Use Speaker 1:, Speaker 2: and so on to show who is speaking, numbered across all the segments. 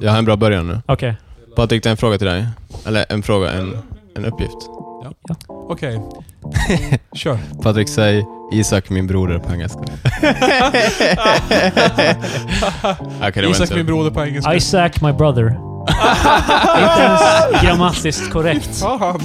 Speaker 1: Jag har en bra början nu.
Speaker 2: Okej.
Speaker 1: Patrik, det är en fråga till dig. Eller en fråga, en, en uppgift.
Speaker 3: Okej. Kör.
Speaker 1: Patrik, säg Isak min broder på engelska. Okej, det var
Speaker 3: Isak
Speaker 1: inte...
Speaker 3: min broder på engelska.
Speaker 2: Isaac, my brother. Inte ens grammatiskt korrekt.
Speaker 3: Fan.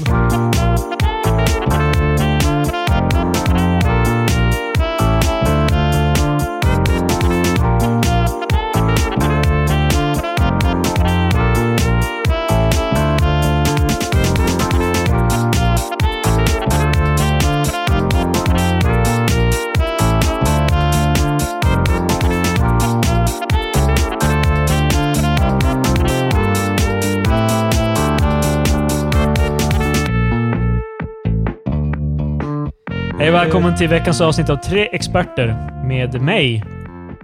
Speaker 2: Hej och välkommen till veckans avsnitt av Tre Experter med mig,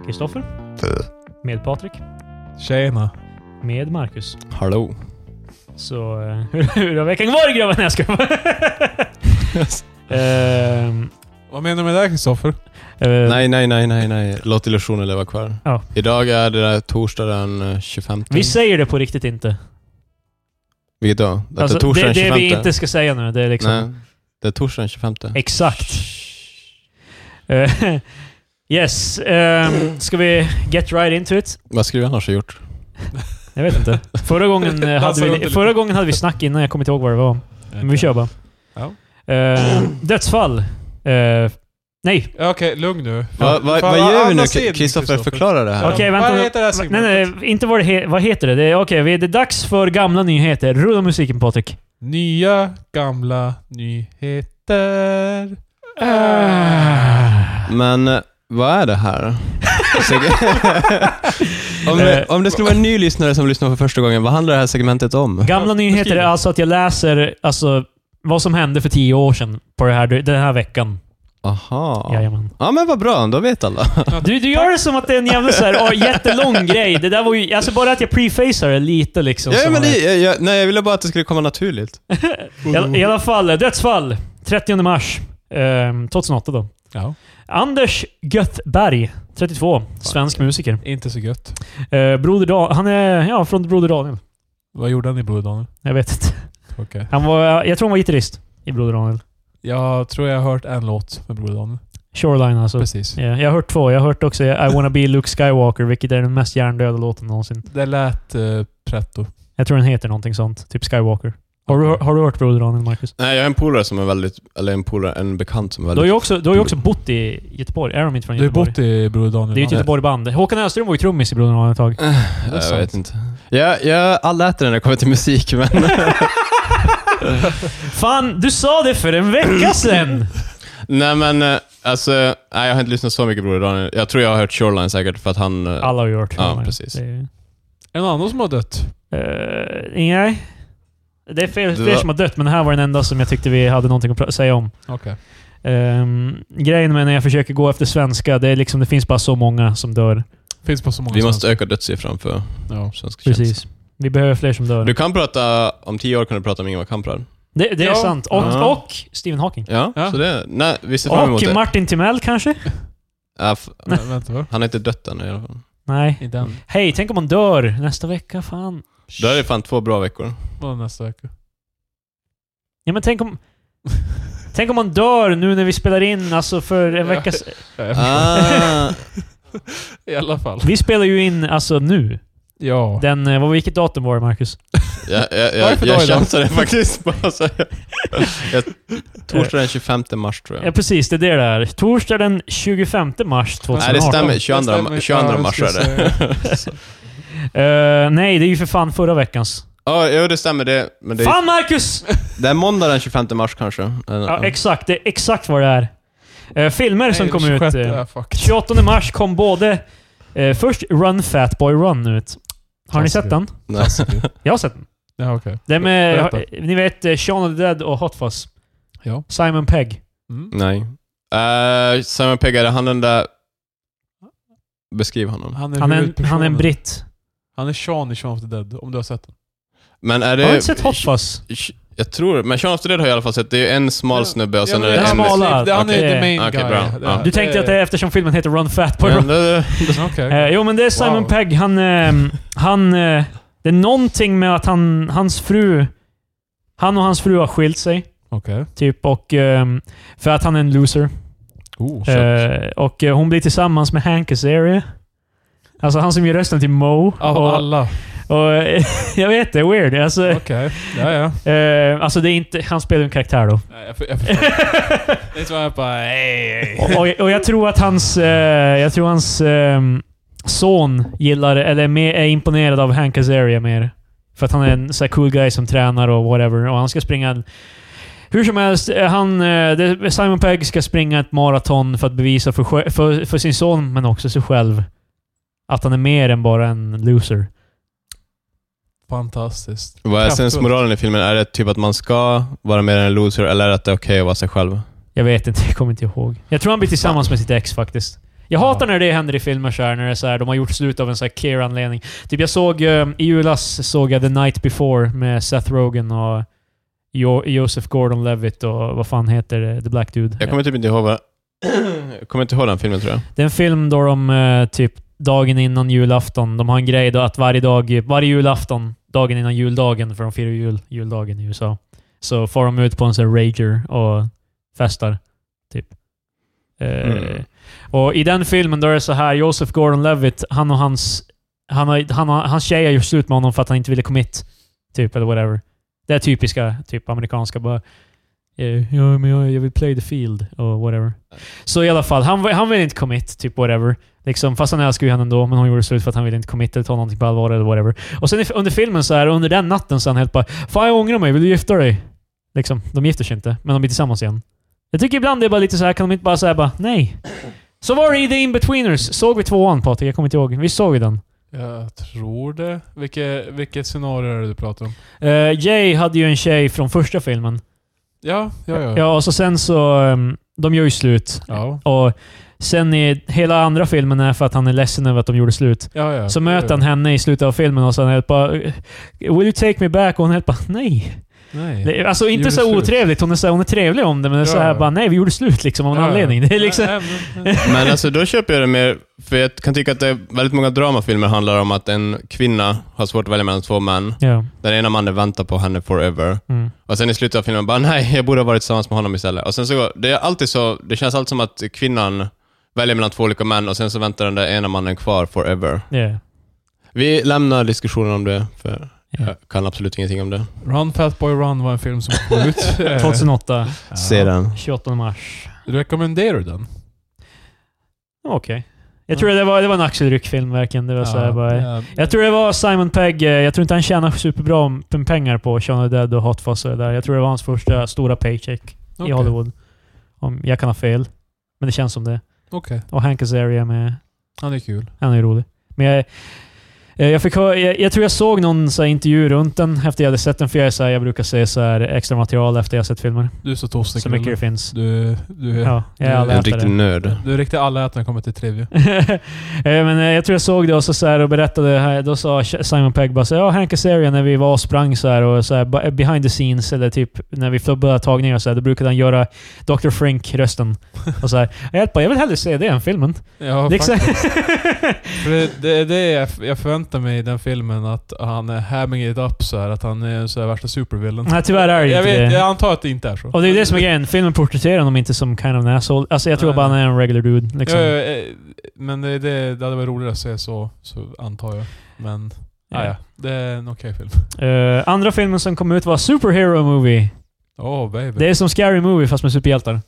Speaker 2: Kristoffer. Med Patrik.
Speaker 3: Tjena.
Speaker 2: Med Marcus.
Speaker 1: Hallå.
Speaker 2: Så eh, hur, hur har veckan varit grabbar? Nej jag skojar. Ehm,
Speaker 3: Vad menar du med det här, Kristoffer?
Speaker 2: eh,
Speaker 1: Nej, nej, nej, nej, nej. Låt illusionen leva kvar.
Speaker 2: Ja.
Speaker 1: Idag är det där torsdag den eh, 25.
Speaker 2: Vi säger det på riktigt inte.
Speaker 1: Vilket då? Det är
Speaker 2: Alltså,
Speaker 1: torsdag
Speaker 2: det,
Speaker 1: den 25.
Speaker 2: det vi inte ska säga nu, det är liksom...
Speaker 1: Nej. Det är torsdag den 25.
Speaker 2: Exakt. Eh, yes. ehm, ska vi get right into it?
Speaker 1: Vad skulle vi annars ha gjort?
Speaker 2: Jag vet inte. Förra gången, eh,
Speaker 3: Dansa
Speaker 2: hade,
Speaker 3: runt
Speaker 2: vi,
Speaker 3: lite.
Speaker 2: förra gången hade vi snack innan, jag kommer inte ihåg vad det var. Men vi kör bara.
Speaker 3: Ja.
Speaker 2: Eh, dödsfall. Eh, nej.
Speaker 3: Ja, Okej, lugn nu.
Speaker 1: Va,
Speaker 3: Fan,
Speaker 1: va,
Speaker 3: fan,
Speaker 1: vad gör vi
Speaker 3: andra
Speaker 1: nu?
Speaker 3: sidan,
Speaker 1: Kristoffer, förklara det här.
Speaker 2: Okej, vänta.
Speaker 3: Vad heter det här
Speaker 2: nej,
Speaker 3: segmentet?
Speaker 2: nej, inte vad det he, Vad heter det? det är- Okej, okay, det är dags för gamla nyheter. Rulla musiken Patrik.
Speaker 3: Nya, gamla nyheter. Ah.
Speaker 1: Men eh, vad är det här? om, det, om det skulle vara en ny lyssnare som lyssnar för första gången, vad handlar det här segmentet om?
Speaker 2: Gamla nyheter är alltså att jag läser alltså, vad som hände för tio år sedan på det här, den här veckan.
Speaker 1: Aha.
Speaker 2: Jajamän.
Speaker 1: Ja men vad bra, då vet alla.
Speaker 2: Du, du gör det som att det är en jävla så här, ja, jättelång grej. Det där var ju, alltså bara att jag prefacear det lite liksom.
Speaker 1: Ja,
Speaker 2: så
Speaker 1: men
Speaker 2: man-
Speaker 1: det, jag, jag, nej, jag ville bara att det skulle komma naturligt.
Speaker 2: I, alla- I alla fall, dödsfall. 30 mars ehm, 2008 då.
Speaker 3: Ja.
Speaker 2: Anders Göthberg, 32, svensk musiker.
Speaker 3: Inte så gött.
Speaker 2: Eh, broder Dan, han är ja, från Broder Daniel.
Speaker 3: Vad gjorde han i Broder Daniel?
Speaker 2: Jag vet inte.
Speaker 3: Okej.
Speaker 2: Han var, jag tror han var gitarrist i Broder Daniel.
Speaker 3: Jag tror jag har hört en låt med Broder Daniel.
Speaker 2: Shoreline alltså.
Speaker 3: Precis.
Speaker 2: Ja, jag har hört två. Jag har hört också I wanna be Luke Skywalker, vilket är den mest hjärndöda låten någonsin.
Speaker 3: Det lät eh, pretto.
Speaker 2: Jag tror den heter någonting sånt. Typ Skywalker. Har du, har du hört Broder Daniel, Marcus?
Speaker 1: Nej, jag har en polare som är väldigt, eller en polare, en bekant som är
Speaker 2: Du har
Speaker 1: väldigt...
Speaker 2: ju också, du har ju också bott i Göteborg. Är de inte från
Speaker 3: Du har ju
Speaker 2: Göteborg?
Speaker 3: bott i Broder Daniel.
Speaker 2: det är ju ett Göteborgsband. Håkan Hellström var ju trummis i Broder Daniel ett tag.
Speaker 3: det är
Speaker 1: Eh, jag
Speaker 3: sant.
Speaker 1: vet inte. Jag, jag alläter när det kommer till musik, men...
Speaker 2: Fan, du sa det för en vecka sedan!
Speaker 1: nej men, eh, alltså, nej, jag har inte lyssnat så mycket Broder Daniel. Jag tror jag har hört Shoreline säkert för att han... eh,
Speaker 2: Alla har ju hört
Speaker 1: Ja,
Speaker 2: Shoreline.
Speaker 1: precis.
Speaker 2: Det är-
Speaker 3: En annan som har dött.
Speaker 2: Eh, nej. Det är fler,
Speaker 1: Det
Speaker 2: fler
Speaker 1: var-
Speaker 2: som har dött, men den här var den enda som jag tyckte vi hade någonting att pra- säga om.
Speaker 3: Okej.
Speaker 2: Ehm, grejen med när jag försöker gå efter svenska, det är liksom, det finns bara så många som dör.
Speaker 3: Finns på så många
Speaker 1: Vi
Speaker 3: ställen.
Speaker 1: måste öka dödssiffran för
Speaker 3: Ja.
Speaker 1: svenska tjänster.
Speaker 2: Precis. Vi behöver fler som dör.
Speaker 1: Du kan prata, om tio år kan du prata om Ingvar Kamprad.
Speaker 2: Det, det är
Speaker 3: Ja.
Speaker 2: sant. Och,
Speaker 1: Ja.
Speaker 2: och Stephen Hawking.
Speaker 1: Ja,
Speaker 3: Ja.
Speaker 1: så det... Nej, vi ser fram emot
Speaker 2: Och
Speaker 1: det.
Speaker 2: Martin Timell kanske?
Speaker 1: Ja, f-
Speaker 3: Vä- Vänta, va?
Speaker 1: han är inte dött än i alla fall.
Speaker 2: Nej.
Speaker 3: I den.
Speaker 2: Hej, tänk om man dör nästa vecka. Fan.
Speaker 1: Då är det fan två bra veckor.
Speaker 3: Var nästa vecka.
Speaker 2: Ja, men tänk om... tänk om man dör nu när vi spelar in, alltså för en vecka s-
Speaker 3: Ja, jag
Speaker 1: Ah,
Speaker 3: förstår. I alla fall.
Speaker 2: Vi spelar ju in alltså nu.
Speaker 3: Ja.
Speaker 2: Den, eh, vad, vilket datum var det Marcus?
Speaker 1: jag jag,
Speaker 3: Vad är det
Speaker 1: jag,
Speaker 3: för
Speaker 1: jag
Speaker 3: dag idag?
Speaker 1: chansade faktiskt. Bara så här. jag, torsdag den 25 mars tror
Speaker 2: Ja
Speaker 1: jag.
Speaker 2: precis, det är det där. Torsdag den 25 mars 2018.
Speaker 1: Nej, det stämmer.
Speaker 3: Det
Speaker 1: 22,
Speaker 3: stämmer.
Speaker 1: 22
Speaker 3: Ja, jag
Speaker 1: mars
Speaker 3: skulle
Speaker 1: är det.
Speaker 2: Eh, nej, det är ju för fan förra veckans.
Speaker 1: Ja, jo, det stämmer. Det, men det,
Speaker 2: Fan Marcus!
Speaker 1: det är måndag den 25 mars kanske. Eh, Eller-
Speaker 2: Ja, exakt. Det är exakt vad det är. Eh, filmer som
Speaker 3: Nej,
Speaker 2: kom ut.
Speaker 3: 26,
Speaker 2: eh,
Speaker 3: ja, fuck.
Speaker 2: 28 mars kom både... eh, först Run Fat Boy Run ut. Har ni
Speaker 3: Klassiker.
Speaker 2: sett den?
Speaker 1: Nej.
Speaker 2: Jag har sett den.
Speaker 3: Ja, okej.
Speaker 2: Det är med,
Speaker 3: Berätta.
Speaker 2: ni vet, eh, Shaun of the Dead och Hot Fuzz.
Speaker 3: Ja.
Speaker 2: Simon Pegg.
Speaker 3: Mm.
Speaker 1: Nej. Uh, Simon Pegg, är det han den där... Beskriv honom.
Speaker 3: Han är,
Speaker 2: Han är, en,
Speaker 3: huvudpersonen.
Speaker 2: han är en britt.
Speaker 3: Han är Sean i Sean of the Dead, om du har sett den.
Speaker 1: Men är
Speaker 2: Har du
Speaker 1: det...
Speaker 2: inte sett Hot Fuzz?
Speaker 1: tj- Jag tror, men Shaun of the Dead har jag i alla fall sett. Det är en smal snubbe och sen
Speaker 3: Ja,
Speaker 1: är
Speaker 3: men
Speaker 1: det
Speaker 2: den
Speaker 1: en... liksom-
Speaker 2: smala.
Speaker 3: Det, han är
Speaker 2: Okej.
Speaker 3: the main
Speaker 1: Okej,
Speaker 3: guy.
Speaker 1: bra.
Speaker 3: Det-
Speaker 1: Ja.
Speaker 2: Du tänkte att
Speaker 3: Eh.
Speaker 2: det är eftersom filmen heter Run Fat Boy Run.
Speaker 1: Men det-
Speaker 3: Okej.
Speaker 2: Eh, jo, men det är Simon
Speaker 3: Wow.
Speaker 2: Pegg. Han... ehm, han eh, det är någonting med att han, hans fru... Han och hans fru har skilt sig,
Speaker 3: Okej.
Speaker 2: typ. Och, ehm, för att han är en loser.
Speaker 3: Oh, shit.
Speaker 2: Eh, och eh, hon blir tillsammans med Hank Azaria. Alltså han som gör rösten till Mo.
Speaker 3: Av
Speaker 2: och,
Speaker 3: alla.
Speaker 2: och, eh, jag vet, det är weird. Alltså,
Speaker 3: Okej. Ja, ja.
Speaker 2: eh, alltså det är inte... Han spelar ju en karaktär då.
Speaker 3: Nej, jag, för- jag förstår. det är så här bara... Hey, hey.
Speaker 2: och, och- och jag tror att hans, eh, jag tror hans ehm, son gillar, eller är, mer, är imponerad av Hank Azaria mer. För att han är en så här cool guy som tränar och whatever. Och han ska springa... en- Hur som helst, eh, han, eh, det- Simon Pegg ska springa ett maraton för att bevisa för, sj- för, för sin son, men också sig själv, att han är mer än bara en loser.
Speaker 3: Fantastiskt.
Speaker 1: Vad är sensmoralen i filmen? Är det typ att man ska vara mer än en loser, eller är det att det är okej att vara sig själv?
Speaker 2: Jag vet inte, jag kommer inte ihåg. Jag tror han blir tillsammans med sitt ex faktiskt. Jag
Speaker 3: Ja.
Speaker 2: hatar när det händer i filmer så här, när det är så här, de har gjort slut av en så här care-anledning. Typ jag såg, eh, i julas såg jag The Night Before med Seth Rogen och jo- Joseph Gordon-Levitt och vad fan heter det? The Black Dude.
Speaker 1: Jag kommer typ inte ihåg vad... Jag kommer inte ihåg den filmen tror jag.
Speaker 2: Det är en film då de eh, typ dagen innan julafton, de har en grej då att varje dag, varje julafton, dagen innan juldagen, för de firar ju jul, juldagen i USA, så far de ut på en sån här rager och festar. Typ. Eh,
Speaker 1: Mm.
Speaker 2: Och i den filmen då är det så här, Joseph Gordon-Levitt, han och hans, han har, han har, hans tjej har gjort slut med honom för att han inte ville commit. Typ, eller whatever. Det är typiska, typ amerikanska bara... eh, Ja, men jag, jag vill play the field och whatever. Så i alla fall, han, han vill inte commit, typ whatever. Liksom, fast han älskar ju henne ändå, men hon gjorde slut för att han ville inte commit eller ta någonting på allvar eller whatever. Och sen i- under filmen så här, under den natten så är han helt bara Fan jag ångrar mig, vill du gifta dig? Liksom, de gifter sig inte, men de blir tillsammans igen. Jag tycker ibland det är bara lite så här kan de inte bara säga bara nej? Så var det i The Inbetweeners. Såg vi tvåan Patrik? Jag kommer inte ihåg. Vi såg vi den?
Speaker 3: Jag tror det. Vilket, vilket scenario är det du pratar om?
Speaker 2: Eh, Jay hade ju en tjej från första filmen.
Speaker 3: Ja, ja, ja.
Speaker 2: Ja, och så sen så... ehm, de gör ju slut.
Speaker 3: Ja,
Speaker 2: Och sen i hela andra filmen är för att han är ledsen över att de gjorde slut.
Speaker 3: ja. ja.
Speaker 2: Så möter han henne i slutet av filmen och så är han helt bara... "Will you take me back?” och hon helt bara “Nej”.
Speaker 3: Nej.
Speaker 2: Det, är- alltså inte
Speaker 3: Gjorde
Speaker 2: så här
Speaker 3: slut.
Speaker 2: otrevligt. Hon är, så här, hon är trevlig om det, men det är så
Speaker 3: Ja.
Speaker 2: här bara “Nej, vi gjorde slut” liksom av en
Speaker 3: Ja, ja.
Speaker 2: anledning. Det är liksom...
Speaker 3: Nej, men- men-
Speaker 1: Men alltså då köper jag det mer, för jag kan tycka att det är väldigt många dramafilmer handlar om att en kvinna har svårt att välja mellan två män.
Speaker 2: Ja.
Speaker 1: Den ena mannen väntar på henne forever.
Speaker 2: Mm.
Speaker 1: Och sen i slutet av filmen bara nej, jag borde ha varit tillsammans med honom istället. Och sen så, går- det är alltid så, det känns alltid som att kvinnan väljer mellan två olika män och sen så väntar den där ena mannen kvar forever.
Speaker 2: Yeah.
Speaker 1: Vi lämnar diskussionen om det, för
Speaker 2: Ja.
Speaker 1: jag kan absolut ingenting om det.
Speaker 3: Run Fat Boy Run var en film som kom ut. Eh,
Speaker 2: 2008,
Speaker 3: Ja.
Speaker 1: Se den.
Speaker 2: 28 mars.
Speaker 3: Rekommenderar du den?
Speaker 2: Okej. Jag tror det var, det var en axelryckfilm verkligen. Det var så här, bara,
Speaker 3: ja.
Speaker 2: Jag tror det var Simon Pegg. eh, Jag tror inte han tjänar superbra med pengar på Shaun of the Dead och Hot Fuzz och det där. Jag tror det var hans första stora paycheck i
Speaker 3: Okej.
Speaker 2: Hollywood. Om jag kan ha fel. Men det känns som det.
Speaker 3: Okej,
Speaker 2: Och Hank Azaria med.
Speaker 3: han är kul.
Speaker 2: Han är ju rolig. Men jag, eh, jag, fick, hö- jag, jag tror jag såg någon så här, intervju runt den efter jag hade sett den. För jag, är så här, jag brukar se så här, extra material efter jag har sett filmer.
Speaker 3: Du är så tosig
Speaker 2: Så mycket
Speaker 3: kille.
Speaker 2: det finns.
Speaker 3: Du, du,
Speaker 2: Ja, jag är
Speaker 1: En
Speaker 3: du-
Speaker 2: allätare.
Speaker 1: riktig nörd.
Speaker 3: du är riktigt allätare när det kommer till trivia.
Speaker 2: Eh, Men eh, jag tror jag såg det och så, så här och berättade. här- Då sa Sh- Simon Pegg bara så här, ja Hank Azaria när vi var och sprang så här och så här ba- behind the scenes eller typ när vi flubbade tagningar och så här, då brukade han göra Dr. Frank-rösten. Och så här. Jag bara, jag vill hellre se det än filmen. Liksom.
Speaker 3: Ja,
Speaker 2: det är exakt...
Speaker 3: För det, det är det jag, jag förväntar mig i den filmen, att han är hamming it up så här, att han är så här värsta supervillen.
Speaker 2: Nej, tyvärr är det
Speaker 3: jag
Speaker 2: inte
Speaker 3: vet,
Speaker 2: det.
Speaker 3: Jag antar att det inte är så.
Speaker 2: Och det är ju det som är grejen. Filmen porträtterar honom inte som kind of an asshole. Alltså jag tror
Speaker 3: Nej,
Speaker 2: bara han
Speaker 3: nej.
Speaker 2: är en regular dude. Liksom.
Speaker 3: Ja, ja, eh, men det, det, det hade varit roligare att se så, så antar jag. Men, ah, ja. ja, det är en okej film.
Speaker 2: Eh, andra filmen som kom ut var Superhero Movie.
Speaker 3: Åh oh, baby.
Speaker 2: Det är som Scary Movie fast med superhjältar.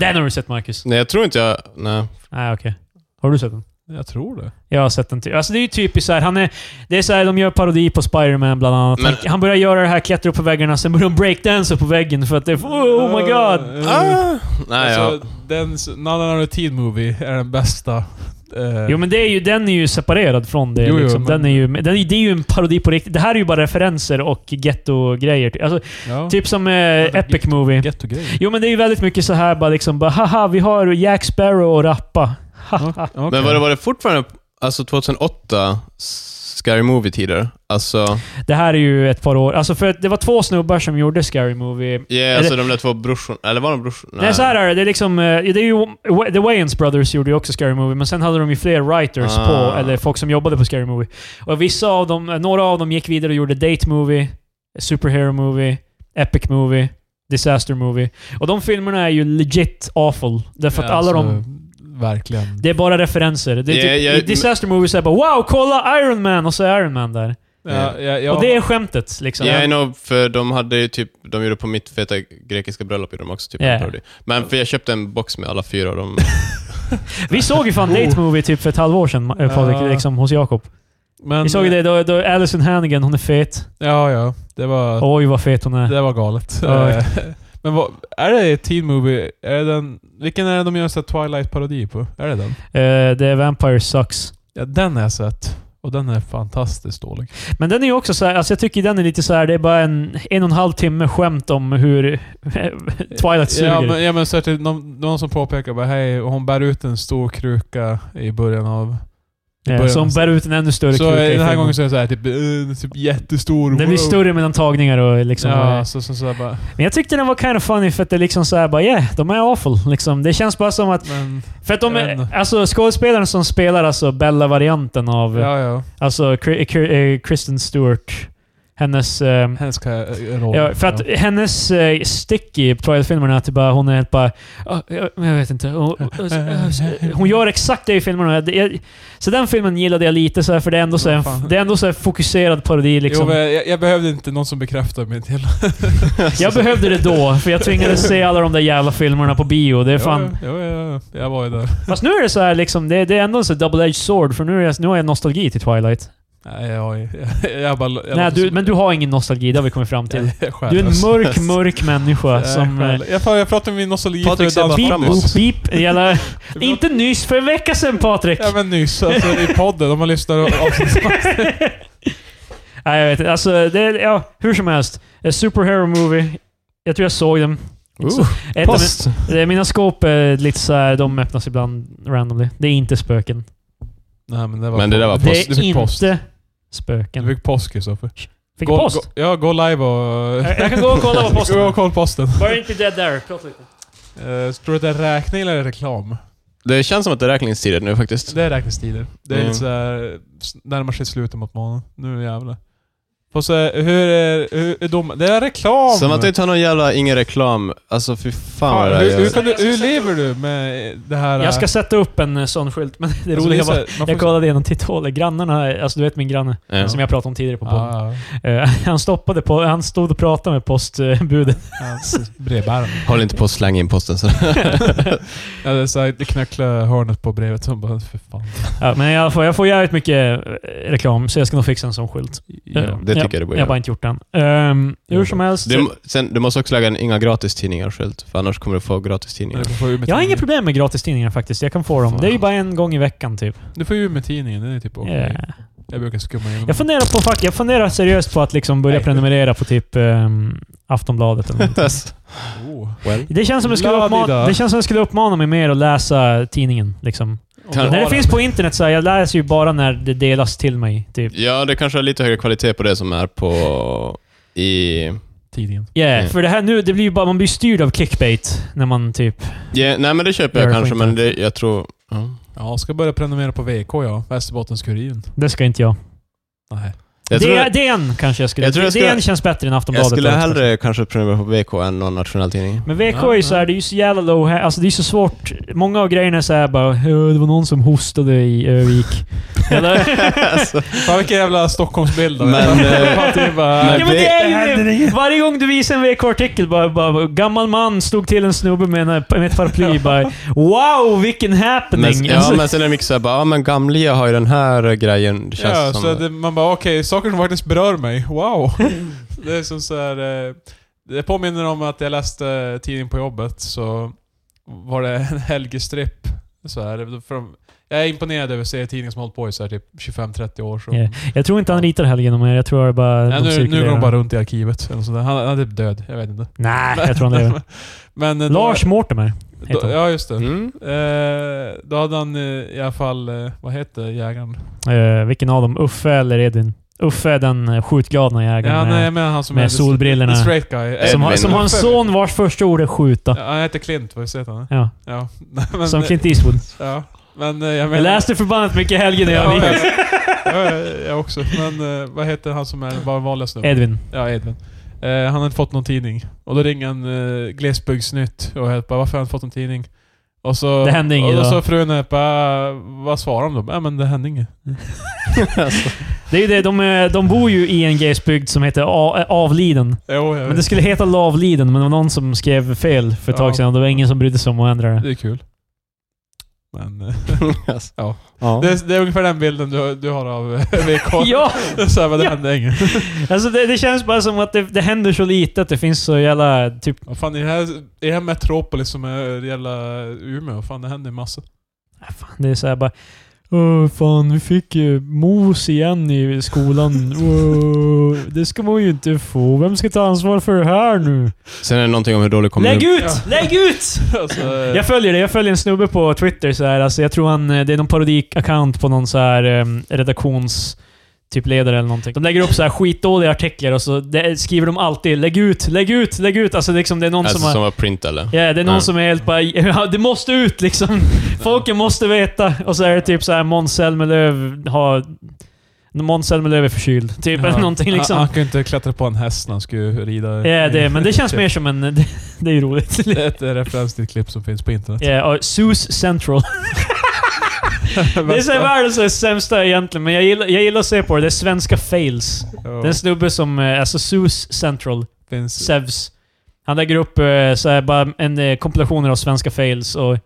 Speaker 2: Den har du sett Marcus?
Speaker 1: Nej, jag tror inte jag... Nej.
Speaker 2: Nej, okej. Har du sett den?
Speaker 3: Jag tror det.
Speaker 2: Jag har sett den typ. Alltså det är ju typiskt såhär, han är... Det är såhär, de gör parodi på Spider-Man bland annat.
Speaker 1: Men-
Speaker 2: han, han börjar göra det här, klättra upp på väggarna, sen börjar de breakdansa på väggen för att det är... Oh, oh my god!
Speaker 3: Eh,
Speaker 1: Ah! Nej, ja.
Speaker 3: alltså, den, s- None Another Teen Movie är den bästa. eh,
Speaker 2: Jo men det är ju, den är ju separerad från det.
Speaker 3: Jo, jo,
Speaker 2: liksom.
Speaker 3: men-
Speaker 2: den är ju, den, är- det är ju en parodi på riktigt. Det här är ju bara referenser och ghetto-grejer. typ. Alltså,
Speaker 3: ja.
Speaker 2: Typ som eh, Epic Movie.
Speaker 3: Get to gay.
Speaker 2: Jo men det är ju väldigt mycket så här bara liksom bara, haha vi har Jack Sparrow och rappa. Haha.
Speaker 3: Okej.
Speaker 1: Men var det, var det fortfarande... Alltså 2008, s- Scary Movie-tider. Alltså,
Speaker 2: Det här är ju ett par år. Alltså för att det var två snubbar som gjorde Scary Movie.
Speaker 1: yeah, alltså de där två brorsorna, eller var de brorsor?
Speaker 2: Nej, så här är det. Det är liksom... eh, Det är ju, The Wayans Brothers gjorde ju också Scary Movie, men sen hade de ju fler writers
Speaker 1: Ah.
Speaker 2: på, eller folk som jobbade på Scary Movie. Och vissa av dem, eh, några av dem gick vidare och gjorde Date Movie, Superhero Movie, Epic Movie, Disaster Movie. Och de filmerna är ju legit awful. Därför att
Speaker 3: Ja,
Speaker 2: alla
Speaker 3: alltså,
Speaker 2: de...
Speaker 3: Verkligen.
Speaker 2: Det är bara referenser. Det är
Speaker 1: Ja,
Speaker 2: typ,
Speaker 1: ja,
Speaker 2: I
Speaker 1: men-
Speaker 2: Disaster Movie så är det bara “Wow, kolla Iron Man!” och så är Iron Man där.
Speaker 3: ja, ja, ja.
Speaker 2: Och det är skämtet liksom.
Speaker 1: Ja, yeah, no, för de hade ju typ, de gjorde på mitt feta grekiska bröllop gjorde de också typ en
Speaker 2: Yeah.
Speaker 1: parody. Men för jag köpte en box med alla fyra av dem.
Speaker 2: Vi såg ju fan Date Movie typ för ett halvår sedan, eh, Patrik,
Speaker 3: Oh. Ja.
Speaker 2: liksom, hos Jakob.
Speaker 3: Men,
Speaker 2: Vi såg ju det då, då Alison Hannigan, hon är fet.
Speaker 3: Ja, ja. Det var...
Speaker 2: Oj vad fet hon är.
Speaker 3: Det var galet.
Speaker 2: Ja.
Speaker 3: Eh, Men vad, är det teen movie? Är det den, vilken är det de gör en sån här Twilight-parodi på? Är det den?
Speaker 2: Eh, Det är Vampire Sucks.
Speaker 3: Ja, den har jag sett. Och den är fantastiskt dålig.
Speaker 2: Men den är ju också så här, alltså jag tycker den är lite så här, det är bara en en och en halv timme skämt om hur eh, Twilight suger.
Speaker 3: Ja men, ja, men så att det, någon, någon som påpekar bara hej, och hon bär ut en stor kruka i början av... i
Speaker 2: Eh,
Speaker 3: början
Speaker 2: så
Speaker 3: av-
Speaker 2: hon bär ut en ännu större
Speaker 3: Så eh,
Speaker 2: kruka i
Speaker 3: den här
Speaker 2: filmen.
Speaker 3: gången så är det så här typ, eh, typ jättestor.
Speaker 2: Den blir
Speaker 3: wow.
Speaker 2: större mellan tagningar och liksom...
Speaker 3: Ja, så, så, så här bara...
Speaker 2: Men jag tyckte den var kind of funny för att det liksom så här bara yeah, de är awful. Liksom. Det känns bara som att...
Speaker 3: Men,
Speaker 2: För att de
Speaker 3: Jag vet
Speaker 2: är,
Speaker 3: inte.
Speaker 2: alltså skådespelaren som spelar alltså Bella-varianten av...
Speaker 3: ja, ja.
Speaker 2: Alltså Kri- Kri- eh, Kristen Stewart. Hennes... ehm,
Speaker 3: Hennes ka- eh, roll.
Speaker 2: Ja, för att hennes eh, stick i Twilight-filmerna är att det bara, hon är helt bara... "Ah, jag- men jag vet inte. Hon, hon gör exakt det i filmerna. Det är- Så den filmen gillade jag lite, så här, för det är ändå så här,
Speaker 3: Fan.
Speaker 2: det är ändå så här fokuserad parodi.
Speaker 3: Jo,
Speaker 2: Liksom.
Speaker 3: men jag, jag behövde inte någon som bekräftade mig till.
Speaker 2: jag behövde det då, för jag tvingades se alla de där jävla filmerna på bio. Det är fan...
Speaker 3: Jo, jo, jo, jo. Jag var ju där.
Speaker 2: Fast nu är det så här, liksom, det, det är ändå en sån double-edged sword, för nu, är jag, nu har jag nostalgi till Twilight.
Speaker 3: Nej, jag, jag, jag bara... Jag
Speaker 2: Nej,
Speaker 3: låter
Speaker 2: du,
Speaker 3: som-
Speaker 2: men du har ingen nostalgi, det har vi kommit fram till.
Speaker 3: Jag är
Speaker 2: Du är en
Speaker 3: själlös.
Speaker 2: mörk, mörk människa
Speaker 3: Jag är
Speaker 2: som... eh,
Speaker 3: själlös. Jag, fan, jag pratar med min nostalgi
Speaker 1: Patrik
Speaker 3: för
Speaker 1: ser bara
Speaker 3: dans.
Speaker 1: fram emot.
Speaker 2: Beep, beep, jävla... Inte nyss, för en vecka sedan Patrik!
Speaker 3: Ja men nyss, alltså i podden. Om man lyssnar och avsnitt.
Speaker 2: Nej, jag vet inte. Alltså, det, är- ja, hur som helst. A superhero movie. Jag tror jag såg den. Inte så-
Speaker 1: Ooh,
Speaker 2: Ett av
Speaker 1: Uh, post!
Speaker 2: mina, eh, mina skåp är lite så här, de öppnas ibland randomly. Det är inte spöken.
Speaker 3: Nej men det var
Speaker 1: Men det där var
Speaker 3: post.
Speaker 2: Det
Speaker 3: Du
Speaker 2: är
Speaker 3: fick
Speaker 2: inte
Speaker 3: post. Du
Speaker 2: spöken.
Speaker 3: fick post Kristoffer.
Speaker 2: Fick
Speaker 3: Gå-
Speaker 2: jag post?
Speaker 3: gå- Ja, gå live och...
Speaker 2: Jag- jag kan gå och kolla vad posten
Speaker 3: Gå
Speaker 2: är.
Speaker 3: och kolla posten.
Speaker 2: Var inte det där? Prata lite.
Speaker 3: Eh, tror du att det är räkning eller reklam?
Speaker 1: Det känns som att det är räkningstider nu faktiskt.
Speaker 3: Det är räkningstider. Det är
Speaker 1: Mm.
Speaker 3: lite såhär... Närmar sig slutet mot månaden. Nu jävlar. Fast eh, hur är... Hur är dom... Det är reklam!
Speaker 1: Som att du inte har någon jävla ingen reklam. Alltså fy fan vad det
Speaker 3: Fan,
Speaker 1: där
Speaker 3: hur, hur,
Speaker 1: gör.
Speaker 3: kan du, hur lever du med det här... eh,
Speaker 2: Jag ska sätta upp en eh, sån skylt, men det
Speaker 3: Alltså,
Speaker 2: roliga
Speaker 3: är så
Speaker 2: var...
Speaker 3: här, man
Speaker 2: Jag
Speaker 3: får-
Speaker 2: kollade genom titthålet. Grannarna, alltså du vet min granne,
Speaker 1: Ja.
Speaker 2: som jag pratade om tidigare på podden.
Speaker 3: Ja, ja.
Speaker 2: Eh, han stoppade på... Han stod och pratade med postbudet.
Speaker 3: Brevbäraren.
Speaker 1: Håll inte på att slänga in posten så.
Speaker 3: Ja, det är så här, det knacklar hörnet på brevet. som bara, för fan.
Speaker 2: Ja, men jag får, jag får jävligt mycket eh, reklam, så jag ska nog fixa en sån skylt.
Speaker 3: Ja.
Speaker 1: Det tycker jag du
Speaker 2: jag
Speaker 1: borde
Speaker 2: Jag har bara
Speaker 1: göra.
Speaker 2: inte gjort den. Ehm, hur som helst.
Speaker 1: Du, må- sen, du måste också lägga en inga gratistidningar skylt, för annars kommer du få
Speaker 3: Men
Speaker 1: gratistidningar.
Speaker 3: Du får ju med
Speaker 2: jag har inga
Speaker 3: tidningen.
Speaker 2: problem med gratistidningar faktiskt. Jag kan få dem.
Speaker 1: Fan.
Speaker 2: Det är ju bara en gång i veckan typ.
Speaker 3: Du får ju med tidningen. Den är typ okej.
Speaker 2: Yeah.
Speaker 3: Jag brukar skumma igenom.
Speaker 2: Jag funderar på fuck, jag funderar seriöst på att liksom börja
Speaker 3: Nej.
Speaker 2: prenumerera på typ ehm, Aftonbladet eller något.
Speaker 3: Oh.
Speaker 1: Well.
Speaker 2: Det känns som jag skulle uppmana,
Speaker 3: Ladida.
Speaker 2: det känns som jag skulle uppmana mig mer att läsa tidningen. Liksom.
Speaker 3: Om du
Speaker 1: När
Speaker 2: När
Speaker 3: har
Speaker 2: det
Speaker 3: den.
Speaker 2: finns på internet så här, jag läser ju bara när det delas till mig. Typ.
Speaker 1: Ja, det kanske är lite högre kvalitet på det som är på... I...
Speaker 3: Tidningen.
Speaker 2: Yeah,
Speaker 1: Mm.
Speaker 2: För det här nu, det blir ju bara, man blir styrd av clickbait när man typ...
Speaker 1: Ja, nej, men det köper
Speaker 2: Gör
Speaker 1: jag
Speaker 2: det på
Speaker 1: kanske, men det, jag tror... Ja.
Speaker 3: Ja, jag ska börja prenumerera på VK ja. Västerbottens-Kuriren.
Speaker 2: Det ska inte jag.
Speaker 3: Nej.
Speaker 1: Jag tror,
Speaker 2: det, DN kanske jag skulle...
Speaker 1: Jag tror jag skulle-
Speaker 2: DN känns bättre än Aftonbladet.
Speaker 1: jag skulle
Speaker 2: faktiskt.
Speaker 1: hellre kanske prenumerera på VK än någon nationell tidning.
Speaker 2: Men VK
Speaker 3: Ja,
Speaker 2: är ju så här, det är ju så jävla low här. Alltså det är så svårt. Många av grejerna är så här bara "Ö, det var någon som hostade i Övik. Eller?
Speaker 1: Alltså,
Speaker 3: Fan vilken jävla Stockholmsbild. då.
Speaker 1: Men, eh,
Speaker 3: Fan, det är bara-
Speaker 1: men-
Speaker 2: ja, men det är
Speaker 3: Det
Speaker 2: ju det. Varje gång du visar en VK-artikel bara, bara gammal man stod till en snubbe med, en, med ett paraply bara Wow, vilken happening!
Speaker 1: men, ja,
Speaker 2: alltså,
Speaker 1: men sen är det mycket såhär bara, ja men Gamlia har ju den här grejen. Det känns
Speaker 3: Ja,
Speaker 1: som...
Speaker 3: så det, man bara okej, saker som faktiskt berör mig. Wow! det är som så här, eh, Det påminner om att jag läste tidningen på jobbet, så var det en helgestripp. Så här, från, jag är imponerad över serietidningar som har hållit på i så här, typ 25-30 år. Som,
Speaker 2: Ja. Jag tror inte han ritar helgen om er. Jag tror bara de
Speaker 3: Nej, nu, nu
Speaker 2: cirkulerar.
Speaker 3: går de bara runt i arkivet. Eller sådär. Han, han är typ död, jag vet inte.
Speaker 2: Nej, jag tror han lever.
Speaker 3: Men, eh, då-
Speaker 2: Lars Mortimer. heter
Speaker 3: Då,
Speaker 2: hon.
Speaker 3: ja, just det.
Speaker 1: Mm.
Speaker 3: Eh, då hade han eh, i alla fall, eh, vad heter jägaren?
Speaker 2: Eh, vilken av dem? Uffe eller Edvin? Uffe är den eh, skjutgalna
Speaker 3: Ja,
Speaker 2: jägaren
Speaker 3: nej,
Speaker 2: med,
Speaker 3: jag menar han som
Speaker 2: med
Speaker 3: är
Speaker 2: solbrillorna.
Speaker 3: the straight guy. Eh,
Speaker 2: Som, har, som har en
Speaker 3: Uffe.
Speaker 2: son vars första ord är skjuta.
Speaker 3: Ja, han heter Clint, vad heter han?
Speaker 2: Ja.
Speaker 3: Ja. Men,
Speaker 2: Som Clint Eastwood.
Speaker 3: Ja. Men eh, jag menar...
Speaker 2: Jag läste förbannat mycket i helgen när jag
Speaker 3: Ja,
Speaker 2: gick.
Speaker 3: ja, jag också. Men eh, vad heter han som är bara vanliga snubben?
Speaker 2: Edvin.
Speaker 3: Ja, Edvin. Eh, han hade fått någon tidning. Och då ringer han eh, Glesbygdsnytt och jag bara, varför har han inte fått någon tidning? Och så,
Speaker 2: Det hände inget
Speaker 3: Och då
Speaker 2: då.
Speaker 3: sa frun här, bara, vad svarar de då? Ja men det hände inget.
Speaker 2: Det är ju det, de, eh, de bor ju i en glesbygd som heter A- eh, Avliden.
Speaker 3: Jo, jag
Speaker 2: Men
Speaker 3: vet.
Speaker 2: det skulle heta Lavliden, men det var någon som skrev fel för ett
Speaker 3: Ja.
Speaker 2: tag sedan och det var ingen som brydde sig om att ändra det.
Speaker 3: det är kul. Men eh,
Speaker 1: Alltså.
Speaker 3: Ja.
Speaker 1: ja.
Speaker 3: det, är, det är ungefär den bilden du, du har av eh, VK.
Speaker 2: Ja!
Speaker 3: Så här, men det
Speaker 2: Ja.
Speaker 3: hände inget.
Speaker 2: Alltså det, det känns bara som att det, det händer så lite att det finns så jävla... Typ,
Speaker 3: Vad fan, i det här, i det här Metropolis som är jävla Umeå, fan det händer massa.
Speaker 2: Ah, fan, det är så här bara... Åh fan, vi fick ju mos igen i skolan. Åh, det ska man ju inte få. Vem ska ta ansvar för det här nu?
Speaker 1: Sen är det någonting om hur dålig kommun...
Speaker 2: Lägg ut!
Speaker 3: Ja.
Speaker 2: Lägg ut!
Speaker 3: alltså,
Speaker 2: Jag följer det. Jag följer en snubbe på Twitter så här. Alltså jag tror han... eh, Det är någon parodikaccount på någon så här em, redaktions... Typ ledare eller någonting. De lägger upp så här skitdåliga artiklar och så det, skriver de alltid “Lägg ut, lägg ut, lägg ut”. Alltså liksom det är någon
Speaker 1: Alltså
Speaker 2: som har...
Speaker 1: som var print eller?
Speaker 2: Ja, det är någon
Speaker 1: Ja.
Speaker 2: som är helt bara ja, “Det måste ut liksom! Folket måste veta!” Och så är det typ så här Måns Zelmerlöw har... Måns Zelmerlöw är förkyld. Typ eller någonting liksom.
Speaker 3: Han, han kunde inte klättra på en häst när han skulle rida.
Speaker 2: Ja, det, men det känns
Speaker 3: Typ.
Speaker 2: mer som en... Det, det är ju roligt.
Speaker 3: Det är ett referens till ett klipp som finns på internet.
Speaker 2: Ja, och Soos Central. Det är så här världens sämsta egentligen, men jag gillar, jag gillar att se på det. Det är svenska fails.
Speaker 3: Ja,
Speaker 2: Det är en snubbe som... eh, Alltså Soos Central,
Speaker 3: finns,
Speaker 2: Sevs. Han lägger upp eh, så här, bara en eh, kompilationer av svenska fails och...
Speaker 3: eh,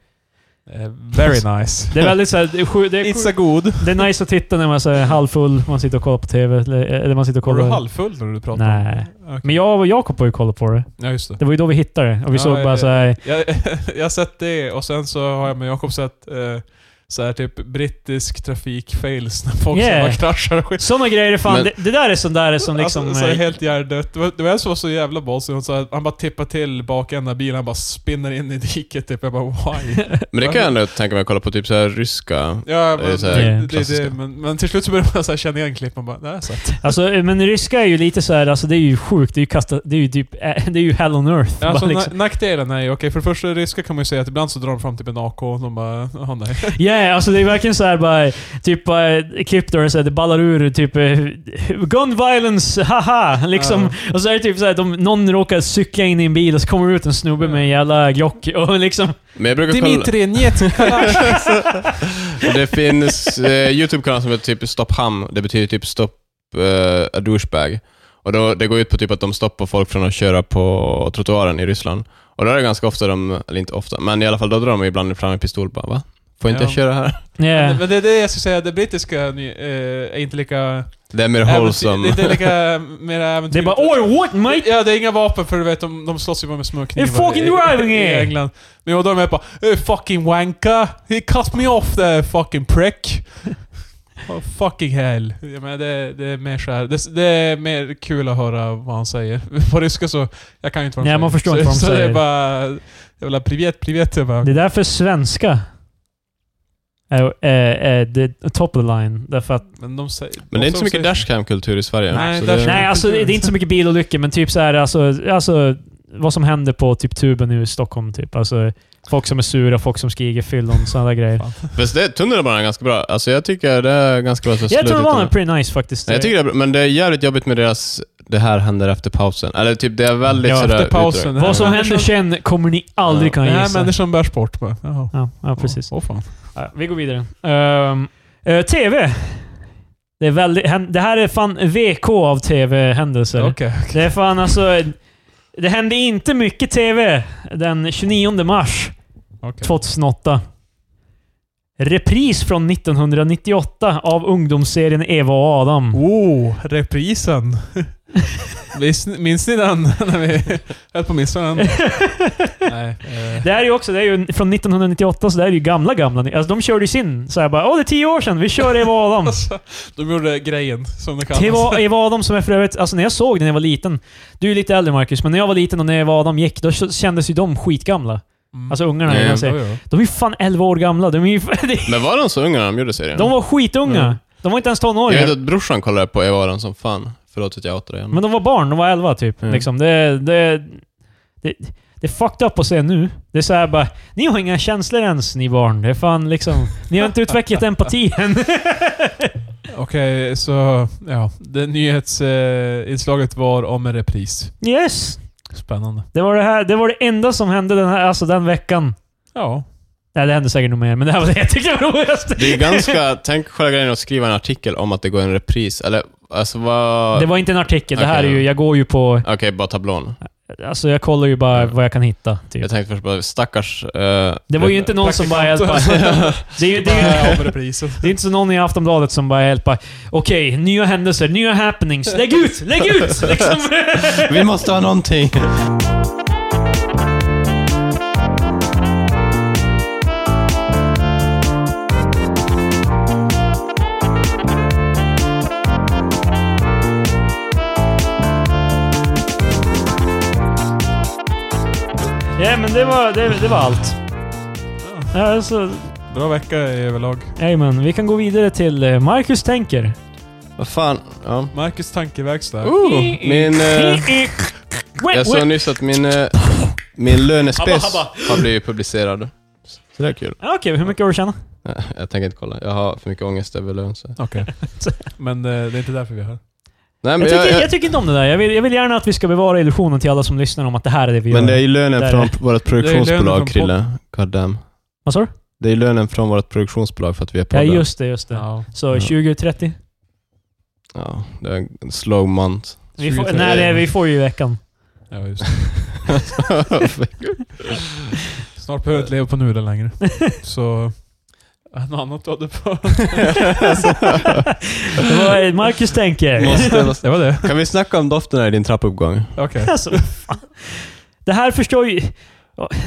Speaker 3: very nice.
Speaker 2: Det är väldigt så här, det är sju, det är sju,
Speaker 3: It's a good.
Speaker 2: Det är nice att titta när man är så här halvfull, man sitter och kollar på TV, eller, eller man sitter och
Speaker 3: Var du
Speaker 2: kollar...
Speaker 3: halvfull när du pratade?
Speaker 2: Nej.
Speaker 3: Okej.
Speaker 2: Men jag och Jakob var ju kollat på det.
Speaker 3: Ja, just det.
Speaker 2: Det var ju då vi hittade det. Och vi
Speaker 3: Ja,
Speaker 2: såg
Speaker 3: ja,
Speaker 2: bara så här,
Speaker 3: Jag, jag har sett det och sen så har jag med Jakob sett eh, så här typ brittisk trafik-fails när folk
Speaker 2: Yeah.
Speaker 3: yeah. bara kraschar och skit.
Speaker 2: Såna grejer är fan...
Speaker 1: Men-
Speaker 2: det, det där är sånt där som liksom...
Speaker 3: alltså, så här
Speaker 2: eh,
Speaker 3: helt hjärndött. Det var- Det var en som var så jävla bossig. Hon sa att Han bara tippar till bakänden av bilen, han bara spinner in i diket typ. Jag bara why?
Speaker 1: Men det kan jag ändå tänka mig att kolla på typ så här ryska...
Speaker 3: Ja,
Speaker 1: Det är
Speaker 3: men,
Speaker 1: så
Speaker 3: det,
Speaker 1: här
Speaker 2: Ja.
Speaker 3: det, det,
Speaker 1: klassiska.
Speaker 3: men, men till slut så börjar man så här känna igen klipp. Man bara, det här har jag sett.
Speaker 2: Alltså, eh, men ryska är ju lite så här, alltså det är ju sjukt. Det är ju kasta, det är ju typ, eh, det är ju hell on earth.
Speaker 3: Alltså,
Speaker 2: bara liksom.
Speaker 3: na nackdelen är ju, okej, för det första ryska kan man ju säga att ibland så drar de fram typ en AK och de bara, åh nej.
Speaker 2: Yeah, alltså det är verkligen så här bara, typ bara klipp där det så här, det ballar ur typ eh, gun violence, haha! Liksom. Och så är det typ så här, de, någon råkar cykla in i en bil och så kommer det ut en snubbe med en jävla glock och liksom...
Speaker 1: Men jag brukar kolla...
Speaker 3: Njet,
Speaker 1: Det finns eh, YouTube-kanal som heter typ Stopp Ham. Det betyder typ Stopp eh, a douchebag. Och då, det går ut på typ att de stoppar folk från att köra på trottoaren i Ryssland. Och då är det ganska ofta de, eller inte ofta, men i alla fall då drar de ibland fram en pistol bara va? Får inte
Speaker 3: Ja.
Speaker 1: jag köra här?
Speaker 2: Yeah.
Speaker 3: Men det är det jag skulle säga, det brittiska ny, eh, är inte lika...
Speaker 1: Det är mer
Speaker 3: äventyr- Det är
Speaker 1: wholesome.
Speaker 3: inte lika mer
Speaker 2: Det är
Speaker 3: äventyrligt.
Speaker 2: bara oj, what mate?
Speaker 3: Ja, det är inga vapen för du vet, de, de slåss ju bara med smörknivar
Speaker 2: You're fucking
Speaker 3: i-
Speaker 2: driving
Speaker 3: i
Speaker 2: here.
Speaker 3: England. Men jag och de är bara "Eh, 'Fucking wanka! He cut me off there fucking prick!' oh, fucking hell. Jag menar, det, det är mer så här. Det, det är mer kul att höra vad han säger. På ryska så... Jag kan ju inte vad de
Speaker 2: Nej,
Speaker 3: säger.
Speaker 2: man förstår
Speaker 3: så,
Speaker 2: inte vad de
Speaker 3: så
Speaker 2: säger.
Speaker 3: det är bara... Jävla privet, privet. Jag bara,
Speaker 2: Det är därför svenska är, är, är det top of the line. Därför att,
Speaker 3: men de säger...
Speaker 1: Men det är inte så
Speaker 3: de
Speaker 1: mycket
Speaker 3: säger-
Speaker 1: dashcam-kultur i Sverige.
Speaker 3: Nej,
Speaker 1: så
Speaker 3: dash-
Speaker 1: det,
Speaker 2: nej, alltså det är inte så mycket bilolyckor, men typ så här, alltså, alltså vad som händer på typ tuben nu i Stockholm. Typ. Alltså, folk som är sura, folk som skriker fyllon, sådana där grejer.
Speaker 1: fast det tunnelbanan är ganska bra. Alltså jag tycker det är ganska bra så
Speaker 2: Jag tror det
Speaker 1: slutet
Speaker 2: var
Speaker 1: ändå.
Speaker 2: en pretty nice faktiskt.
Speaker 1: Nej, jag tycker det är bra, men det är jävligt jobbigt med deras Det här händer efter pausen. Eller typ, det är väldigt
Speaker 2: Ja,
Speaker 1: sådär...
Speaker 3: Efter pausen.
Speaker 1: utdraget.
Speaker 3: det här
Speaker 2: vad som
Speaker 3: är
Speaker 2: händer
Speaker 3: människan-
Speaker 2: sen kommer ni aldrig
Speaker 1: Ja.
Speaker 2: kunna
Speaker 3: Nej,
Speaker 2: gissa.
Speaker 3: människan bärs bort bara. Jaha.
Speaker 2: Ja, ja, precis.
Speaker 3: Åh fan.
Speaker 2: Ja, vi går vidare. Ehm, eh, TV. Det, är väldigt, hän- det här är fan VK av TV-händelser.
Speaker 3: Okej.
Speaker 2: Det är fan alltså... Det hände inte mycket TV den 29 mars
Speaker 3: okej.
Speaker 2: 2008. Repris från 1998 av ungdomsserien Eva och Adam.
Speaker 3: Oh, reprisen. Visst, minns ni den? När vi höll på att missa den. Nej. Eh,
Speaker 2: Det här är ju också, det är ju från 1998, så det här är ju gamla, gamla. Alltså de körde ju sin såhär bara åh det är tio år sedan, vi kör Eva och Adam.
Speaker 3: alltså, de gjorde grejen, som det kallas.
Speaker 2: Det var Eva Adam som är för övrigt, alltså när jag såg den när jag var liten. Du är lite äldre Marcus, men när jag var liten och när Eva Adam gick, då kändes ju de skitgamla.
Speaker 3: Mm.
Speaker 2: Alltså ungarna,
Speaker 1: Nej,
Speaker 2: jag
Speaker 3: ja,
Speaker 2: säger.
Speaker 3: ja.
Speaker 2: De är ju fan 11 år gamla. De, är ju,
Speaker 1: Men var de så unga när de gjorde serien?
Speaker 2: de var skitunga.
Speaker 3: Mm.
Speaker 2: De var inte ens
Speaker 1: jag vet
Speaker 2: tonåringar.
Speaker 1: att brorsan kollade på Eva Aron som fan. Förlåt att jag outar det igen.
Speaker 2: Men de var barn. De var 11 typ.
Speaker 1: Mm.
Speaker 2: Liksom. Det, det, det, det är fucked up att se nu. Det är såhär bara... Ni har inga känslor ens, ni barn. Det är fan liksom... Ni har inte utvecklat empati än.
Speaker 3: Okej, så... Ja. Det nyhetsinslaget eh, inslaget var om en repris.
Speaker 2: yes!
Speaker 3: Spännande.
Speaker 2: Det var det, här, det var det enda som hände den, här, alltså den veckan.
Speaker 3: Ja.
Speaker 2: Nej, det hände säkert nog mer, men det här var det jag tyckte var roligast.
Speaker 1: Det är ju ganska... Tänk själva grejen att skriva en artikel om att det går en repris. Eller, alltså vad...
Speaker 2: Det var inte en artikel. Det här
Speaker 1: Okej.
Speaker 2: är ju... Jag går ju på...
Speaker 1: Okej, bara tablån.
Speaker 2: Alltså jag kollar ju bara vad jag kan hitta. Typ.
Speaker 1: Jag tänkte först bara, stackars... eh,
Speaker 2: Det var ju inte någon som bara helt bara... Det är ju det är, ju-
Speaker 3: Bara eh, om reprisen.
Speaker 2: det är inte så någon i Aftonbladet som bara helt bara... Okej, nya händelser, nya happenings. Lägg ut! Lägg ut! Liksom.
Speaker 1: Vi måste ha någonting!
Speaker 2: Ja, men det var, det, det var allt. Ja, Alltså,
Speaker 3: Bra vecka överlag.
Speaker 2: men vi kan gå vidare till eh, Marcus tänker.
Speaker 1: Vad fan? Ja.
Speaker 3: Marcus tankeverkstad.
Speaker 1: Ooh, min... eh,
Speaker 2: Wait,
Speaker 1: jag
Speaker 2: wait.
Speaker 1: såg nyss att min, eh, min lönespec
Speaker 2: Habba, habba.
Speaker 1: har blivit publicerad. Så det är kul.
Speaker 2: Ja, Okej, hur mycket har du tjänat?
Speaker 1: Nej, Jag tänker inte kolla. Jag har för mycket ångest över lön. Så.
Speaker 3: Okej. Men eh, det är inte därför vi är här.
Speaker 1: Nej,
Speaker 2: Jag
Speaker 1: men, jag,
Speaker 2: tycker, jag
Speaker 1: jag,
Speaker 2: tycker inte om det där. Jag vill, jag vill gärna att vi ska bevara illusionen till alla som lyssnar om att det här är det vi
Speaker 1: men det
Speaker 2: gör.
Speaker 1: är ju lönen
Speaker 2: Där är
Speaker 1: från vårt
Speaker 3: lönen från
Speaker 1: produktionsbolag, Krille. God damn.
Speaker 2: Vad sa du?
Speaker 1: Det är lönen från vårt produktionsbolag för att vi är
Speaker 2: Ja,
Speaker 1: podden.
Speaker 2: just det. Just det.
Speaker 3: Ja.
Speaker 2: Så
Speaker 1: Ja. Mm.
Speaker 2: 2030.
Speaker 1: Ja, det är en slow month.
Speaker 2: Vi får, nej, det, är- vi får ju i veckan.
Speaker 3: ja just. det. Snart behöver jag inte leva på nudlar längre. Så... Något annat du hade på...
Speaker 2: Det var Marcus tänker.
Speaker 1: Måste- måste-
Speaker 3: Det var det.
Speaker 1: kan vi snacka om dofterna i din trappuppgång?
Speaker 3: Okej.
Speaker 2: Alltså, vad fan. det här förstår ju...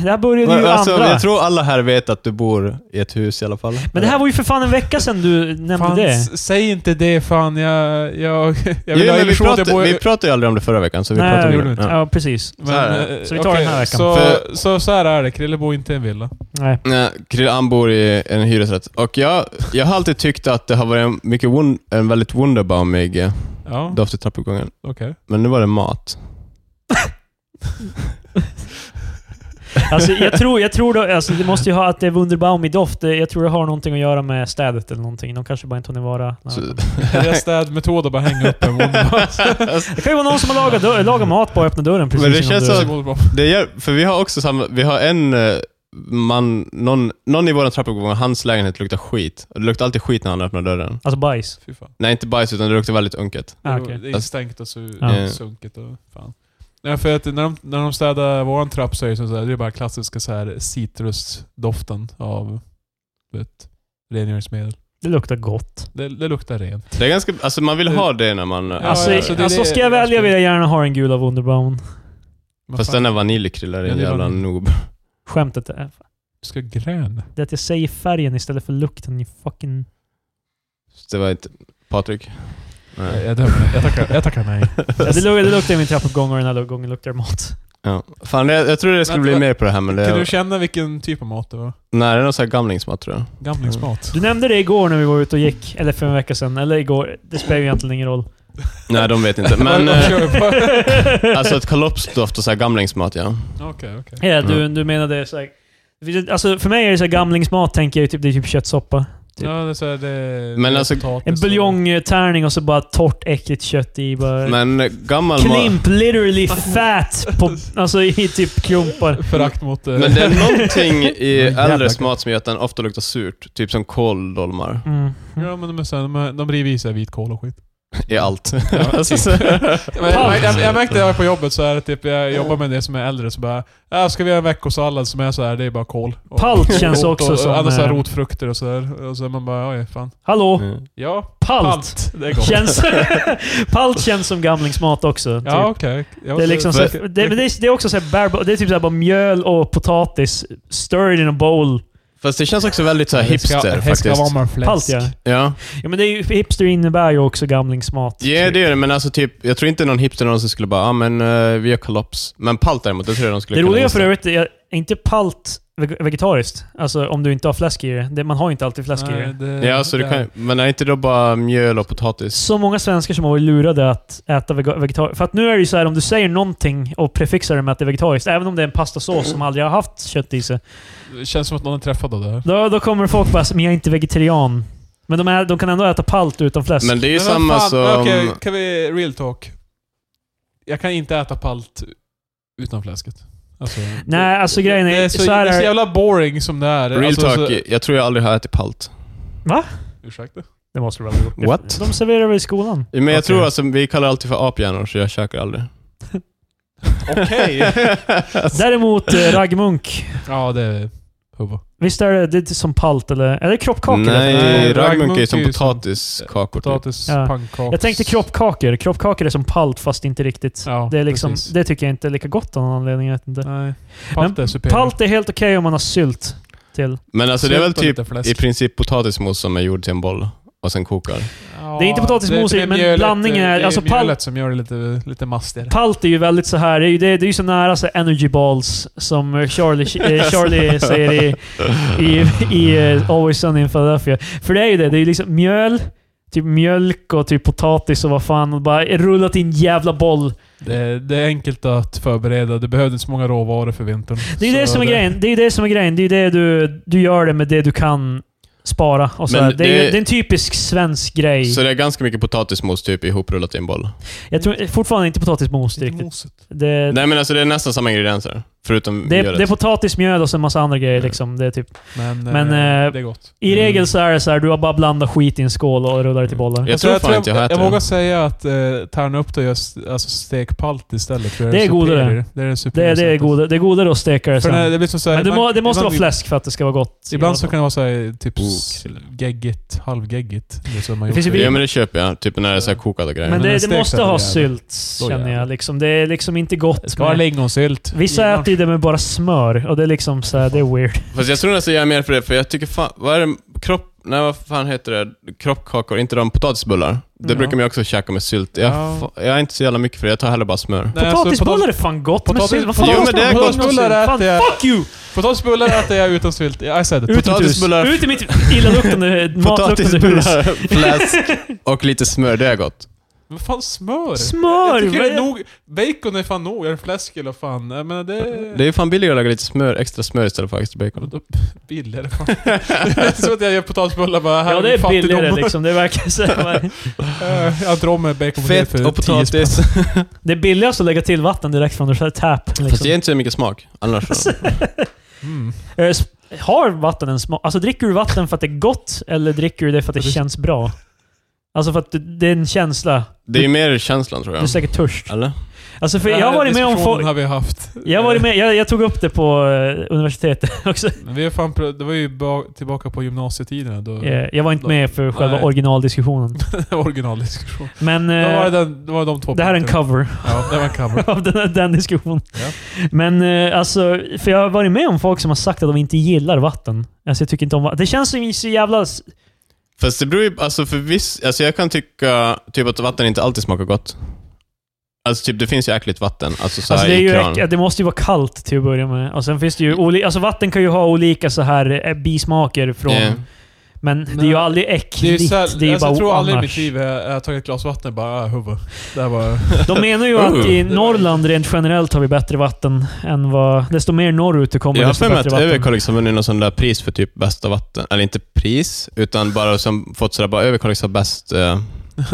Speaker 2: Det här började ju
Speaker 1: Alltså,
Speaker 2: andra.
Speaker 1: jag tror alla här vet att du bor i ett hus i alla fall.
Speaker 2: Men det här var ju för fan en vecka sedan du nämnde
Speaker 3: Fan,
Speaker 2: det.
Speaker 3: s- säg inte det fan. Jag... Jag, jag
Speaker 1: jo,
Speaker 3: vill ha
Speaker 1: men vi,
Speaker 3: illusion att jag
Speaker 1: pratade,
Speaker 3: bor...
Speaker 1: vi pratade ju aldrig om det förra veckan, så vi
Speaker 2: Nej,
Speaker 1: pratade
Speaker 2: det
Speaker 1: om
Speaker 3: gjorde vi
Speaker 1: det.
Speaker 3: inte.
Speaker 1: Ja.
Speaker 2: Ja, precis.
Speaker 1: Så här är
Speaker 3: eh,
Speaker 2: Så vi tar den här
Speaker 3: okej,
Speaker 2: veckan.
Speaker 3: Så,
Speaker 1: För-
Speaker 3: så, så här är det. Krille bor inte i en villa.
Speaker 2: Nej.
Speaker 1: Nej, Krill, han bor i en hyresrätt. Och jag, jag har alltid tyckt att det har varit en, mycket won, en väldigt wunderbaumig eh,
Speaker 3: Ja,
Speaker 1: doft i trappuppgången.
Speaker 3: okej.
Speaker 1: Men nu var det mat.
Speaker 2: Alltså, jag tror, jag tror då, alltså, det måste ju ha att det är Wunderbaum i doft. Det- Jag tror det har någonting att göra med städet eller någonting. De kanske bara inte hunnit vara... Nej.
Speaker 1: Så-
Speaker 3: Okay. Deras städmetod att bara hänga upp en Wonderbox.
Speaker 2: Det kan ju vara någon som har lagat, dör- lagat mat bara och öppnat dörren precis
Speaker 1: Men det
Speaker 2: innan
Speaker 1: känns
Speaker 2: du...
Speaker 1: så- det gör, för vi har också samma, vi har en eh, man, någon, någon i vår trappuppgång, hans lägenhet luktar skit. Och det luktar alltid skit när han öppnar dörren.
Speaker 2: Alltså bajs.
Speaker 3: Fy fan.
Speaker 1: Nej, inte bajs, utan det luktar väldigt unket.
Speaker 2: Ah,
Speaker 3: Det
Speaker 2: okej.
Speaker 3: är stängt och su-
Speaker 2: Ja.
Speaker 3: sunket och fan. Nej, för att när de, när de städar våran trapp så är det, så här, det är bara klassiska så här citrusdoften av du vet, rengöringsmedel.
Speaker 2: Det luktar gott.
Speaker 3: Det, det luktar rent.
Speaker 1: Det är ganska, alltså man vill ha det när man... eh,
Speaker 3: Ja,
Speaker 2: alltså,
Speaker 3: ja, så det-
Speaker 2: alltså,
Speaker 3: det-
Speaker 2: ska jag
Speaker 3: det-
Speaker 2: välja vill jag gärna ha en gul av Wunderbaum.
Speaker 3: Men
Speaker 1: Fast
Speaker 3: fan,
Speaker 1: den är vaniljkrillar är en
Speaker 3: Ja, det är
Speaker 1: jävla
Speaker 3: vanilj.
Speaker 1: noob.
Speaker 2: Skämtet är,
Speaker 3: du ska ha grön.
Speaker 2: det är att jag säger färgen istället för lukten. You fucking...
Speaker 1: Det var inte... Patrik?
Speaker 3: Jag, jag, dömer. jag, tackar, jag tackar nej.
Speaker 2: Ja, det, luktar, det luktar i min trappuppgång och den här gången luktar det mat.
Speaker 1: Ja. Fan, jag, jag tror det skulle
Speaker 3: Men-
Speaker 1: bli mer på det här, men det...
Speaker 3: Kan du känna vilken typ av mat det var?
Speaker 1: Nej, det är någon sån här gamlingsmat tror jag.
Speaker 3: Gamlingsmat.
Speaker 2: Du
Speaker 1: Mm.
Speaker 2: nämnde det igår när vi var ute och gick, eller för en vecka sedan. Eller igår. Det spelar ju egentligen ingen roll.
Speaker 1: Nej, de vet inte. Men
Speaker 3: Vad- vad
Speaker 1: eh,
Speaker 3: kör vi på?
Speaker 1: alltså ett kalopsdoft och så här gamlingsmat, ja.
Speaker 3: Okej, okej.
Speaker 2: Ja, du,
Speaker 3: Mm.
Speaker 2: du menade såhär... Alltså för mig är det såhär gamlingsmat, tänker jag. ju Typ, det är typ köttsoppa. Typ.
Speaker 3: Ja, det är så här, det,
Speaker 1: Men
Speaker 3: det är
Speaker 1: alltså,
Speaker 2: En
Speaker 3: potatis och-
Speaker 2: buljongtärning och så bara torrt, äckligt kött i. Bara
Speaker 1: Men eh, gammal mat...
Speaker 2: Klimp, literally fat, på, alltså i typ klumpar.
Speaker 3: Förakt mot... eh,
Speaker 1: Men det är någonting i
Speaker 3: Jävla
Speaker 1: äldres
Speaker 3: gott.
Speaker 1: mat som gör att den ofta luktar surt. Typ som kåldolmar.
Speaker 2: Mm.
Speaker 3: Ja, men de, är så här, de, de river i sig vitkål och skit.
Speaker 1: I allt.
Speaker 3: Ja,
Speaker 1: Alltså,
Speaker 3: typ.
Speaker 1: så-
Speaker 3: Men jag, jag, jag märkte när jag var på jobbet så är det typ, jag jobbar med det som är äldre så bara, ja ska vi göra en veckosallad som är så här, det är bara kål. Och-
Speaker 2: Palt känns
Speaker 3: och-
Speaker 2: också
Speaker 3: och,
Speaker 2: som,
Speaker 3: Och andra så här
Speaker 2: eh,
Speaker 3: rotfrukter och sådär. Och så är man bara, oj fan.
Speaker 2: Hallå?
Speaker 1: Mm.
Speaker 3: Ja,
Speaker 2: Palt.
Speaker 3: palt. Det är gott.
Speaker 2: Känns, palt känns som gamlingsmat också. Typ.
Speaker 3: Ja okej. Ja,
Speaker 2: Det är, liksom så,
Speaker 1: För-
Speaker 2: det, men det, är, det är också så här bare, bo- det är typ så här bara mjöl och potatis. Stirred in a bowl.
Speaker 1: Fast det känns också väldigt så här hipster
Speaker 3: Det ska
Speaker 1: faktiskt.
Speaker 3: vara med fläsk.
Speaker 2: Palt, ja.
Speaker 1: Ja.
Speaker 2: ja men det är ju, hipster innebär ju också gamlingsmat.
Speaker 1: Ja, det är det, men alltså typ, jag tror inte någon hipster någonsin skulle bara ah, men eh, vi gör kalops. Men palt däremot, det tror jag de skulle
Speaker 2: Det
Speaker 1: kunna
Speaker 2: roliga
Speaker 1: gissa.
Speaker 2: för övrigt är, är inte palt veg- vegetariskt? Alltså om du inte har fläsk i det. det. Man har ju inte alltid fläsk i det.
Speaker 3: det,
Speaker 1: Ja, så det kan, men är inte då bara mjöl och potatis?
Speaker 2: Så många svenskar som har varit lurade att äta vega- vegetariskt. För att nu är det ju så här, om du säger någonting och prefixar det med att det är vegetariskt, även om det är en pastasås som aldrig har haft kött i sig,
Speaker 3: Det känns som att någon är träffad av det. här.
Speaker 2: då, då kommer folk bara “men jag är inte vegetarian”. Men de, är, de kan ändå äta palt utan fläsk.
Speaker 1: Men det är ju
Speaker 3: Men vad
Speaker 1: samma
Speaker 3: fan,
Speaker 1: som...
Speaker 3: Okej, kan vi real talk? Jag kan inte äta palt utan fläsket. Alltså,
Speaker 2: Nej, alltså grejen är-
Speaker 3: Det är så,
Speaker 2: så här
Speaker 3: det är
Speaker 2: är-
Speaker 3: så jävla boring som det är.
Speaker 1: Real
Speaker 3: alltså,
Speaker 1: talk,
Speaker 3: Så,
Speaker 1: jag tror jag aldrig har ätit palt.
Speaker 3: ursäkta?
Speaker 2: det måste du väl ha gjort?
Speaker 1: What?
Speaker 2: De serverar väl i skolan?
Speaker 1: Men jag
Speaker 3: Okej.
Speaker 1: tror alltså, vi kallar alltid för aphjärnor, så jag käkar aldrig. Alltså,
Speaker 3: Okej.
Speaker 2: Däremot eh, raggmunk.
Speaker 3: ja, det är huvud.
Speaker 2: Visst är det, det är inte som palt eller... Är det kroppkakor?
Speaker 1: Nej,
Speaker 3: Nej,
Speaker 1: raggmunk är ju
Speaker 3: raggmunk
Speaker 1: som
Speaker 3: är ju som-
Speaker 1: potatiskakor typ.
Speaker 3: Potatis,
Speaker 2: Ja.
Speaker 3: pannkakor.
Speaker 2: Jag tänkte kroppkakor. Kroppkakor är som palt fast inte riktigt.
Speaker 3: Ja,
Speaker 2: det, är liksom,
Speaker 3: precis.
Speaker 2: det tycker jag inte är lika gott av någon anledning. Jag vet inte.
Speaker 3: Nej. Palt är superior.
Speaker 2: Palt är helt okej om man har sylt till.
Speaker 1: Men alltså det är väl
Speaker 3: Sylt och
Speaker 1: typ
Speaker 3: lite fläsk.
Speaker 1: i princip potatismos som är gjord till en boll och sen kokar.
Speaker 3: Ja,
Speaker 2: Det är inte potatismos i,
Speaker 3: det är
Speaker 2: men
Speaker 3: mjölet,
Speaker 2: blandningen är-
Speaker 3: Det är
Speaker 2: alltså, palt-
Speaker 3: mjölet som gör det lite, lite mastigare.
Speaker 2: Palt är ju väldigt så här. Det är ju, det, det är ju så nära så här energy balls som eh, Charlie, eh, Charlie säger i, i, i eh, Always Sunny in Philadelphia. För det är ju det. Det är ju liksom mjöl, typ mjölk och typ potatis och vad fan. Och bara rullat i en jävla boll.
Speaker 3: Det, det är enkelt att förbereda. Det behövdes inte så många råvaror för vintern.
Speaker 2: Det är ju det
Speaker 3: Så
Speaker 2: som är grejen. Det är ju det som är grejen. Det är ju det du, du gör det med det du kan spara. Och så
Speaker 1: Men
Speaker 2: här. Det, är,
Speaker 1: det-
Speaker 2: ju- det är en typisk svensk grej.
Speaker 1: Så det är ganska mycket potatismos typ ihoprullat i en boll.
Speaker 2: Jag tror fortfarande inte potatismos
Speaker 3: Lite
Speaker 2: riktigt.
Speaker 3: mosigt.
Speaker 2: Det,
Speaker 1: Nej men alltså det är nästan samma ingredienser, förutom
Speaker 2: det, är,
Speaker 1: mjölet.
Speaker 2: det är potatis, mjöl och så en massa andra grejer.
Speaker 1: Mm.
Speaker 2: Liksom. Det är typ.
Speaker 3: Men,
Speaker 2: Men,
Speaker 3: eh,
Speaker 2: eh,
Speaker 3: det är gott.
Speaker 2: I
Speaker 1: Mm.
Speaker 2: regel så är det så här, du har bara blandat skit i en skål och rullar det till bollar.
Speaker 1: Jag tror fan inte jag har ätit
Speaker 3: jag
Speaker 1: det.
Speaker 3: vågar säga att eh, tärna upp det och göra alltså, stekpalt istället. För
Speaker 2: Det är godare.
Speaker 3: superior. Det är det,
Speaker 2: Det,
Speaker 3: superior
Speaker 2: det, är
Speaker 3: sättet.
Speaker 2: godare, det är godare att steka det
Speaker 3: För när
Speaker 2: sen.
Speaker 3: det blir som så här,
Speaker 2: Men det,
Speaker 3: ibland-
Speaker 2: må, det måste
Speaker 3: ibland-
Speaker 2: vara fläsk alltså. för att det ska vara gott. i alla
Speaker 3: Ibland så
Speaker 2: fall.
Speaker 3: kan det vara så här, typ
Speaker 1: Oh,
Speaker 3: s-
Speaker 1: kille.
Speaker 3: geggigt, halvgeggigt. Det, är så man
Speaker 2: Det
Speaker 3: gjort
Speaker 2: finns ju
Speaker 3: det.
Speaker 1: Ja men det köper jag, typ när det är så här kokade grejer.
Speaker 2: Men
Speaker 3: men
Speaker 2: det,
Speaker 3: en
Speaker 2: det
Speaker 3: stekt
Speaker 2: måste
Speaker 3: är
Speaker 2: ha
Speaker 3: det
Speaker 2: sylt,
Speaker 3: Då
Speaker 2: känner
Speaker 3: jävlar.
Speaker 2: jag. Liksom. Det är liksom inte gott.
Speaker 3: Det ska vara
Speaker 2: med-
Speaker 3: lingonsylt.
Speaker 2: Vissa äter ju det med bara smör och det är liksom så här, det är weird.
Speaker 1: Fast jag tror nästan jag är mer för det, för jag tycker fan, vad är det, kropp, nej vad fan heter det, kroppkakor, inte de potatisbullar? Det
Speaker 2: Ja.
Speaker 1: brukar man ju också käka med sylt. Jag,
Speaker 3: Ja.
Speaker 1: fa- jag är inte så jävla mycket för det, jag tar hellre bara smör.
Speaker 3: Nej, alltså,
Speaker 2: Potatisbullar är fan gott
Speaker 3: potatis-
Speaker 2: med sylt. Vad fan
Speaker 1: Jo, men
Speaker 2: ska man
Speaker 1: det är
Speaker 2: ha
Speaker 1: gott.
Speaker 2: med sylt?
Speaker 3: Potatisbullar
Speaker 2: Fan,
Speaker 3: äter jag-
Speaker 2: Fuck you!
Speaker 3: Potatisbullar äter jag utan sylt. I said it.
Speaker 2: Ut mitt hus.
Speaker 1: Potatisbullar-
Speaker 2: Ut i mitt illaluktande, matluktande hus.
Speaker 1: Potatisbullar, fläsk och lite smör, det är gott.
Speaker 3: Men fan smör?
Speaker 2: Smör!
Speaker 3: Jag tycker
Speaker 2: vad
Speaker 3: det
Speaker 2: är-
Speaker 3: är nog, bacon är fan nog. Är det fläsk eller fan? Jag menar det...
Speaker 1: Det är ju fan billigare att lägga lite smör, extra smör istället för extra bacon.
Speaker 3: Då- Billigare fan. det är som att jag gör potatisbullar bara. Här
Speaker 2: Ja, det är
Speaker 3: fattigdom.
Speaker 2: billigare liksom. Det verkar så här.
Speaker 3: Eh, Jag drar med bacon
Speaker 1: Fett och potatis.
Speaker 2: Det är billigast att lägga till vatten direkt från the tap.
Speaker 1: Fast det är
Speaker 2: Liksom.
Speaker 1: inte så mycket smak annars.
Speaker 2: Alltså.
Speaker 3: Mm.
Speaker 2: Eh, sp- Har vatten en smak? Alltså dricker du vatten för att det är gott eller dricker du det för att det känns bra? Alltså för att det- det är en känsla.
Speaker 1: Det är ju mer känslan tror
Speaker 2: Du är
Speaker 1: jag.
Speaker 2: säkert törst.
Speaker 1: Eller?
Speaker 2: Alltså för jag har varit med om folk...
Speaker 3: har vi haft.
Speaker 2: Jag, har varit med, jag, jag tog upp det på eh, universitetet också.
Speaker 3: Eh, Men vi har fan, pr- det var ju ba- tillbaka på gymnasietiderna. Då,
Speaker 2: Eh, Jag var inte med för själva
Speaker 3: Nej.
Speaker 2: originaldiskussionen.
Speaker 3: Originaldiskussion.
Speaker 2: Men
Speaker 3: Då
Speaker 2: eh,
Speaker 3: var det, den, då var det de två
Speaker 2: det här är en
Speaker 3: punkterna.
Speaker 2: cover
Speaker 3: Ja, det var en cover.
Speaker 2: av den, här- den diskussionen.
Speaker 3: Ja.
Speaker 2: Men eh, alltså, för jag har varit med om folk som har sagt att de inte gillar vatten. Alltså jag tycker inte om vatten. Det känns som så jävla... s-
Speaker 1: Fast det beror ju, alltså för viss, alltså jag kan tycka typ att vatten inte alltid smakar gott. Alltså typ det finns ju äckligt vatten, alltså så här
Speaker 2: Alltså det, är
Speaker 1: i Mm. kran.
Speaker 2: ju äck- det måste ju vara kallt till att börja med. Och sen finns det ju olika... Alltså vatten kan ju ha olika så här eh, bismaker från...
Speaker 1: Eh,
Speaker 2: Men det är ju
Speaker 3: Men-
Speaker 2: aldrig
Speaker 3: Det är
Speaker 2: äckligt.
Speaker 3: ju så här,
Speaker 2: det är ju
Speaker 3: alltså, jag tror
Speaker 2: bara
Speaker 3: aldrig i mitt
Speaker 2: annars.
Speaker 3: liv jag, jag har tagit ett glas vatten och bara ah, huvud. Det här var...
Speaker 2: De menar ju
Speaker 1: Oh.
Speaker 2: att i Norrland rent generellt har vi bättre vatten än vad... Desto mer norrut du kommer,
Speaker 1: Jag har
Speaker 2: desto
Speaker 1: för mig
Speaker 2: liksom bättre
Speaker 1: att
Speaker 2: vatten.
Speaker 1: Överkalix har vunnit någon sån där pris för typ bästa vatten, eller inte pris, utan bara som fått sådär bara Överkalix har bäst... Eh,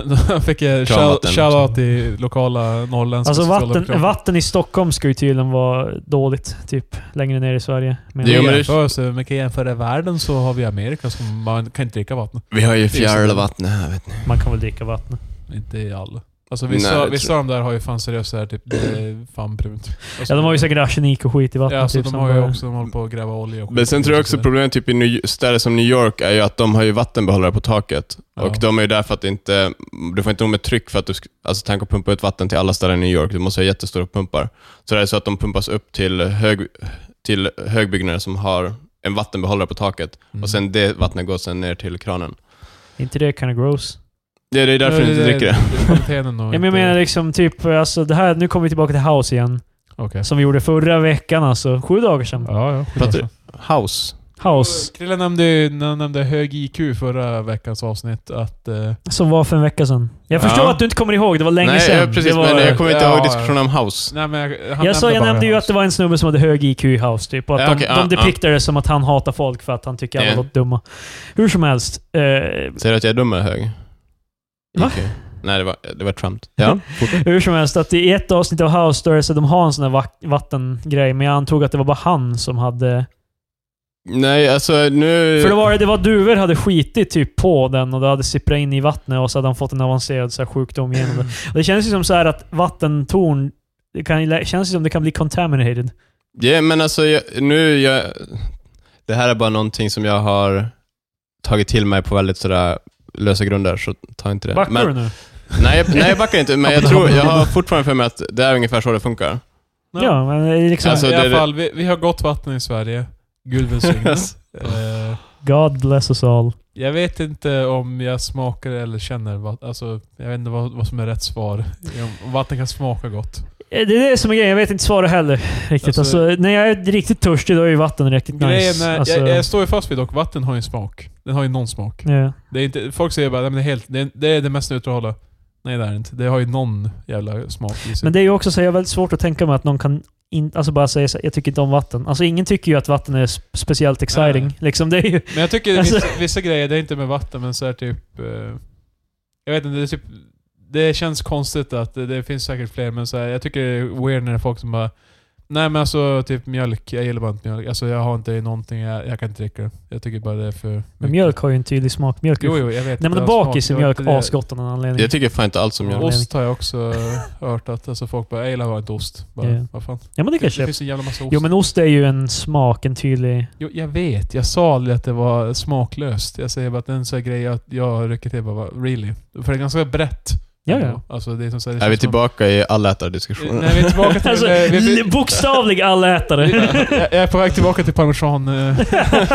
Speaker 3: Då fick jag
Speaker 1: Kranvatten.
Speaker 3: shoutout till lokala norrländska
Speaker 2: Alltså vatten,
Speaker 3: socialdemokrater.
Speaker 2: vatten i Stockholm ska ju tydligen vara dåligt, typ. Längre ner i Sverige. menar
Speaker 1: Jo,
Speaker 2: jag.
Speaker 1: men det-
Speaker 3: Jämförelse, man kan jämföra världen så har vi Amerika som man kan inte dricka vatten.
Speaker 1: vi har ju
Speaker 3: fjärilvatten
Speaker 1: fjärilvatten här vet ni.
Speaker 2: Man kan väl dricka vatten.
Speaker 3: Inte i alla. Alltså
Speaker 1: Nej, det
Speaker 3: vissa,
Speaker 1: tror
Speaker 3: vissa av de där har ju fan seriöst såhär typ, det är fan brunt. Alltså,
Speaker 2: Ja, de har ju säkert arsenik och skit i vattnet.
Speaker 3: Ja, alltså,
Speaker 2: typ,
Speaker 3: de
Speaker 2: som
Speaker 3: har ju
Speaker 2: bara-
Speaker 3: också, de håller på att gräva olja och
Speaker 1: Men sen tror jag också problemet typ i New- städer som New York är ju att de har ju vattenbehållare på taket.
Speaker 3: Ja.
Speaker 1: Och de är ju där för att inte... Du får inte nog med tryck för att du... sk- Alltså tänk att pumpa ut vatten till alla ställen i New York. Du måste ha jättestora pumpar. Så det är så att de pumpas upp till, hög, till högbyggnader som har en vattenbehållare på taket och sen det vattnet går sen ner till kranen.
Speaker 2: inte det kind of gross?
Speaker 1: Det, det är därför du inte dricker det.
Speaker 3: Kvaliteten och
Speaker 2: Ja, men jag menar liksom typ, alltså det här, nu kommer vi tillbaka till House igen.
Speaker 3: Okej.
Speaker 2: Som vi gjorde förra veckan alltså. Sju dagar sedan.
Speaker 3: Ja, ja.
Speaker 1: Pratar House.
Speaker 2: House.
Speaker 3: Krille nämnde, ju- han nämnde hög IQ förra veckans avsnitt. Att, eh,
Speaker 2: Som var för en vecka sedan. Jag förstår
Speaker 1: Ja.
Speaker 2: att du inte kommer ihåg, det var länge
Speaker 1: Nej,
Speaker 2: sedan.
Speaker 1: ja, precis.
Speaker 2: det var,
Speaker 1: Men jag kommer inte
Speaker 3: Ja,
Speaker 1: ihåg
Speaker 3: ja.
Speaker 1: diskussionen om House.
Speaker 3: nej, men, jag- han
Speaker 2: jag sa, jag
Speaker 3: bara
Speaker 2: nämnde ju
Speaker 3: hans.
Speaker 2: att det var en snubbe som hade hög IQ i House, typ. Och att
Speaker 1: Ja,
Speaker 2: de,
Speaker 1: okej,
Speaker 2: de
Speaker 1: ja,
Speaker 2: depiktar det som att han hatar folk för att han tycker alla
Speaker 1: Ja.
Speaker 2: låter dumma. Hur som helst. Eh,
Speaker 1: Säger du att jag är dum eller hög?
Speaker 2: Va?
Speaker 1: Okej. Nej, det var, det var Trump. Ja, fort.
Speaker 2: hur som helst, att i ett avsnitt av House, där så de har en sån här vak- vattengrej, men jag antog att det var bara han som hade...
Speaker 1: Nej, alltså
Speaker 3: Eh,
Speaker 1: nu...
Speaker 2: För det var det var duvor hade skitit typ på den och det hade sipprat in i vattnet och så hade han fått en avancerad så här, sjukdom genom
Speaker 3: Mm.
Speaker 2: det. Och det känns ju som så här att vattentorn, det kan, det känns ju som det kan bli contaminated.
Speaker 1: Ja, men alltså jag, nu... Jag, det här är bara någonting som jag har tagit till mig på väldigt sådär lösa grunder, så ta inte det.
Speaker 2: Backar
Speaker 1: men,
Speaker 2: du nu?
Speaker 1: nej, jag- nej, jag backar inte, men jag tror... Jag har fortfarande för mig att det är ungefär så det funkar.
Speaker 3: Nej.
Speaker 2: Ja, men det är liksom...
Speaker 1: Alltså,
Speaker 3: I
Speaker 1: det-
Speaker 3: alla
Speaker 1: det-
Speaker 3: fall, vi, vi har gott vatten i Sverige. Gud välsigne. Eh,
Speaker 2: God bless us all.
Speaker 3: Jag vet inte om jag smakar eller känner vad, alltså, jag vet inte vad, vad som är rätt svar. Om vatten kan smaka gott.
Speaker 2: Eh, Det är det som är grejen, jag vet inte svara heller. Riktigt. Alltså,
Speaker 3: Alltså-
Speaker 2: när jag är riktigt törstig då är ju vatten riktigt
Speaker 3: Grejen
Speaker 2: nice.
Speaker 3: är,
Speaker 2: Alltså,
Speaker 3: jag, jag står ju fast vid dock, vatten har ju en smak. Den har ju någon smak.
Speaker 2: ja.
Speaker 3: Det är inte, folk säger bara "Nej, men det är helt, det är, det är det mest neutrala. Nej det är det inte. Det har ju någon jävla smak i sig.
Speaker 2: Men det är ju också så här, jag har väldigt svårt att tänka mig att någon kan in, alltså bara säga så här, jag tycker inte om vatten. Alltså ingen tycker ju att vatten är sp- speciellt exciting.
Speaker 3: Nej.
Speaker 2: Liksom, det är ju,
Speaker 3: Men jag tycker det är
Speaker 2: Alltså-
Speaker 3: vissa, vissa grejer, det är inte med vatten, men så här typ... eh, jag vet inte, det är typ... Det känns konstigt att det, det finns säkert fler, men så här, jag tycker det är weird när det är folk som bara... Nej men alltså typ mjölk, jag gillar bara inte mjölk. Alltså jag har inte i någonting, jag, jag kan inte dricka det. Jag tycker bara det är för
Speaker 2: men
Speaker 3: mycket.
Speaker 2: mjölk har ju en tydlig smak. Mjölk är
Speaker 3: Jo, jo, jag vet.
Speaker 2: Nej men
Speaker 3: Typ. det har
Speaker 2: bakis i
Speaker 3: smak.
Speaker 2: mjölk
Speaker 3: Jag vet inte,
Speaker 2: asgott av någon anledning.
Speaker 1: Jag tycker fan inte allt som
Speaker 2: Ja.
Speaker 1: jag...
Speaker 3: det- Ost har jag också hört att alltså folk bara, jag gillar bara inte ost. Bara,
Speaker 2: Ja.
Speaker 3: vad fan.
Speaker 2: ja men det
Speaker 3: Det,
Speaker 2: kanske
Speaker 3: det
Speaker 2: är.
Speaker 3: finns en jävla massa ost.
Speaker 2: Jo men ost är ju en smak, en tydlig...
Speaker 3: Jo, jag vet. Jag sa aldrig att det var smaklöst. Jag säger bara att det är en sån här grej att jag rycker till bara, bara really. För det är ganska brett.
Speaker 2: Ja, ja.
Speaker 3: Alltså det är som så här, det
Speaker 1: Är vi
Speaker 3: känns som-
Speaker 1: tillbaka i allätardiskussionen?
Speaker 3: Nej, vi är tillbaka till...
Speaker 2: Alltså,
Speaker 3: vi, vi, vi,
Speaker 2: li- bokstavlig allätare.
Speaker 3: jag jag är på väg tillbaka till parmesan... eh,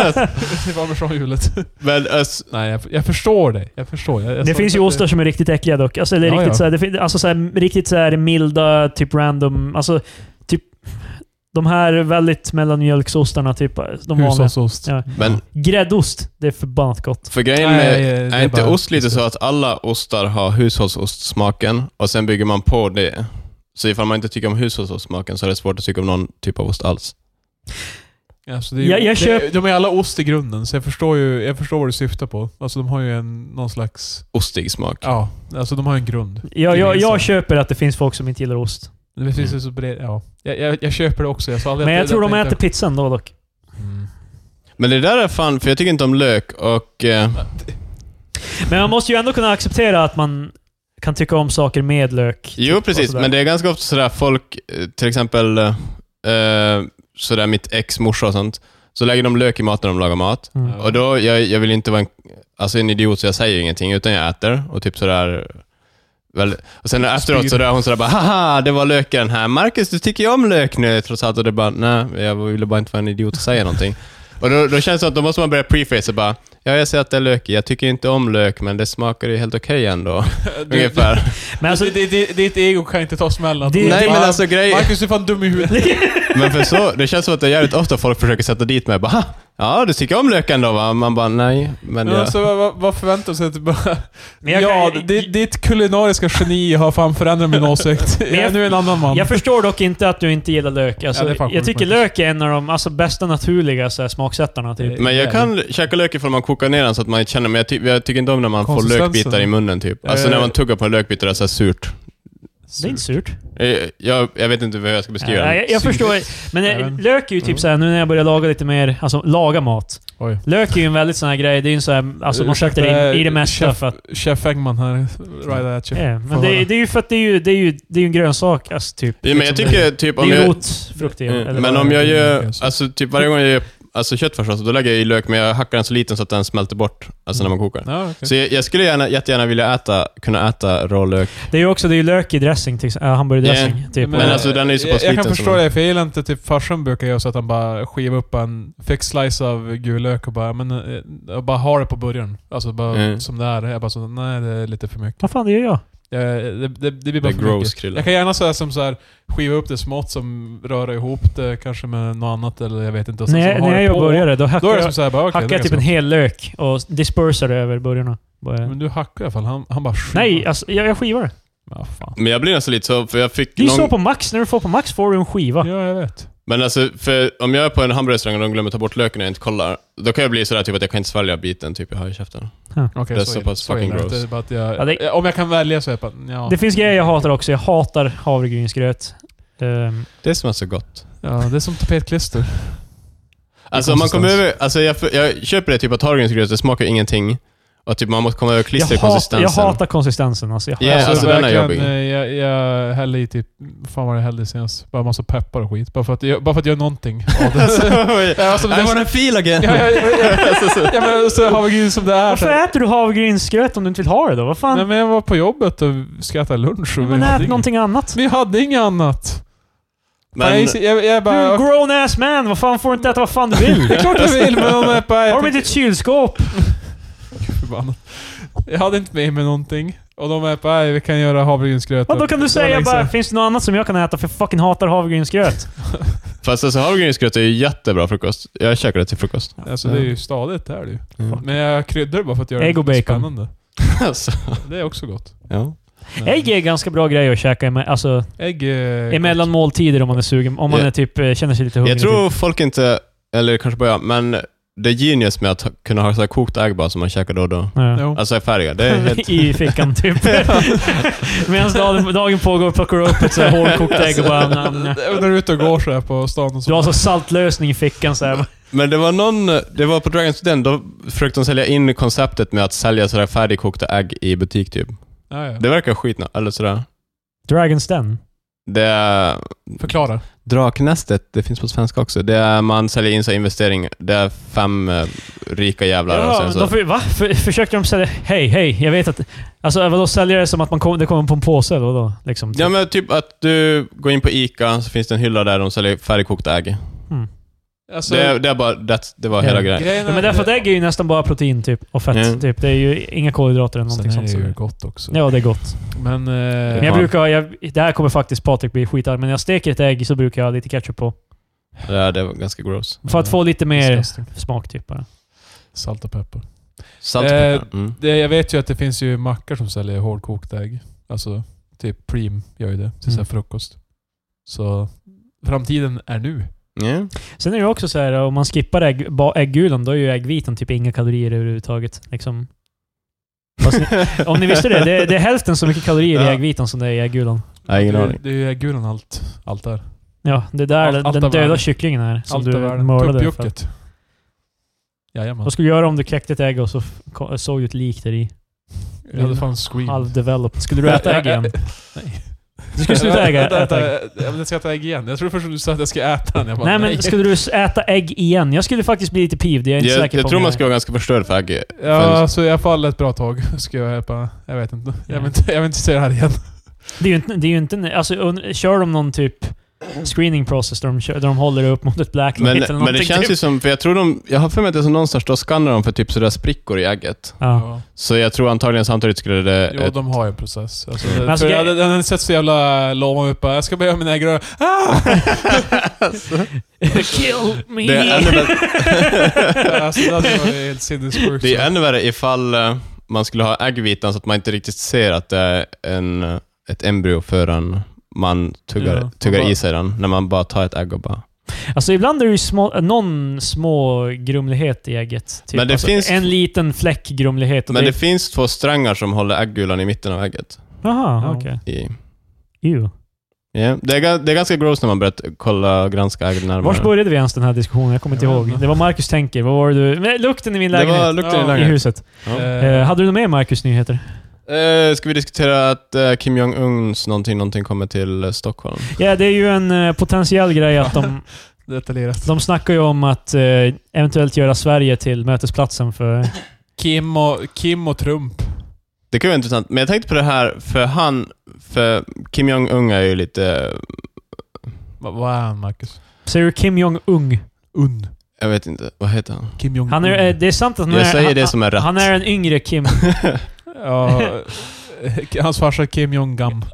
Speaker 3: till parmesanhjulet.
Speaker 1: Men alltså,
Speaker 3: Nej, jag, jag förstår dig. Jag förstår. Jag, jag
Speaker 2: Det
Speaker 3: sa
Speaker 2: finns ju
Speaker 3: inte att
Speaker 2: ostar som är riktigt äckliga dock. Alltså, eller
Speaker 3: Ja,
Speaker 2: riktigt,
Speaker 3: ja.
Speaker 2: Så här, det fin- alltså så här, riktigt så här milda, typ random. Alltså, typ de här väldigt mellanmjölksostarna, typ de vanliga.
Speaker 3: Hushållsost.
Speaker 2: Ja.
Speaker 1: men
Speaker 2: Gräddost, det är förbannat gott.
Speaker 1: för grejen
Speaker 3: Nej,
Speaker 1: med...
Speaker 3: eh, det
Speaker 1: Är inte
Speaker 3: bara-
Speaker 1: ost lite så att alla ostar har hushållsostsmaken och sen bygger man på det? Så ifall man inte tycker om hushållsostsmaken så är det svårt att tycka om någon typ av ost alls.
Speaker 3: Alltså, det är, ju-
Speaker 2: Jag- jag
Speaker 3: det,
Speaker 2: köp-
Speaker 3: De är alla ost i grunden, så jag förstår ju jag förstår vad du syftar på. Alltså de har ju en, någon slags...
Speaker 1: Ostig smak.
Speaker 3: Ja, alltså de har en grund.
Speaker 2: Jag, jag, jag
Speaker 3: Gemensamt.
Speaker 2: köper att det finns folk som inte gillar ost.
Speaker 3: Det finns
Speaker 1: Mm.
Speaker 3: ju så bred, ja. jag, jag, jag köper det också. Jag sa aldrig
Speaker 2: Men
Speaker 3: att
Speaker 2: jag
Speaker 3: det-
Speaker 2: tror
Speaker 3: att
Speaker 2: de
Speaker 3: det
Speaker 2: äter
Speaker 3: inte-
Speaker 2: pizza ändå dock.
Speaker 3: Mm.
Speaker 1: Men det där är fan, för jag tycker inte om lök och... Eh,
Speaker 2: Men man måste ju ändå kunna acceptera att man kan tycka om saker med lök.
Speaker 1: jo, precis.
Speaker 2: Typ sådär.
Speaker 1: Men det är ganska ofta sådär folk, eh, till exempel eh, sådär mitt ex morsa och sånt, så lägger de lök i maten när de lagar mat.
Speaker 2: Mm.
Speaker 1: Och då, jag, jag vill inte vara en, alltså en idiot så jag säger ingenting, utan jag äter och typ sådär... Väl, och sen efteråt så där hon sådär bara haha, det var löken här. Marcus, du tycker ju om lök nu trots allt. Och det bara, nej, jag ville bara inte vara en idiot och säga någonting. Och då, då känns det som att då måste man börja preface och bara, ja jag ser att det är lök i. jag tycker inte om lök men det smakar ju helt okej ändå.
Speaker 3: Du,
Speaker 1: Ungefär.
Speaker 2: Men alltså,
Speaker 3: alltså, det, det, ditt ego kan inte ta smällen.
Speaker 2: Det-
Speaker 1: Nej men
Speaker 3: Bara,
Speaker 1: alltså grejen...
Speaker 3: Marcus, du är fan dum i huvudet.
Speaker 1: Men för så, det känns som att det är jävligt ofta folk försöker sätta dit mig bara, "Ha, ja du tycker om lök ändå va? Man bara, nej. Men
Speaker 3: Men
Speaker 1: jag,
Speaker 3: alltså, vad- vad, vad förväntar du sig? Att du bara,
Speaker 2: Men jag
Speaker 3: ja,
Speaker 2: kan-
Speaker 3: ditt, ditt kulinariska geni har fan förändrat min åsikt. jag är
Speaker 2: jag-
Speaker 3: nu en annan man.
Speaker 2: jag förstår dock inte att du inte gillar lök. Alltså,
Speaker 3: Ja, det är fan
Speaker 2: jag
Speaker 3: sjukt
Speaker 2: tycker
Speaker 3: faktiskt. Mm.
Speaker 2: lök är en av de alltså, bästa naturliga så här, smaksättarna. Typ.
Speaker 1: Men jag kan käka lök ifall man kokar ner den så att man inte känner, men jag, ty jag tycker inte om när man får
Speaker 3: Konsistensen.
Speaker 1: lökbitar i munnen typ.
Speaker 2: Eh.
Speaker 1: Alltså när man tuggar på en lökbit och det är så här surt.
Speaker 2: Det är inte surt.
Speaker 1: Eh, Jag, jag vet inte hur jag ska beskriva
Speaker 2: Ja,
Speaker 1: det.
Speaker 2: Eh, jag, jag förstår. Men eh,
Speaker 3: Även. Mm.
Speaker 2: lök är ju typ såhär, nu när jag börjar laga lite mer, alltså laga mat.
Speaker 3: Oj.
Speaker 2: Lök är ju en väldigt sån här grej, det är ju en sån här, alltså man sätter in i det mesta
Speaker 3: Chef,
Speaker 2: för att...
Speaker 3: chef Engman här. Right at you.
Speaker 2: Ja, men
Speaker 3: Får
Speaker 2: det,
Speaker 3: höra.
Speaker 2: det är ju för att det är ju, det är ju, det är ju en grönsak, alltså typ.
Speaker 1: Ja, men jag
Speaker 2: Liksom,
Speaker 1: tycker typ
Speaker 2: Det är
Speaker 1: om
Speaker 2: ju
Speaker 1: jag...
Speaker 2: rotfrukt i,
Speaker 1: Mm,
Speaker 2: eller
Speaker 1: Men
Speaker 2: vad
Speaker 1: om
Speaker 2: det är.
Speaker 1: jag
Speaker 3: det är,
Speaker 1: gör,
Speaker 3: kanske.
Speaker 1: alltså typ varje gång jag gör alltså köttfärssås, då lägger jag i lök, men jag hackar den så liten så att den smälter bort, alltså när man kokar den.
Speaker 2: Mm.
Speaker 3: Ja, okej.
Speaker 1: Så jag, jag skulle gärna, jättegärna vilja äta, kunna äta rå lök.
Speaker 2: Det är ju också det är ju lök i dressing, till, exempel- äh, hamburgardressing.
Speaker 1: Ja,
Speaker 2: Typ.
Speaker 1: men
Speaker 2: Och-
Speaker 1: alltså, den är ju så
Speaker 3: jag,
Speaker 1: pass
Speaker 3: jag kan
Speaker 1: liten
Speaker 3: förstå
Speaker 1: som-
Speaker 3: det, för jag gillar inte typ farsan brukar göra så att han bara skivar upp en fix slice av gul lök och bara, men, eh, och bara har det på burgaren. Alltså bara
Speaker 1: Mm.
Speaker 3: som det är. Jag bara så, nej det är lite för mycket.
Speaker 2: Vad fan, det gör jag.
Speaker 3: Eh, Det, det, det blir
Speaker 1: Det
Speaker 3: bara
Speaker 1: är
Speaker 3: för
Speaker 1: gross
Speaker 3: mycket.
Speaker 1: krille.
Speaker 3: Jag kan gärna säga som så här skiva upp det smått som röra ihop det kanske med något annat eller jag vet inte. Och sen
Speaker 2: När
Speaker 3: så
Speaker 2: jag,
Speaker 3: har
Speaker 2: när
Speaker 3: det
Speaker 2: jag gör
Speaker 3: på.
Speaker 2: burgare, då
Speaker 3: Då
Speaker 2: hackar
Speaker 3: är det
Speaker 2: jag,
Speaker 3: som såhär bara, okej.
Speaker 2: hackar jag
Speaker 3: det
Speaker 2: typ
Speaker 3: är
Speaker 2: en
Speaker 3: ganska
Speaker 2: hel lök och dispersar över burgarna. Bara-
Speaker 3: gott. liksom. Men du hackar i alla fall. Han, han bara skivar.
Speaker 2: Nej, alltså, jag, jag skivar det.
Speaker 3: Ja, fan.
Speaker 1: Men jag blir nästan lite så, för jag fick
Speaker 2: Det är ju så
Speaker 1: någon...
Speaker 2: på Max. När du får på Max får du en skiva.
Speaker 3: Ja, jag vet.
Speaker 1: Men alltså, för om jag är på en hamburgerrestaurang och de glömmer ta bort löken och jag inte kollar, då kan jag bli sådär typ att jag kan inte svälja biten typ jag har i käften.
Speaker 3: Okej,
Speaker 1: Det är så
Speaker 3: illa-
Speaker 1: pass
Speaker 3: illa
Speaker 1: fucking
Speaker 3: är det
Speaker 1: gross.
Speaker 3: inte, bara att jag,
Speaker 2: Ja, det-
Speaker 3: Om jag kan välja så är jag bara, ja.
Speaker 2: Det finns grejer jag hatar också. Jag hatar havregrynsgröt. Ehm,
Speaker 1: Det smakar så gott.
Speaker 3: Ja, det är som tapetklister.
Speaker 1: Alltså om man kommer
Speaker 3: konsistens.
Speaker 1: över, alltså jag, jag köper det typ att havregrynsgröt, det smakar ingenting. Och typ man måste komma över
Speaker 2: jag, hatar,
Speaker 1: klisterkonsistensen.
Speaker 2: jag hatar konsistensen. Alltså, jag,
Speaker 1: Ja, alltså, den är
Speaker 3: verkligen,
Speaker 1: jobbig.
Speaker 3: eh, Jag, jag hällde i typ, fan vad jag hällde senast? Bara massa peppar och skit. Bara för att, jag- bara för att göra någonting av det.
Speaker 1: Alltså,
Speaker 3: Ja, alltså, det
Speaker 1: I
Speaker 3: var-
Speaker 1: wanna feel again.
Speaker 3: ja, ja, ja,
Speaker 1: Alltså,
Speaker 3: ja. ja, men så har vi gud som det är.
Speaker 2: Varför äter du havregrynsgröt om du inte vill ha det då? Vad fan?
Speaker 3: Nej, men jag var på jobbet och ska äta lunch. Och
Speaker 2: Ja, men
Speaker 3: vi, hade
Speaker 2: ät
Speaker 3: inget-
Speaker 2: någonting annat.
Speaker 3: vi hade inget annat. Men,
Speaker 1: Men,
Speaker 3: jag, jag, jag
Speaker 2: Du är
Speaker 3: bara...
Speaker 2: en grown-ass man. Vad fan får du inte äta vad fan du vill?
Speaker 3: det är klart jag vill, men om jag bara...
Speaker 2: Har
Speaker 3: Jag,
Speaker 2: de inte
Speaker 3: tänkte,
Speaker 2: ett kylskåp?
Speaker 3: förbannat. jag hade inte med mig någonting. Och de är bara, "Nej, vi kan göra havregrynsgröt.
Speaker 2: Och då kan du
Speaker 3: Det
Speaker 2: säga
Speaker 3: var
Speaker 2: bara,
Speaker 3: länge sedan.
Speaker 2: finns det något annat som jag kan äta för jag fucking hatar havregrynsgröt?
Speaker 1: fast alltså havregrynsgröt är ju jättebra frukost. Jag käkar det till frukost.
Speaker 3: Alltså det är ju stadigt, det är det ju.
Speaker 1: Mm.
Speaker 3: Men jag kryddar det bara för att göra
Speaker 2: Ägg och
Speaker 3: det lite
Speaker 2: bacon.
Speaker 3: spännande.
Speaker 1: alltså,
Speaker 3: Det är också gott.
Speaker 1: ja.
Speaker 2: Ägg är en ganska bra grej att käka eme- alltså,
Speaker 3: Ägg eh,
Speaker 2: emellan måltider om man är sugen. Om man
Speaker 1: Ja.
Speaker 2: är typ, eh, känner sig lite hungrig.
Speaker 1: Jag tror
Speaker 2: typ.
Speaker 1: folk inte, eller kanske bara jag, men det är genius med att ha- kunna ha så här kokt ägg bara som man käkar då och då.
Speaker 2: Ja.
Speaker 3: Jo.
Speaker 1: Alltså i färdiga. Det är helt...
Speaker 2: I fickan typ. Medan dagen, dagen pågår plockar du upp ett så här hårdkokt ägg och bara... "Nam, nam."
Speaker 3: När du är ute och går så här på stan och så.
Speaker 2: Du har så saltlösning i fickan så här.
Speaker 1: Men det var någon, det var på Dragon's Den, då försökte de sälja in konceptet med att sälja sådär färdigkokta ägg i butik typ.
Speaker 3: ja, ja.
Speaker 1: Det verkar skitna, eller sådär.
Speaker 2: Dragon's Den.
Speaker 1: Det är...
Speaker 3: Förklara.
Speaker 1: Draknästet, det finns på svenska också. Det är, man säljer in sig investering. Det är fem eh, rika jävlar och
Speaker 2: Ja,
Speaker 1: sen så...
Speaker 2: de, för- va? För, försökte de sälja... Hej, hej, jag vet att... Alltså vadå sälja det som att man kom, det kommer på en påse eller vadå? Liksom, typ.
Speaker 1: Ja men typ att du går in på ICA, så finns det en hylla där de säljer färdigkokta ägg.
Speaker 3: Alltså,
Speaker 1: Det, är- det är bara, that's, det var
Speaker 2: Ja.
Speaker 1: hela grejen.
Speaker 3: grejen
Speaker 2: Mm. Ja, men därför att ägg är ju nästan bara protein typ, och fett.
Speaker 1: Ja.
Speaker 2: Typ. Det är ju inga kolhydrater eller
Speaker 3: Sen
Speaker 2: någonting
Speaker 3: är det
Speaker 2: sånt.
Speaker 3: ju
Speaker 2: Som
Speaker 3: gott också.
Speaker 2: ja, det är gott.
Speaker 3: Men... Eh,
Speaker 2: Men jag
Speaker 1: fan.
Speaker 2: brukar, jag, det här kommer faktiskt Patrik bli skitarg, men när jag steker ett ägg så brukar jag ha lite ketchup på.
Speaker 1: Ja, det var ganska gross.
Speaker 2: För att få lite mer
Speaker 3: disgusting.
Speaker 2: smak typ bara.
Speaker 3: Salt och peppar.
Speaker 1: Salt och
Speaker 3: Eh,
Speaker 1: peppar. mm.
Speaker 3: Det, jag vet ju att det finns ju mackar som säljer hårdkokt ägg. Alltså, typ Preem gör ju det till
Speaker 2: Mm.
Speaker 3: sin frukost. Så framtiden är nu.
Speaker 1: Ja.
Speaker 2: Sen är det ju också så här, om man skippar ägg, ba- äggulan, då är ju äggvitan typ inga kalorier överhuvudtaget. Liksom. Fast ni- om ni visste det, det, det är hälften så mycket kalorier i
Speaker 1: Ja.
Speaker 2: äggvitan som det är i äggulan.
Speaker 1: Nej, ingen
Speaker 3: det,
Speaker 1: aning.
Speaker 3: Det är ju äggulan allt, allt där.
Speaker 2: Ja, det är där
Speaker 3: Allt-
Speaker 2: den-
Speaker 3: allt
Speaker 2: den
Speaker 3: av
Speaker 2: döda
Speaker 3: världen.
Speaker 2: kycklingen är. Som
Speaker 3: allt
Speaker 2: du
Speaker 3: är världen.
Speaker 2: mördade. för att-
Speaker 3: Tuppjucket. Jajamän.
Speaker 2: Vad skulle du göra om du kläckte ett ägg och så f- ko- såg du ett lik där i?
Speaker 3: Jag hade fan scream.
Speaker 2: Halvdeveloped. Skulle du äta ägg igen?
Speaker 3: Nej.
Speaker 2: Du skulle sluta äga,
Speaker 3: Vänta,
Speaker 2: äta ägg.
Speaker 3: vänta, Jag jag ska äta ägg igen. Jag tror först du sa att jag ska äta den. Jag
Speaker 2: Nej
Speaker 3: bara,
Speaker 2: men skulle du s- äta ägg igen? Jag skulle faktiskt bli lite piv, det är jag inte
Speaker 1: Jag,
Speaker 2: säker
Speaker 1: jag
Speaker 2: på.
Speaker 1: tror
Speaker 2: om
Speaker 1: man
Speaker 2: jag-
Speaker 1: ska vara ganska förstörd för ägg.
Speaker 3: Ja, så i alla fall ett bra tag. Ska jag hjälpa? Jag vet inte. Jag vill inte, jag vill inte se det här igen.
Speaker 2: Det är ju inte... Det är ju inte alltså, und- kör de någon typ screening process där de, kör, där de håller upp mot ett blacklight
Speaker 1: Men,
Speaker 2: eller någonting?
Speaker 1: men det känns
Speaker 2: typ.
Speaker 1: ju som, för jag tror de, jag har för mig att det är som någonstans då skannar de för typ sådär sprickor i ägget.
Speaker 2: Ja.
Speaker 1: Så jag tror antagligen samtidigt skulle det...
Speaker 3: Jo, de har ju en process. Alltså,
Speaker 1: Mm.
Speaker 3: det,
Speaker 2: alltså,
Speaker 3: för jag,
Speaker 2: gre-
Speaker 3: den, den har sett så jävla lovande ut. Bara, jag ska börja göra mina äggrör. Ah!
Speaker 2: Kill me!
Speaker 1: det, är ännu värre,
Speaker 3: alltså, det hade varit helt sinnessjukt.
Speaker 1: det är ännu värre ifall eh, man skulle ha äggvitan så att man inte riktigt ser att det är en, eh, ett embryo förrän man tuggar,
Speaker 3: Ja,
Speaker 1: tuggar
Speaker 3: man bara-
Speaker 1: i sig den. När man bara tar ett ägg och bara...
Speaker 2: Alltså ibland är det ju små, någon små grumlighet i ägget. Typ.
Speaker 1: Men det
Speaker 2: alltså,
Speaker 1: finns-
Speaker 2: En liten fläck grumlighet. och
Speaker 1: Men
Speaker 2: det-
Speaker 1: det finns två strängar som håller äggulan i mitten av ägget.
Speaker 2: Jaha,
Speaker 3: Ja.
Speaker 2: okej.
Speaker 1: I,
Speaker 2: Ew.
Speaker 1: Ja, Det, är, ga- det är ganska gross när man börjar t- kolla och granska ägg närmare.
Speaker 2: Vars började vi ens den här diskussionen? Jag kommer inte
Speaker 3: Jag vet
Speaker 2: ihåg.
Speaker 3: inte.
Speaker 2: Det var Marcus Tänker. Vad var det du... Men lukten i min
Speaker 1: det
Speaker 2: lägenhet.
Speaker 1: var lukten
Speaker 3: Ja.
Speaker 1: i
Speaker 2: I
Speaker 1: lägenheten.
Speaker 2: huset.
Speaker 1: Ja.
Speaker 2: Eh,
Speaker 3: Eh,
Speaker 2: hade du något mer Marcus nyheter?
Speaker 1: Eh, ska vi diskutera att eh, Kim Jong-Uns någonting, någonting kommer till eh, Stockholm?
Speaker 2: Ja, det är ju en eh, potentiell grej att de...
Speaker 3: detaljerat.
Speaker 2: De snackar ju om att eh, eventuellt göra Sverige till mötesplatsen för...
Speaker 3: Kim och, Kim och Trump.
Speaker 1: Det kan vara intressant, men jag tänkte på det här, för han, för Kim Jong-Un är ju lite, eh,
Speaker 3: Va- Vad är han, Marcus?
Speaker 2: Säger du Kim Jong-Ung?
Speaker 3: Un.
Speaker 1: jag vet inte, vad heter han?
Speaker 3: Kim Jong-Un.
Speaker 2: Han är, eh, det är sant att han
Speaker 1: Jag
Speaker 2: är,
Speaker 1: säger
Speaker 2: han,
Speaker 1: det som är rätt.
Speaker 2: han är en yngre Kim.
Speaker 3: Ja, eh, hans farsa Kim Jong-Gam.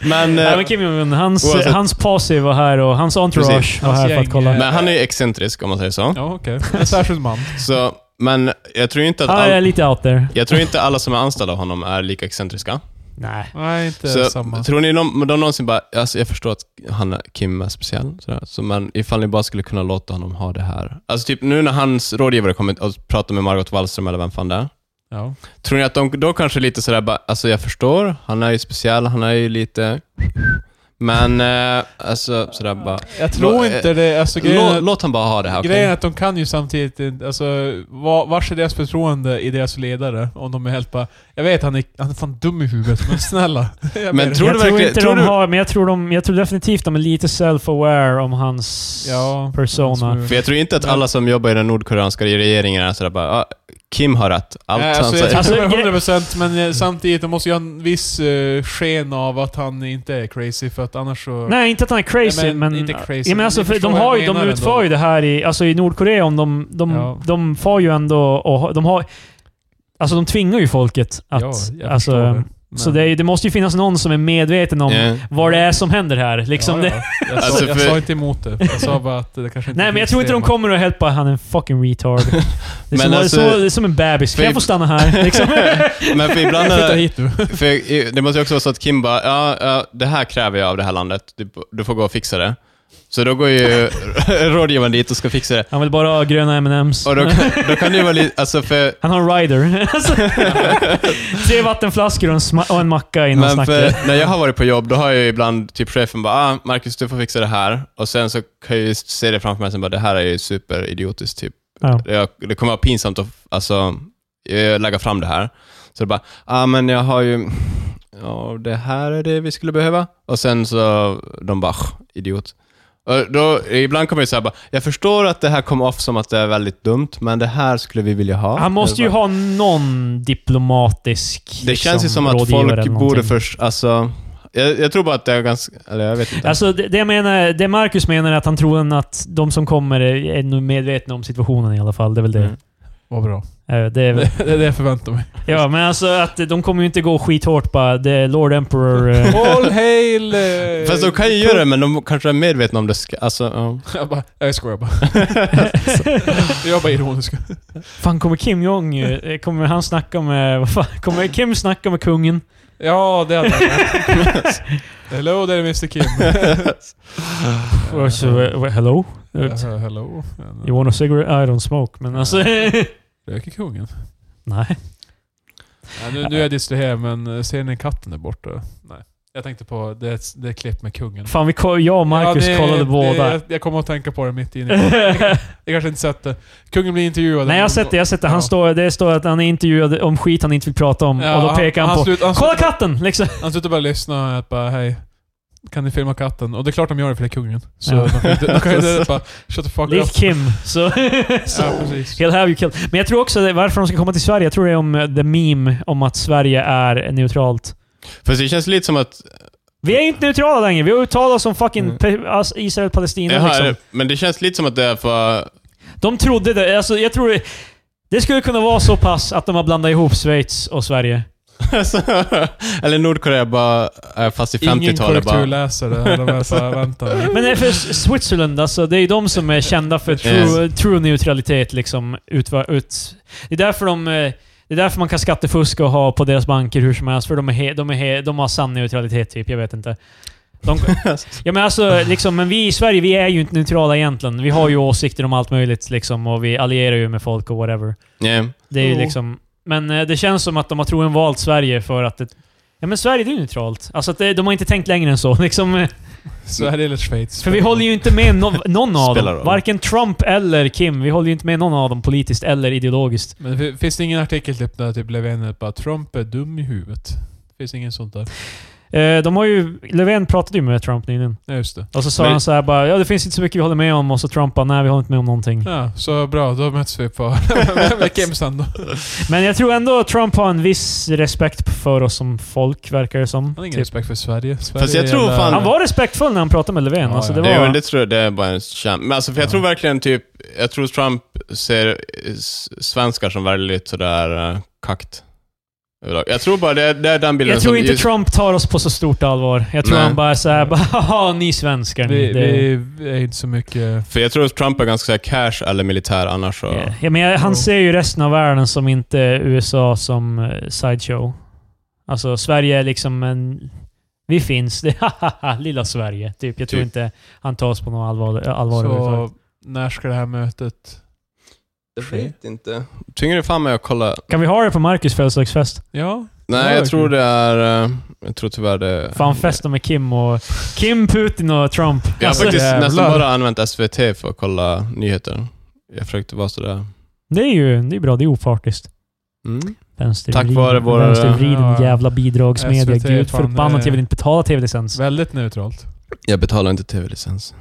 Speaker 1: Men,
Speaker 2: Nej,
Speaker 1: eh,
Speaker 2: men Kim Jong-Un, hans,
Speaker 1: Oavsett.
Speaker 2: hans posse var här och hans entourage
Speaker 1: Precis.
Speaker 2: var
Speaker 3: Hans
Speaker 2: här för att
Speaker 3: gäng,
Speaker 2: kolla.
Speaker 3: eh,
Speaker 1: men han är ju excentrisk om man säger så.
Speaker 3: Ja, okej. En särskild man.
Speaker 1: så men jag tror inte att
Speaker 2: Han är
Speaker 1: all,
Speaker 2: lite out there.
Speaker 1: jag tror inte alla som är anställda av honom är lika excentriska.
Speaker 2: Nej.
Speaker 3: Nej, inte
Speaker 1: Så
Speaker 3: samma.
Speaker 1: tror ni de, de någonsin bara, alltså jag förstår att han, är- Kim är speciell, sådär. Så, men ifall ni bara skulle kunna låta honom ha det här. Alltså typ nu när hans rådgivare kommer och pratar med Margot Wallström eller vem fan det är.
Speaker 3: Ja.
Speaker 1: Tror ni att de då kanske lite sådär bara, alltså jag förstår, han är ju speciell, han är ju lite... Men eh, alltså sådär bara,
Speaker 3: Jag tror
Speaker 1: Lå-
Speaker 3: inte det. Alltså, grejen
Speaker 1: lå,
Speaker 3: är,
Speaker 1: låt han bara ha det här. okej?
Speaker 3: grejen är att de kan ju samtidigt inte- alltså, va- vars är deras förtroende i deras ledare? Om de är helt bara... Jag vet, han är, han är fan dum i huvudet, men snälla. Jag
Speaker 1: Men
Speaker 3: ber.
Speaker 1: Tror
Speaker 2: jag
Speaker 1: du
Speaker 2: tror
Speaker 1: verkligen-
Speaker 2: inte
Speaker 1: tror
Speaker 2: de
Speaker 1: du-
Speaker 2: har, men jag tror, de, jag tror definitivt de är lite self-aware om hans
Speaker 3: Ja,
Speaker 2: persona.
Speaker 1: För jag tror inte att alla som jobbar i den nordkoreanska regeringen är sådär bara, ah, Kim har rätt. Allt
Speaker 3: Nej,
Speaker 1: han
Speaker 3: alltså,
Speaker 1: säger.
Speaker 3: jag
Speaker 2: Alltså,
Speaker 3: tror
Speaker 2: gre-
Speaker 3: det är 100% men eh, samtidigt, de måste ju ha en viss eh, sken av att han inte är crazy för att annars så...
Speaker 2: Nej, inte att han är crazy,
Speaker 3: Nej,
Speaker 2: men...
Speaker 3: men inte crazy,
Speaker 2: ja, men
Speaker 3: men
Speaker 2: alltså,
Speaker 3: ni
Speaker 2: för
Speaker 3: förstår
Speaker 2: de,
Speaker 3: vad
Speaker 2: har
Speaker 3: jag
Speaker 2: ju, de
Speaker 3: menar
Speaker 2: utför
Speaker 3: ändå.
Speaker 2: ju det här i... Alltså i Nordkorea, om de, de,
Speaker 3: Ja.
Speaker 2: de far ju ändå och ha- de har... Alltså de tvingar ju folket att...
Speaker 3: jag
Speaker 2: alltså,
Speaker 3: förstår det. Men-
Speaker 2: Så det, är- det måste ju finnas någon som är medveten om
Speaker 1: Ja.
Speaker 2: vad det är som händer här. Liksom
Speaker 3: Ja,
Speaker 2: det,
Speaker 3: ja. Jag, sa,
Speaker 1: Alltså,
Speaker 3: jag
Speaker 1: för-
Speaker 3: sa inte emot det. Jag sa bara att det kanske inte
Speaker 2: Nej, men jag
Speaker 3: finns
Speaker 2: tror inte
Speaker 3: det.
Speaker 2: de kommer och helt bara han är en fucking retard. Det är,
Speaker 1: Men
Speaker 2: som,
Speaker 1: alltså-
Speaker 2: det är så, det är som en bebis. Kan
Speaker 1: För-
Speaker 2: jag få stanna här? Liksom.
Speaker 1: Men för ibland är
Speaker 3: Flytta
Speaker 1: det,
Speaker 3: hit nu.
Speaker 1: för jag- det måste ju också vara så att Kim bara, ja, ja, det här kräver jag av det här landet. Du, du får gå och fixa det. Så då går ju rådgivaren dit och ska fixa det.
Speaker 2: Han vill bara ha gröna M&M's.
Speaker 1: Och då, kan- då kan det ju vara lite, alltså för
Speaker 2: Han har en rider. Alltså, Tre vattenflaskor och en, sma- och en macka innan
Speaker 1: Men
Speaker 2: snacket.
Speaker 1: för, när jag har varit på jobb, då har jag ju ibland typ chefen bara ah, “Marcus, du får fixa det här” och sen så kan jag ju se det framför mig och bara “det här är ju superidiotiskt”. Typ.
Speaker 2: Ja.
Speaker 1: Jag, det kommer vara pinsamt att alltså, eh, lägga fram det här. Så det bara “ah, men jag har ju... Ja, det här är det vi skulle behöva”. Och sen så de bara "Ah, “idiot”. Och då, ibland kommer det så här bara “jag förstår att det här kom off som att det är väldigt dumt, men det här skulle vi vilja ha”.
Speaker 2: Han måste
Speaker 1: Jag
Speaker 2: ju
Speaker 1: bara,
Speaker 2: ha någon diplomatisk liksom,
Speaker 1: det känns ju som att
Speaker 2: rådgivare eller
Speaker 1: folk borde
Speaker 2: någonting.
Speaker 1: först, alltså... Jag, jag tror bara att det är ganska... Eller jag vet inte.
Speaker 2: Alltså, det, det, jag menar, det Marcus menar är att han tror att de som kommer är, är nog medvetna om situationen i alla fall. Det är väl det.
Speaker 1: Mm.
Speaker 3: Vad bra.
Speaker 2: Eh, det är väl,
Speaker 3: Det är det jag förväntar mig.
Speaker 2: ja, men alltså att de kommer ju inte gå skithårt bara. Det är Lord Emperor... eh,
Speaker 3: All hail... eh,
Speaker 1: Mm. Fast de kan ju göra det, men de kanske är medvetna om det. Ska, alltså, ja.
Speaker 3: Jag bara, jag skojar bara. jag är bara ironisk.
Speaker 2: Fan, kommer Kim Jong... eh, Kommer han snacka med... Vad fan, kommer Kim snacka med kungen?
Speaker 3: Ja, det hade jag. Hello there Mr Kim.
Speaker 2: Och så, eh, hello?
Speaker 3: Eh, Hello.
Speaker 2: You want a cigarette? I don't smoke. Men alltså...
Speaker 3: Röker kungen?
Speaker 2: nej.
Speaker 3: Ja, nu, nu är jag distraherad, men eh, ser ni katten där borta? Nej. Jag tänkte på det, det klipp med kungen.
Speaker 2: Fan, vi, ko- jag och Marcus
Speaker 3: Ja, det-
Speaker 2: kollade
Speaker 3: det-
Speaker 2: båda.
Speaker 3: Jag, jag kommer att tänka på det mitt inne. Jag kanske inte sett det. Kungen blir intervjuad.
Speaker 2: nej, jag har sett det. Jag har sett det. Han
Speaker 3: Ja.
Speaker 2: står, det står att han är intervjuad om skit han inte vill prata om.
Speaker 3: Ja,
Speaker 2: och då pekar han,
Speaker 3: han
Speaker 2: på...
Speaker 3: slut- han
Speaker 2: Kolla
Speaker 3: slutar-
Speaker 2: katten! Liksom.
Speaker 3: Han slutar bara lyssna och bara hej. Kan ni filma katten? Och det är klart de gör det för det är kungen. Så
Speaker 2: Ja.
Speaker 3: de kan ju inte- de kan ju inte bara shut the fuck up.
Speaker 2: Lik Kim. Så, så.
Speaker 3: Ja, precis.
Speaker 2: He'll have you killed. Men jag tror också det, varför de ska komma till Sverige. Jag tror det är om eh, the meme om att Sverige är neutralt.
Speaker 1: Fast det känns lite som att...
Speaker 2: Vi är inte neutrala längre. Vi har uttalat oss om fucking
Speaker 1: Mm.
Speaker 2: pe- alltså Israel-Palestina.
Speaker 1: Jaha,
Speaker 2: liksom.
Speaker 1: är det- Men det känns lite som att det är för...
Speaker 2: De trodde det. Alltså, jag tror det, det skulle kunna vara så pass att de har blandat ihop Schweiz och Sverige.
Speaker 1: Alltså, eller Nordkorea bara är fast i
Speaker 3: Ingen
Speaker 1: 50-talet. Bara,
Speaker 3: korrekturläsare. De är bara vänta.
Speaker 2: Men det är för S- Switzerland, alltså, det är ju de som är kända för true, true neutralitet. Liksom, ut, ut. Det, är därför de, eh, det är därför man kan skattefuska och ha på deras banker hur som helst. För de, är he, de, är he, de har sann neutralitet, typ. Jag vet inte. De, ja, men, alltså, liksom, men vi i Sverige, vi är ju inte neutrala egentligen. Vi har ju åsikter om allt möjligt liksom, och vi allierar ju med folk och whatever.
Speaker 1: yeah.
Speaker 2: Det är ju
Speaker 3: Jo.
Speaker 2: liksom... Men eh, det känns som att de har troligen valt Sverige för att... Det, ja men Sverige det är ju neutralt. Alltså att det, de har inte tänkt längre än så. Liksom, eh,
Speaker 3: Sverige eller Schweiz?
Speaker 2: för vi håller ju inte med no, någon av
Speaker 1: Spelar
Speaker 2: dem.
Speaker 1: roll.
Speaker 2: Varken Trump eller Kim. Vi håller ju inte med någon av dem politiskt eller ideologiskt.
Speaker 3: Men det finns det ingen artikel typ där typ Löfven bara Trump är dum i huvudet? Det finns ingen sånt där.
Speaker 2: Eh, de har ju, Löfven pratade ju med Trump nyligen.
Speaker 3: Ja, just det.
Speaker 2: Och så sa
Speaker 1: Men-
Speaker 2: han så här bara, ja det finns inte så mycket vi håller med om. Och så Trump bara, nej vi håller inte med om någonting.
Speaker 3: Ja, så bra. Då möts vi på veckan sen då.
Speaker 2: Men jag tror ändå att Trump har en viss respekt för oss som folk, verkar det som.
Speaker 3: Han har ingen
Speaker 2: Typ.
Speaker 3: respekt för Sverige. Sverige
Speaker 1: Fast jag
Speaker 3: är
Speaker 1: tror
Speaker 3: jävla-
Speaker 1: fan-
Speaker 2: Han var respektfull när han pratade med Löfven.
Speaker 3: Ja,
Speaker 2: alltså, det
Speaker 3: ja.
Speaker 1: Det,
Speaker 2: var...
Speaker 1: jo, det tror jag, det är bara en skam. Men alltså, för jag
Speaker 3: Ja.
Speaker 1: tror verkligen typ, jag tror Trump ser eh, s- svenskar som väldigt sådär uh, kakt. överlag. Jag tror bara det, det är den bilden
Speaker 2: jag tror
Speaker 1: som...
Speaker 2: inte Trump tar oss på så stort allvar. Jag tror
Speaker 1: Nej.
Speaker 2: han bara är såhär bara "Haha, ni svenskar ni."
Speaker 3: Vi,
Speaker 2: det...
Speaker 3: vi är inte så mycket...
Speaker 1: För jag tror att Trump är ganska såhär cash eller militär annars. Och,
Speaker 2: Ja, Ja, men jag, han
Speaker 3: Jo.
Speaker 2: ser ju resten av världen som inte USA som eh, sideshow. Alltså Sverige är liksom en... Vi finns. Det är lilla Sverige. Typ. Jag tror
Speaker 1: Typ.
Speaker 2: inte han tar oss på något allvar, allvar överhuvudtaget.
Speaker 3: Så när ska det här mötet...
Speaker 1: Jag vet inte. Tynger det fan mig att kolla.
Speaker 2: Kan vi ha det på Marcus födelsedagsfest?
Speaker 3: Ja,
Speaker 1: Nej,
Speaker 3: Ja,
Speaker 1: jag tror
Speaker 3: verkligen.
Speaker 1: det är... eh, Jag tror tyvärr det...
Speaker 2: Fan, festa med Kim och... Kim, Putin och Trump.
Speaker 1: Jag har
Speaker 2: Alltså,
Speaker 1: faktiskt
Speaker 3: jävlar.
Speaker 1: nästan bara använt SVT för att kolla nyheter. Jag försökte vara sådär.
Speaker 2: Det är ju det är bra. Det är opartiskt.
Speaker 1: Mm.
Speaker 2: Vänstervriden,
Speaker 1: Tack vare våra-
Speaker 2: vänstervriden
Speaker 3: Ja.
Speaker 2: jävla bidragsmedia.
Speaker 3: SVT,
Speaker 2: Gud
Speaker 3: fan,
Speaker 2: förbannat,
Speaker 3: det-
Speaker 2: jag vill inte betala tv-licens.
Speaker 3: väldigt neutralt.
Speaker 1: Jag betalar inte tv-licens.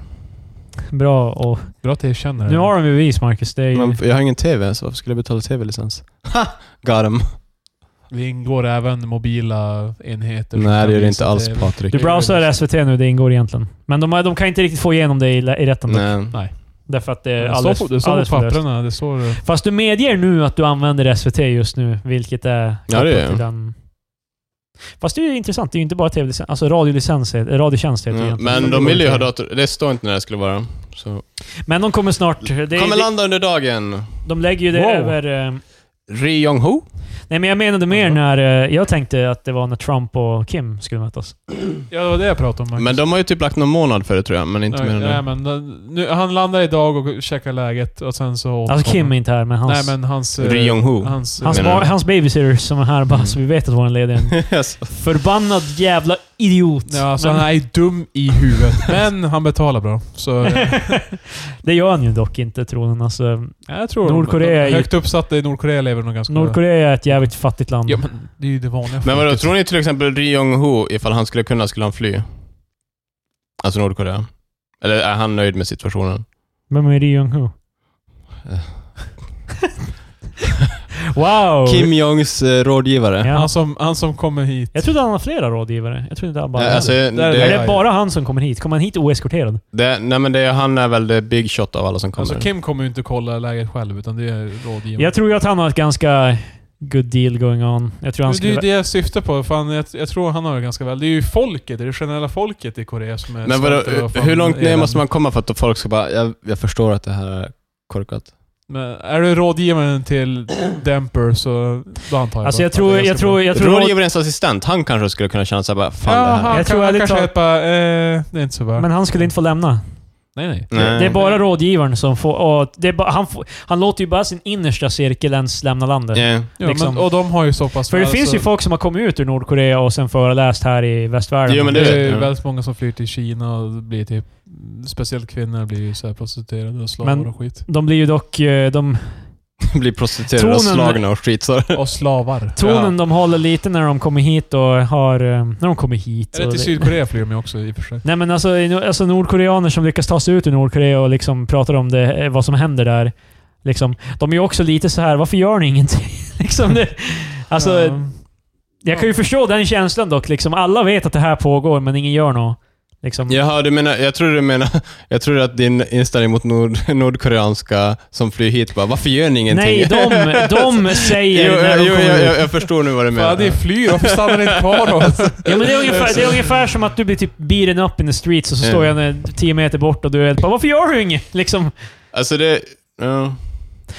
Speaker 2: Bra och...
Speaker 3: Bra att erkänna det.
Speaker 2: Nu har de ju bevis, Marcus. Det är ju...
Speaker 1: Men jag har ingen tv, så varför skulle jag betala tv-licens? Ha! Got him.
Speaker 3: Det ingår även mobila enheter. som
Speaker 1: Nej,
Speaker 3: kan
Speaker 1: det gör det
Speaker 3: visa
Speaker 1: inte alls
Speaker 3: TV.
Speaker 1: Patrik.
Speaker 2: Du browsar SVT nu, det ingår egentligen. Men de, har- de kan inte riktigt få igenom det i, i rätten. dock.
Speaker 1: Nej.
Speaker 2: Därför att det är
Speaker 3: Det
Speaker 2: alldeles,
Speaker 3: står på, det står
Speaker 2: alldeles
Speaker 3: på
Speaker 2: för löst.
Speaker 3: papperna. Det står...
Speaker 2: Fast du medger nu att du använder SVT just nu, vilket är
Speaker 1: Ja, det
Speaker 2: kopplat
Speaker 1: är
Speaker 2: till
Speaker 1: jag.
Speaker 2: den... Fast det är ju intressant. Det är ju inte bara tv-licens. Alltså radiolicens, heter- eh, radiotjänst heter det
Speaker 1: Ja,
Speaker 2: egentligen.
Speaker 1: Mm. Men de vill ju ha dator. Det står inte när det skulle vara. Så.
Speaker 2: Men de kommer snart... Det,
Speaker 1: Kommer
Speaker 2: det,
Speaker 1: landa under dagen.
Speaker 2: de lägger ju det
Speaker 3: Wow.
Speaker 2: över... eh,
Speaker 1: Ri Jong-Ho?
Speaker 2: Nej, men jag menade mer
Speaker 3: Mhm.
Speaker 2: när... eh, Jag tänkte att det var när Trump och Kim skulle mötas.
Speaker 3: Ja, det var det jag pratade om. Marcus.
Speaker 1: Men de har ju typ lagt någon månad för det tror jag, men inte
Speaker 3: Nej,
Speaker 1: mer än
Speaker 3: nej,
Speaker 1: det.
Speaker 3: men den- nu, han landar idag och checkar läget och sen så...
Speaker 2: Alltså Kim är inte här, men hans...
Speaker 3: Nej, men hans... eh,
Speaker 1: Ri Jong-Ho.
Speaker 3: Hans...
Speaker 2: Hans,
Speaker 1: Menar
Speaker 2: ba-
Speaker 1: du?
Speaker 2: hans babysitter som är här bara,
Speaker 1: Mm.
Speaker 2: så vi vet att vår ledig än.
Speaker 1: Yes.
Speaker 2: Förbannad jävla idiot.
Speaker 3: Ja, alltså
Speaker 2: Men-
Speaker 3: han är dum i huvudet. Men han betalar bra. Så eh,
Speaker 2: det gör han ju dock inte, tronen. Alltså,
Speaker 3: jag tror...
Speaker 2: Nordkorea är ju-
Speaker 3: Högt uppsatta i Nordkorea lever nog ganska...
Speaker 2: Nordkorea är ett jävligt fattigt land.
Speaker 3: Ja, men det är ju det vanliga
Speaker 1: Men vadå,
Speaker 3: folket.
Speaker 1: tror ni till exempel Ri Jong-Ho, ifall han skulle kunna, skulle han fly? Alltså Nordkorea. Eller är han nöjd med situationen?
Speaker 2: Vem är Ri Jung-Ho?
Speaker 1: Eh.
Speaker 2: wow!
Speaker 1: Kim Jongs eh, rådgivare.
Speaker 2: Ja.
Speaker 3: Han som, han som kommer hit.
Speaker 2: Jag trodde han har flera rådgivare. Jag trodde inte han bara...
Speaker 1: Eh, alltså, det,
Speaker 3: Där-
Speaker 2: är
Speaker 3: där
Speaker 1: det,
Speaker 2: det bara han som kommer hit? Kommer han hit oeskorterad?
Speaker 1: nej, men det, är- han är väl the big shot av alla som kommer.
Speaker 3: Alltså Kim kommer ju inte kolla läget själv, utan det är rådgivaren.
Speaker 2: Jag tror ju att han har ett ganska good deal going on. Jag tror han
Speaker 3: Det är
Speaker 2: skulle...
Speaker 3: ju det jag syftar på. Fan, jag, jag tror han har det ganska väl. Det är ju folket, det är det generella folket i Korea som är
Speaker 1: men vadå,
Speaker 3: stolta över fan
Speaker 1: hur långt ner
Speaker 3: elände.
Speaker 1: måste man komma för att folk ska bara, jag, jag förstår att det här är korkat.
Speaker 3: Men är du rådgivaren till Demper så då antar jag
Speaker 2: Alltså
Speaker 3: bara
Speaker 2: jag
Speaker 3: att
Speaker 2: tror...
Speaker 3: det är
Speaker 2: Jag
Speaker 3: ganska
Speaker 2: tror...
Speaker 3: bra.
Speaker 2: Jag tror...
Speaker 1: Rådgivarens assistent, han kanske skulle kunna känna sig bara, fan
Speaker 3: ja,
Speaker 1: det här.
Speaker 3: han,
Speaker 2: Jag
Speaker 3: jag
Speaker 2: tror
Speaker 3: tror han
Speaker 2: ärligt
Speaker 3: kanske
Speaker 2: talat-
Speaker 3: helt bara, eh, det är inte så bra.
Speaker 2: Men han skulle inte få lämna.
Speaker 3: nej, nej.
Speaker 1: Nej.
Speaker 2: Det är bara rådgivaren som får... Och det är bara, han, får, han låter ju bara sin innersta cirkel ens lämna landet.
Speaker 1: Ja.
Speaker 3: Ja,
Speaker 2: liksom.
Speaker 3: men, och de har ju så pass...
Speaker 2: För det
Speaker 3: alltså,
Speaker 2: finns ju folk som har kommit ut ur Nordkorea och sen föreläst här i västvärlden.
Speaker 1: Jo, men
Speaker 3: Det är
Speaker 1: vet
Speaker 3: ju
Speaker 1: jag.
Speaker 3: väldigt många som flyr till Kina och blir typ... Speciellt kvinnor blir ju så här prostituerade och slavar
Speaker 2: Men-
Speaker 3: och skit.
Speaker 2: De blir ju dock... eh, De,
Speaker 1: Blir prostituerade och
Speaker 2: Tonen-
Speaker 1: slagna och skit. Så.
Speaker 3: Och slavar.
Speaker 2: tonen de håller lite när de kommer hit och har... eh, När de kommer hit.
Speaker 3: Eller
Speaker 2: och
Speaker 3: till
Speaker 2: det-
Speaker 3: Sydkorea flyr de ju också i och för sig.
Speaker 2: Nej men alltså, i- alltså nordkoreaner som lyckas ta sig ut ur Nordkorea och liksom pratar om det, eh, vad som händer där. Liksom, de är ju också lite så här varför gör ni ingenting? liksom det, alltså,
Speaker 3: Ja.
Speaker 2: Jag kan ju förstå den känslan dock. Liksom, alla vet att det här pågår, men ingen gör något. Liksom.
Speaker 1: Jaha, du menar, jag tror du menar, jag tror att din inställning mot nord, nordkoreanska som flyr hit bara, varför gör ni ingenting?
Speaker 2: Nej, de, de
Speaker 1: jo,
Speaker 2: säger när
Speaker 1: jo,
Speaker 2: de
Speaker 1: jo,
Speaker 2: kommer
Speaker 1: jag,
Speaker 2: ut.
Speaker 1: jag, jag förstår nu vad du menar.
Speaker 3: Fan, ni flyr. Varför stannar ni inte kvar då?
Speaker 2: Ja,
Speaker 1: Eh,
Speaker 2: men det, är ungefär, det är ungefär som att du blir typ beaten up in the streets och så
Speaker 1: Ja.
Speaker 2: står jag en- tio meter bort och du är bara “Varför gör du inget?” liksom.
Speaker 1: Alltså det... Ja.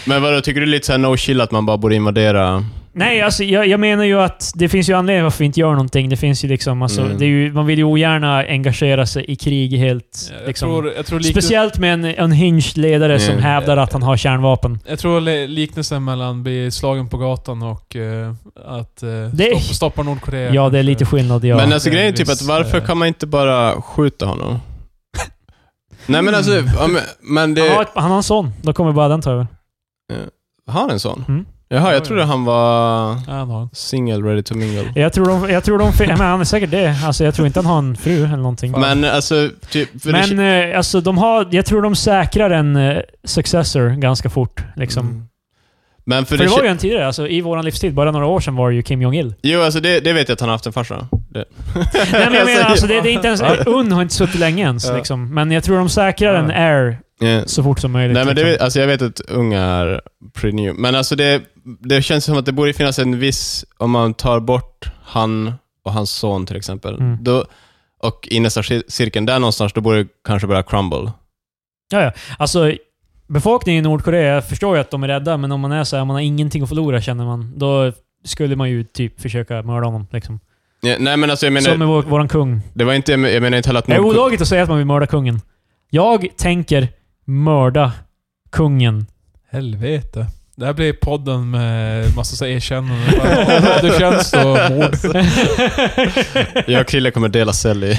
Speaker 1: Men vadå, tycker du lite såhär no-chill att man bara borde invadera?
Speaker 2: Nej, alltså, jag, jag menar ju att det finns ju anledning varför vi inte gör någonting. Det finns ju liksom, alltså,
Speaker 1: Mm.
Speaker 2: det är ju, man vill ju ogärna engagera sig i krig helt.
Speaker 3: Jag
Speaker 2: liksom.
Speaker 3: tror, jag tror liknelsen,
Speaker 2: Speciellt med en unhinged ledare som
Speaker 1: Mm.
Speaker 2: hävdar att han har kärnvapen.
Speaker 3: jag tror li- liknelsen mellan bli slagen på gatan och eh, att uh,
Speaker 2: Det är-
Speaker 3: stoppa, stoppa Nordkorea.
Speaker 2: Ja, det är
Speaker 3: kanske.
Speaker 2: lite skillnad. Ja.
Speaker 1: men alltså
Speaker 3: det är
Speaker 1: grejen är
Speaker 3: en
Speaker 1: typ att
Speaker 3: viss,
Speaker 1: varför
Speaker 3: eh,
Speaker 1: kan man inte bara skjuta honom? Nej men alltså, ja, men, men
Speaker 2: han, har
Speaker 1: det...
Speaker 2: ett, han har en son. Då kommer bara den ta över.
Speaker 1: Har en sån?
Speaker 2: Mm.
Speaker 1: Jaha,
Speaker 3: Ja, ja.
Speaker 1: jag trodde han var
Speaker 3: Ja, han har en.
Speaker 1: single, ready to mingle.
Speaker 2: Jag tror de... Jag tror de fi- men han är säkert det. Alltså, jag tror inte han har en fru eller någonting.
Speaker 1: Men alltså, typ... För
Speaker 2: Men eh, alltså, de har, jag tror de säkrar en eh, successor ganska fort. Liksom.
Speaker 1: Mm. Men för,
Speaker 2: För, det var ju en tidigare, alltså, i vår livstid, bara några år sedan var det ju Kim Jong-Il.
Speaker 1: Jo, alltså det, det vet jag att han har haft en farsa. Det.
Speaker 2: Nej, men jag menar, alltså, det, det är inte ens,
Speaker 1: Ja.
Speaker 2: Un har inte suttit länge ens.
Speaker 1: Ja.
Speaker 2: Liksom. Men jag tror de säkrar en
Speaker 3: Ja.
Speaker 2: air
Speaker 1: Ja.
Speaker 2: så fort som möjligt.
Speaker 1: Nej, men det,
Speaker 2: liksom.
Speaker 1: alltså jag vet att unga är pretty new. Men alltså det, det känns som att det borde finnas en viss, om man tar bort han och hans son till exempel,
Speaker 2: Mm.
Speaker 1: då, och i nästa cir- cirkeln där någonstans, då borde det kanske börja crumble.
Speaker 2: ja, ja. Alltså, befolkningen i Nordkorea, jag förstår ju att de är rädda, men om man är så här, man har ingenting att förlora känner man. Då skulle man ju typ försöka mörda honom. Liksom.
Speaker 1: Ja, nej, men alltså jag
Speaker 2: som
Speaker 1: menar,
Speaker 2: med vår, våran kung.
Speaker 1: det var inte, jag menar inte heller att...
Speaker 2: Det är
Speaker 1: Nordko-
Speaker 2: olagligt att säga att man vill mörda kungen. Jag tänker mörda kungen.
Speaker 3: Helvete. Det här blir podden med massa så här erkännanden. Bara, Radiotjänst och mord.
Speaker 1: Jag och Krille kommer dela cell i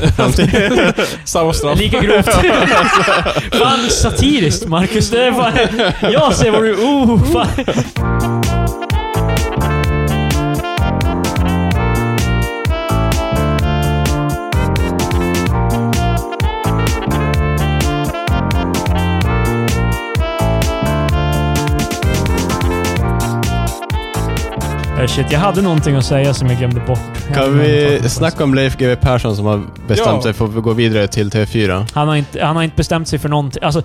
Speaker 3: Samma straff.
Speaker 2: Lika grovt. fan satiriskt Marcus. Det är fan, jag ser vad du... Oh, fan. Eh, Shit, jag hade någonting att säga som jag glömde bort. Jag hade
Speaker 1: Kan
Speaker 2: någonting
Speaker 1: vi
Speaker 2: att säga.
Speaker 1: snacka om Leif GW Persson som har bestämt
Speaker 3: Ja.
Speaker 1: sig för att gå vidare till TV4?
Speaker 2: Han har inte, han har inte bestämt sig för någonting. Alltså,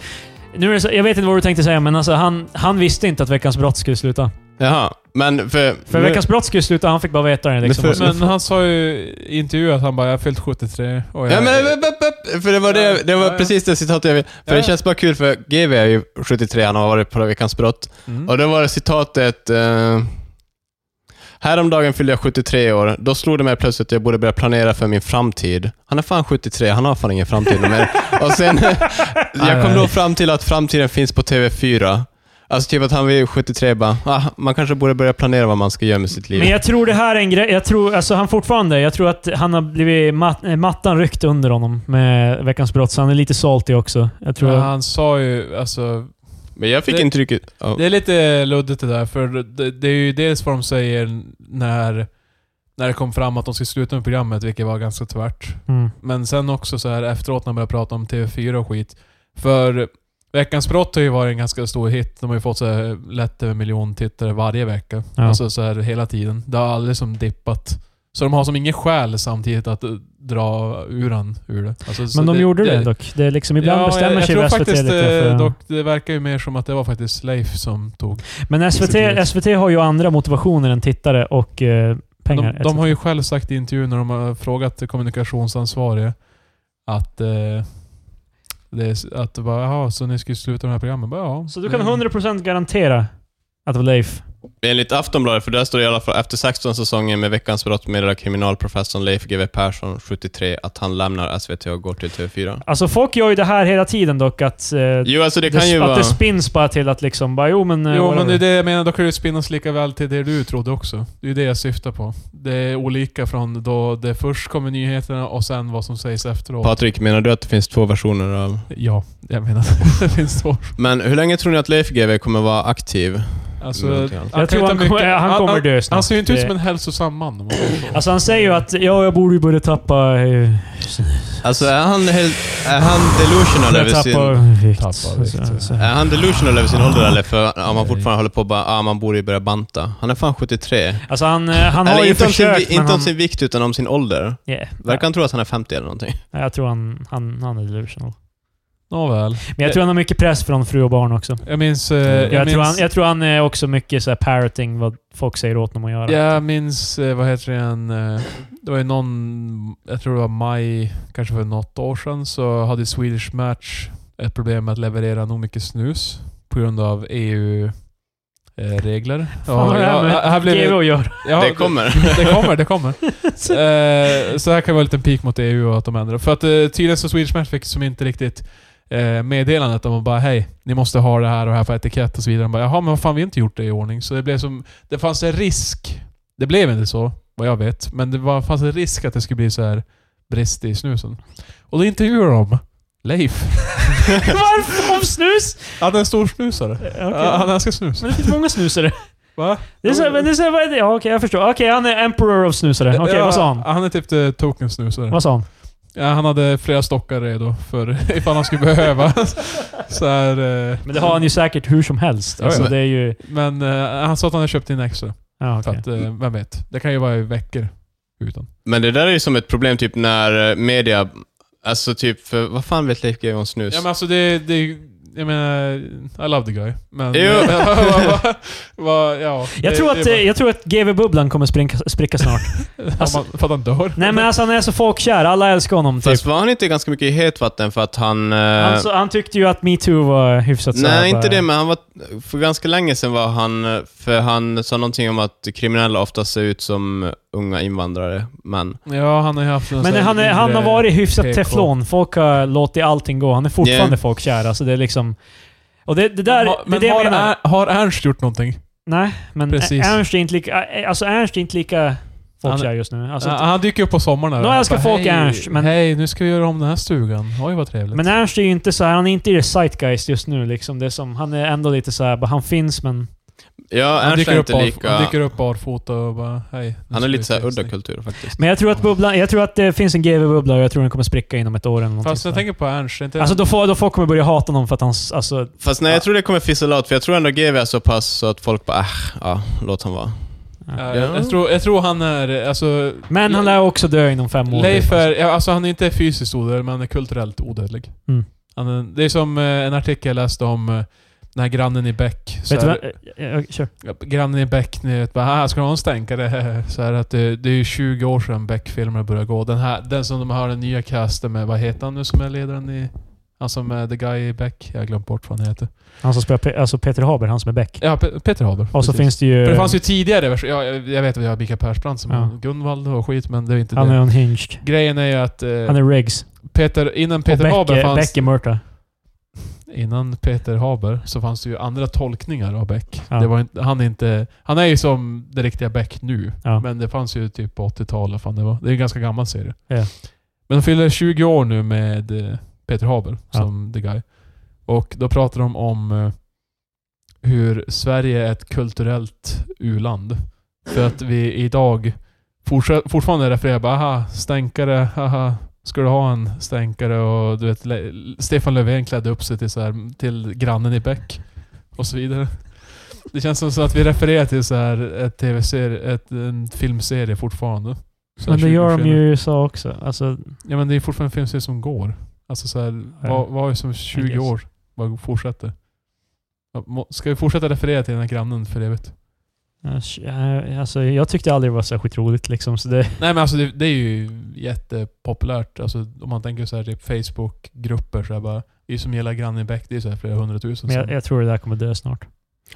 Speaker 2: nu är det så, jag vet inte vad du tänkte säga, men alltså, han, han visste inte att Veckans Brott skulle sluta.
Speaker 1: Jaha, men för...
Speaker 2: För
Speaker 1: nu-
Speaker 2: Veckans Brott skulle sluta, han fick bara veta det. Liksom.
Speaker 1: Men för-
Speaker 3: Men han sa ju i intervju att han bara 'Jag har fyllt 73' och jag,
Speaker 1: Ja, men, upp, upp, upp. För det var, det, det var
Speaker 3: Ja, ja.
Speaker 1: precis det citatet jag ville... För
Speaker 3: Ja,
Speaker 1: det
Speaker 3: ja.
Speaker 1: känns bara kul för GV är ju 73, han har varit på Veckans Brott.
Speaker 3: Mm.
Speaker 1: Och då var det citatet... Eh, Häromdagen fyllde jag 73 år. Då slog det mig plötsligt att jag borde börja planera för min framtid. Han är fan 73, han har fan ingen framtid mer. Och sen... jag kom då fram till att framtiden finns på TV4. Alltså typ att han vid 73 bara, ah, man kanske borde börja planera vad man ska göra med sitt liv.
Speaker 2: Men jag tror det här är en grej. Jag tror, alltså han fortfarande, jag tror att han har blivit mat, eh, mattan ryckt under honom med Veckans Brott, så han är lite salty också. Jag tror...
Speaker 3: Ja, han sa ju alltså...
Speaker 1: Men jag fick
Speaker 3: Det-
Speaker 1: intrycket... ja.
Speaker 3: Det är lite luddigt det där, för det, det är ju dels vad de säger när, när det kom fram att de skulle sluta med programmet, vilket var ganska tvärt.
Speaker 2: Mm.
Speaker 3: Men sen också så här efteråt när de började prata om TV4 och skit. För Veckans Brott har ju varit en ganska stor hit. De har ju fått så här lätt över en miljon tittare varje vecka.
Speaker 2: Ja.
Speaker 3: Alltså så här hela tiden. Det har aldrig som dippat. Så de har som ingen skäl samtidigt att eh, dra ur han ur det. Alltså, så
Speaker 2: Men de gjorde det dock. Det är liksom, ibland
Speaker 3: Ja,
Speaker 2: bestämmer
Speaker 3: jag, jag
Speaker 2: sig
Speaker 3: tror
Speaker 2: SVT
Speaker 3: faktiskt
Speaker 2: lite
Speaker 3: eh,
Speaker 2: för...
Speaker 3: dock, det verkar ju mer som att det var faktiskt Leif som tog.
Speaker 2: men SVT,
Speaker 3: precis.
Speaker 2: SVT har ju andra motivationer än tittare och eh, pengar.
Speaker 3: De, de har ju själv sagt i intervjun när de har frågat kommunikationsansvarige att eh, det är, s- att bara, jaha, så ni skulle sluta med det här programmet? Bara, ja.
Speaker 2: Så du kan 100% garantera att det var Leif?
Speaker 1: Enligt Aftonbladet, för där står det i alla fall efter 16 säsonger med Veckans brott meddelar kriminalprofessorn Leif GW Persson, 73, att han lämnar SVT och går till TV4.
Speaker 2: Alltså folk gör ju det här hela tiden dock, att, eh,
Speaker 1: Jo, alltså det kan
Speaker 2: det,
Speaker 1: ju
Speaker 2: att
Speaker 1: vara...
Speaker 2: det spins bara till att liksom bara, jo men... eh,
Speaker 3: Jo, men
Speaker 2: whatever.
Speaker 3: det är det jag menar. Då kan det ju spinnas lika väl till det du trodde också. Det är ju det jag syftar på. Det är olika från då det först kommer nyheterna och sen vad som sägs efteråt.
Speaker 1: Patrik, menar du att det finns två versioner av...
Speaker 3: Ja, jag menar det finns två.
Speaker 1: Men hur länge tror ni att Leif GW kommer vara aktiv?
Speaker 3: Alltså,
Speaker 1: Mm, okej.
Speaker 3: kan ju
Speaker 2: jag tror
Speaker 3: ta
Speaker 2: han,
Speaker 3: mycket-
Speaker 2: kommer- eh, han kommer dö snart.
Speaker 3: Han ser ju inte ut
Speaker 2: Det-
Speaker 3: som en hälsosam man. om man säger så.
Speaker 2: Alltså han säger ju att ja, jag borde ju börja tappa... eh,
Speaker 1: Alltså är han helt... Är han delusional över
Speaker 2: Börja
Speaker 1: sin...
Speaker 2: tappa vikt.
Speaker 3: Tappa vikt,
Speaker 2: Så-
Speaker 3: ja.
Speaker 2: så-
Speaker 1: Är han delusional över sin ålder eller? För om han
Speaker 3: Nej.
Speaker 1: fortfarande håller på och bara, ah, man borde ju börja banta. Han är fan 73.
Speaker 2: Alltså han, eh, han har
Speaker 1: eller
Speaker 2: ju
Speaker 1: inte, om sin,
Speaker 2: försökt,
Speaker 1: vi-
Speaker 2: men
Speaker 1: inte
Speaker 2: han,
Speaker 1: om sin vikt, utan om sin ålder.
Speaker 2: yeah.
Speaker 1: Verkar han tro att han är 50 eller någonting?
Speaker 2: Ja, Jag tror han, han, han är delusional.
Speaker 3: Nåväl.
Speaker 2: Men jag tror han har mycket press från fru och barn också.
Speaker 3: Jag minns... eh,
Speaker 1: Jag
Speaker 3: jag
Speaker 2: Jag, tror,
Speaker 3: minns-
Speaker 2: han, jag tror han är också mycket så här parroting vad folk säger åt honom att göra.
Speaker 3: Jag minns, eh, vad heter det igen, eh, det var ju någon, jag tror det var maj, kanske för något år sedan, så hade Swedish Match ett problem med att leverera nog mycket snus på grund av E eh, EU-regler.
Speaker 2: Fan vad det här med GV att göra.
Speaker 1: det kommer.
Speaker 3: Det kommer, det kommer. Eh, så här kan vara en liten pik mot EU och att de ändrar. För att eh, tydligen så Swedish Match fick som inte riktigt eh, meddelandet. De bara hej, ni måste ha det här och det här för etikett och så vidare. De bara jaha, men vad fan vi har inte gjort det i ordning. Så det blev som, det fanns en risk. Det blev inte så, vad jag vet. Men det var, fanns en risk att det skulle bli så här brist i snusen. Och då intervjuade de Leif.
Speaker 2: Varför? Om snus?
Speaker 3: Han är en stor snusare.
Speaker 2: Eh, okej.
Speaker 3: Han älskar snus.
Speaker 2: Men det finns många snusare.
Speaker 3: Va?
Speaker 2: Det är så, men det är så, vad är det? Ja, okej, jag förstår. Okej, han är emperor of snusare. Okej,
Speaker 3: Ja,
Speaker 2: vad sa han?
Speaker 3: Han är typ the token snusare.
Speaker 2: Vad sa han?
Speaker 3: Ja, han hade flera stockar redo för ifall han skulle behöva. så här, eh,
Speaker 2: Men det har han ju säkert hur som helst.
Speaker 3: Ja,
Speaker 2: Alltså,
Speaker 1: ja.
Speaker 2: det är ju...
Speaker 3: men eh, han sa att han hade köpt in extra.
Speaker 2: Ja,
Speaker 3: För
Speaker 2: okej.
Speaker 3: att, eh, vem vet? Det kan ju vara i veckor utan.
Speaker 1: Men det där är ju som ett problem typ när eh, media... Alltså typ, för, vad fan vet Leif GW om snus?
Speaker 3: Ja men alltså det, det jag menar, I love the guy. Men...
Speaker 1: Jo.
Speaker 3: men vad- vad- vad- ja,
Speaker 2: Jag
Speaker 3: det-
Speaker 2: tror,
Speaker 3: det
Speaker 2: att,
Speaker 3: är bara-
Speaker 2: eh, jag tror att GV-bubblan kommer sprinka, spricka snart. alltså-
Speaker 3: Om man, för att han dör.
Speaker 2: Nej men alltså han är så folkkär. Alla älskar honom typ.
Speaker 1: Fast var han inte ganska mycket i hetvatten för att han... eh,
Speaker 2: Han, så- han tyckte ju att metoo var hyfsat så här
Speaker 1: Nej, inte
Speaker 2: bara-
Speaker 1: det, men han var, för ganska länge sedan var han, eh, för han sa någonting om att kriminella ofta ser ut som unga invandrare, men...
Speaker 3: Ja, han har ju haft en
Speaker 2: Men
Speaker 3: sån här
Speaker 2: han, är, han har
Speaker 3: inre-
Speaker 2: varit hyfsat
Speaker 3: PK.
Speaker 2: teflon. Folk har låtit allting gå. Han är fortfarande
Speaker 1: Yeah.
Speaker 2: folkkär. Alltså det är liksom... Och det, det där...
Speaker 3: Ha,
Speaker 2: det är
Speaker 3: men
Speaker 2: det jag
Speaker 3: har,
Speaker 2: menar.
Speaker 3: Ern- har Ernst gjort någonting?
Speaker 2: Nej, men
Speaker 3: Precis.
Speaker 2: Ernst är inte lika... Alltså Ernst är inte lika folkkär just nu. Alltså,
Speaker 3: han, han dyker upp på sommaren här.
Speaker 2: Nå, jag ska
Speaker 3: Bara,
Speaker 2: få
Speaker 3: "Hej,
Speaker 2: Ernst, men-
Speaker 3: Hej, nu ska vi göra om den här stugan. Oj, vad trevligt.
Speaker 2: Men Ernst är ju inte så här, han är inte i det zeitgeist just nu liksom. Det är som, han är ändå lite så här, bara han finns men...
Speaker 1: Ja,
Speaker 3: han,
Speaker 1: Ernst
Speaker 3: dyker
Speaker 1: är
Speaker 3: upp
Speaker 1: inte
Speaker 3: barf- han
Speaker 1: lika...
Speaker 3: dyker upp liksom. barfota och bara hej. nu
Speaker 1: Han
Speaker 3: ska
Speaker 1: är
Speaker 3: vi
Speaker 1: lite såhär
Speaker 3: ses."
Speaker 1: udda kultur faktiskt.
Speaker 2: Men jag tror att, bubblan, jag tror att det finns en GV-bubbla och jag tror den kommer spricka inom ett år eller någonting.
Speaker 3: Fast jag
Speaker 2: så här.
Speaker 3: tänker på Ernst. Inte
Speaker 2: Alltså då får, då folk kommer börja hata honom för att han... s- Alltså,
Speaker 1: Fast nej, jag tror det kommer fizzla ut, för jag tror ändå GV är så pass så att folk bara äh, ja, låt han vara.
Speaker 3: Ja, jag, jag, tror, jag tror han är... Alltså,
Speaker 2: men han lär också dö inom fem år.
Speaker 3: Leif
Speaker 2: typ.
Speaker 3: är, ja, alltså han är inte fysiskt odödlig, men han är kulturellt odödlig.
Speaker 2: Mm.
Speaker 3: Han är, det är som eh, en artikel jag läste om eh, den här grannen i Bäck. Så
Speaker 2: Vet du
Speaker 3: här-
Speaker 2: vad? Eh. Jag, jag, kör.
Speaker 3: Ja, Grannen i Beck, ni vet bara "Ah, ska någon stänka det? Så här att eh, det, det är ju 20 år sedan Beck-filmerna började gå. Den, här, den som de har den nya casten med, vad heter han nu som är ledaren i... Han som är the guy i Beck. Jag har glömt bort vad han heter.
Speaker 2: Han som spelar Pe- alltså Peter Haber, han som är Beck.
Speaker 3: Ja, Pe- Peter Haber.
Speaker 2: Och så
Speaker 3: precis.
Speaker 2: finns det ju...
Speaker 3: För det fanns ju tidigare versioner. Ja, jag, jag vet att jag har Mikael Persbrandt som
Speaker 2: Eh. Ja.
Speaker 3: Gunvald och skit, men det är inte
Speaker 2: han
Speaker 3: det.
Speaker 2: är unhinged.
Speaker 3: Grejen är ju att eh,
Speaker 2: Han är Riggs.
Speaker 3: Peter, innan
Speaker 2: Och
Speaker 3: Peter
Speaker 2: Beck
Speaker 3: Haber
Speaker 2: är,
Speaker 3: fanns...
Speaker 2: Beck är Murta.
Speaker 3: Innan Peter Haber så fanns det ju andra tolkningar av Beck.
Speaker 2: Ja.
Speaker 3: Det var inte, han, är inte, han är ju som det riktiga Beck nu.
Speaker 2: Ja.
Speaker 3: Men det fanns ju typ på 80-talet. Fan det, var, det är en ganska gammal serie.
Speaker 2: Ja.
Speaker 3: Men de fyller 20 år nu med eh, Peter Haber
Speaker 2: Ja.
Speaker 3: som the guy. Och då pratar de om eh, hur Sverige är ett kulturellt u-land. För att vi idag fortsa- fortfarande refererar bara aha, stänkare, haha. Ska du ha en stänkare? Och du vet, Le- Stefan Löfven klädde upp sig till, så här, till grannen i Bäck. Och så vidare. Det känns som så att vi refererar till så här ett tv-serie, ett, en filmserie fortfarande. Så här
Speaker 2: Men det
Speaker 3: 20 år
Speaker 2: gör de
Speaker 3: senare.
Speaker 2: ju i USA också. Alltså,
Speaker 3: Ja men det är fortfarande en filmserie som går. Alltså så här,
Speaker 2: Ja.
Speaker 3: vad, vad är som 20
Speaker 2: guess.
Speaker 3: år? Vad fortsätter? Ja, må- Ska vi fortsätta referera till den här grannen för evigt?
Speaker 2: eh, alltså, jag tyckte aldrig det var särskilt roligt liksom. Så det,
Speaker 3: Nej men alltså det, det är ju jättepopulärt. Alltså om man tänker så här typ Facebookgrupper så här bara. Det är ju som hela grannen i Bäck, det är så här flera hundratusen.
Speaker 2: men
Speaker 3: som-
Speaker 2: jag, jag tror det där kommer dö snart.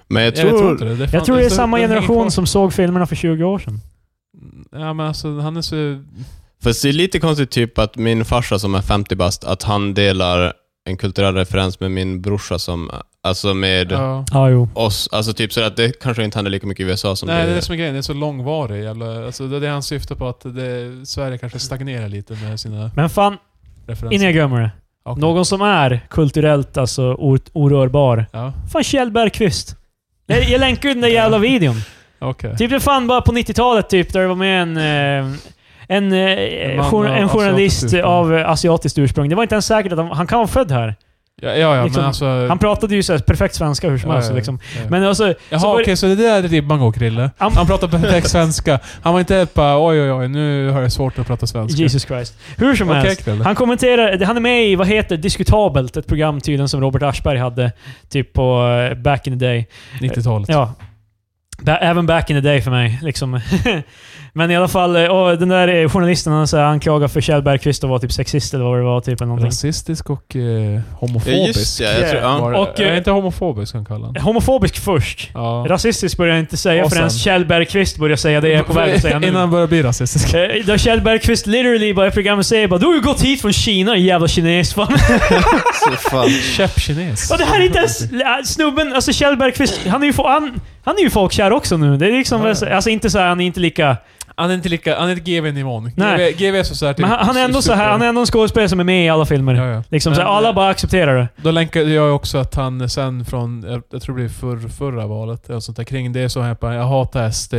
Speaker 1: Men jag
Speaker 3: Ja, jag
Speaker 1: tror...
Speaker 3: inte det. fan-
Speaker 2: Jag tror det är
Speaker 3: så-
Speaker 2: samma
Speaker 3: den hänger kvar.
Speaker 2: generation som såg filmerna för 20 år sedan.
Speaker 3: Ja men alltså han är så...
Speaker 1: Fast det är lite konstigt typ att min farsa som är 50 bast, att han delar en kulturell referens med min brorsa som, alltså med
Speaker 3: Ja.
Speaker 2: Ja, jo.
Speaker 1: oss. Alltså typ så att det kanske inte händer lika mycket i USA som
Speaker 3: Nej, det är
Speaker 1: det
Speaker 3: det som är grejen. Det är så långvarig jävla... Alltså det är det han syftar på att det, Sverige kanske stagnerar lite med sina
Speaker 2: Men fan, innan
Speaker 3: referenser.
Speaker 2: jag glömmer det.
Speaker 3: Okej.
Speaker 2: Någon som är kulturellt alltså or orörbar.
Speaker 3: Ja,
Speaker 2: Fan Kjell Bergqvist. Jag, jag länkar ju den där jävla videon.
Speaker 3: okej.
Speaker 2: Typ det fan bara på 90-talet typ, där det var med en... eh, En, eh,
Speaker 3: man
Speaker 2: jour-
Speaker 3: av
Speaker 2: en
Speaker 3: asiatiskt
Speaker 2: journalist
Speaker 3: ursprung.
Speaker 2: av eh, asiatiskt ursprung. Det var inte ens säkert att han, han kan vara född här.
Speaker 3: Ja, ja, ja
Speaker 2: Liksom,
Speaker 3: men alltså...
Speaker 2: Han pratade ju så här perfekt svenska hur som
Speaker 3: Ja,
Speaker 2: helst.
Speaker 3: ja, ja.
Speaker 2: Liksom.
Speaker 3: ja.
Speaker 2: Men alltså,
Speaker 3: Jaha,
Speaker 2: så var det-
Speaker 3: okej, så det där är typ ribban går, Krille.
Speaker 2: Han-
Speaker 3: Han pratar perfekt svenska. Han var inte helt bara oj, oj, oj, nu har jag svårt att prata svenska.
Speaker 2: Jesus Christ. Hur som
Speaker 3: Okej,
Speaker 2: helst.
Speaker 3: Krille.
Speaker 2: Han kommenterar, han är med i, vad heter Diskutabelt? Ett program tydligen som Robert Aschberg hade. Typ på eh, back in the day.
Speaker 3: 90-talet.
Speaker 2: Ja. Ba även back in the day för mig. Liksom. Men i alla fall, eh, och den där eh, journalisten han så här anklagar för Kjell Bergqvist att vara typ sexist eller vad det var. Typ, eller någonting.
Speaker 3: Rasistisk och eh, homofobisk.
Speaker 1: Ja, just ja, jag tror, ja.
Speaker 3: Var det-
Speaker 2: Och, eh,
Speaker 3: är inte homofobisk han kallar han.
Speaker 2: Homofobisk först.
Speaker 3: Ja.
Speaker 2: Rasistisk börjar jag inte säga
Speaker 3: Och
Speaker 2: förrän
Speaker 3: sen-
Speaker 2: Kjell Bergqvist börjar säga det jag är på väg att säga nu.
Speaker 3: Innan han börjar bli rasistisk.
Speaker 2: Eh, Då Kjell Bergqvist literally bara i programmet säger bara Du har ju gått hit från Kina, jävla kines. Fan.
Speaker 1: Så fan.
Speaker 3: Käppkines.
Speaker 2: Och det här är inte ens... Snubben, alltså Kjell Bergqvist, han är ju, fo- han, han är ju folkkär också nu. Det är liksom,
Speaker 3: Ja, ja.
Speaker 2: alltså inte så här, han är inte lika
Speaker 3: Han är inte lika... Han är inte GV-nivån.
Speaker 2: Nej.
Speaker 3: GV, GV är så, så här typ,
Speaker 2: Men han, han är ändå så här, han är ändå en skådespelare som är med i alla filmer.
Speaker 3: Ja, ja.
Speaker 2: Liksom, så här,
Speaker 3: Men,
Speaker 2: alla
Speaker 3: eh,
Speaker 2: bara accepterar det.
Speaker 3: Då länkade jag också att han sen från, jag, jag tror det blir förr, förra valet, eller sånt där kring det, så han bara jag hatar SD,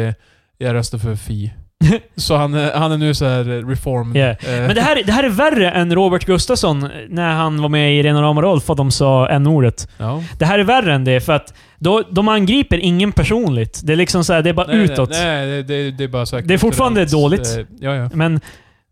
Speaker 3: jag röstar för Fi. så han, är- han är nu så här eh, reformed.
Speaker 2: Yeah.
Speaker 3: Eh,
Speaker 2: Men det här, det här är värre än Robert Gustafsson när han var med i Rena rama Rolf och de sa n-ordet.
Speaker 3: ja.
Speaker 2: Det här är värre än det, för att då, de angriper ingen personligt. Det är liksom så här, det är bara
Speaker 3: Nej,
Speaker 2: utåt.
Speaker 3: Nej, nej det, det, det är bara säkert.
Speaker 2: Det är fortfarande dåligt.
Speaker 3: eh, Ja, ja.
Speaker 2: Men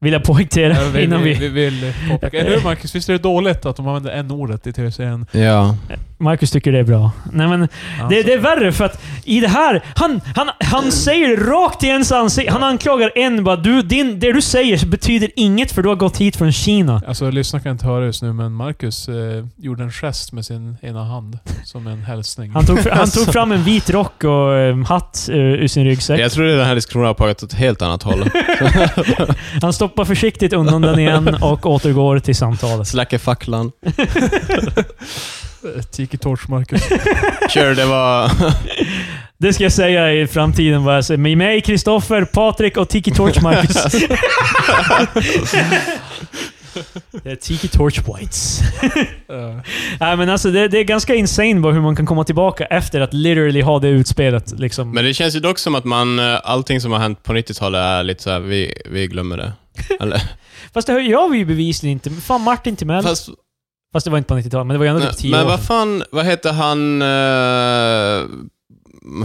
Speaker 2: vill jag poängtera
Speaker 3: Ja, vi,
Speaker 2: innan vi...
Speaker 3: vi, vi vill eh, påpeka. Eller hur Marcus? Visst är det dåligt att de använder n-ordet i tv-serien?
Speaker 1: Ja.
Speaker 2: Marcus tycker det är bra. Nej men, det,
Speaker 3: Alltså.
Speaker 2: det är värre för att i det här, han, han, han säger rakt i ens ansikte. Han anklagar en bara du, din, det du säger betyder inget för du har gått hit från Kina.
Speaker 3: Alltså lyssnarna kan inte höra just nu, men Marcus eh, gjorde en gest med sin ena hand. Som en hälsning.
Speaker 2: Han tog, han tog fram en vit rock och eh, hatt eh, ur sin ryggsäck.
Speaker 1: Jag tror att den här diskussionen har pågått åt ett helt annat håll.
Speaker 2: Han stoppar försiktigt undan den igen och återgår till samtalet.
Speaker 1: Släcker facklan.
Speaker 3: Eh, Tiki Torch Marcus.
Speaker 1: Sure, det var...
Speaker 2: Det ska jag säga i framtiden. Bara. Så Med mig, Kristoffer, Patrik och Tiki Torch Marcus. Det är Tiki Torch Whites.
Speaker 3: Eh,
Speaker 2: Nej men alltså det, det är ganska insane bara hur man kan komma tillbaka efter att literally ha det utspelet. Liksom.
Speaker 1: Men det känns ju dock som att man, eh, allting som har hänt på 90-talet är lite så här, vi, vi glömmer det. Eller,
Speaker 2: Fast det hör- gör vi ju bevisligen inte. Fan Martin Timell. Fast,
Speaker 1: fast,
Speaker 2: det var inte på 90-talet, men det var ju ändå typ 10
Speaker 1: men
Speaker 2: år
Speaker 1: vad
Speaker 2: sedan.
Speaker 1: fan, vad heter han eh,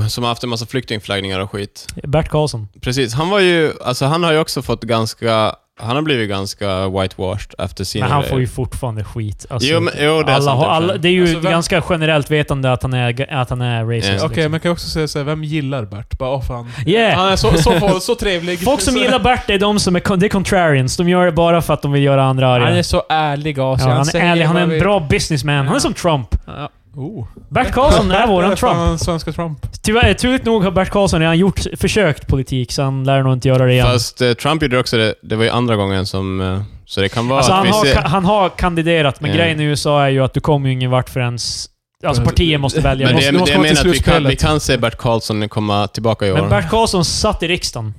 Speaker 1: som har haft en massa flyktingflaggningar och skit?
Speaker 2: Bert Karlsson.
Speaker 1: Precis, han var ju, alltså han har ju också fått ganska, han har blivit ganska whitewashed efter sina
Speaker 2: Men han
Speaker 1: grejer.
Speaker 2: får ju fortfarande skit. Alltså,
Speaker 1: Jo, men, jo, det är
Speaker 2: alla,
Speaker 1: sant.
Speaker 2: har- alla, det är ju
Speaker 3: Alltså, vem-
Speaker 2: ganska generellt vetande att han är, att han är racist.
Speaker 1: Ja.
Speaker 2: liksom.
Speaker 3: Okej, men kan jag också säga såhär, vem gillar Bert? Bara, åh fan.
Speaker 2: Yeah.
Speaker 3: Han är så, så, så, så trevlig.
Speaker 2: Folk som
Speaker 3: Så-
Speaker 2: gillar Bert är de som är, con- det är contrarians. De gör det bara för att de vill göra andra arga.
Speaker 3: Han är så ärlig av
Speaker 2: ja,
Speaker 3: sig.
Speaker 2: han är
Speaker 3: säger
Speaker 2: ärlig, han är en
Speaker 3: vad vi-
Speaker 2: bra businessman. Han är som Trump.
Speaker 3: Ja. Oh.
Speaker 2: Bert Karlsson är våran
Speaker 3: Där fan
Speaker 2: Trump.
Speaker 3: den Svenska Trump.
Speaker 2: Tyvärr, turligt nog har Bert Karlsson redan gjort, försökt politik, så han lär nog inte göra det igen.
Speaker 1: Fast eh, Trump gjorde också det, det var ju andra gången som, eh, så det kan vara
Speaker 2: alltså,
Speaker 1: att
Speaker 2: han,
Speaker 1: vi
Speaker 2: har,
Speaker 1: ser-
Speaker 2: ka- han har kandiderat, men
Speaker 1: Ja.
Speaker 2: grejen i USA är ju att du kommer ju ingen vart förrän... s- Alltså partier måste välja.
Speaker 1: Men
Speaker 3: måste-
Speaker 1: det,
Speaker 3: du måste
Speaker 1: det jag
Speaker 3: komma
Speaker 1: menar
Speaker 3: till
Speaker 1: att vi kan,
Speaker 3: slutspelet.
Speaker 1: vi kan se Bert Karlsson komma tillbaka i år.
Speaker 2: men Bert Karlsson satt i riksdagen.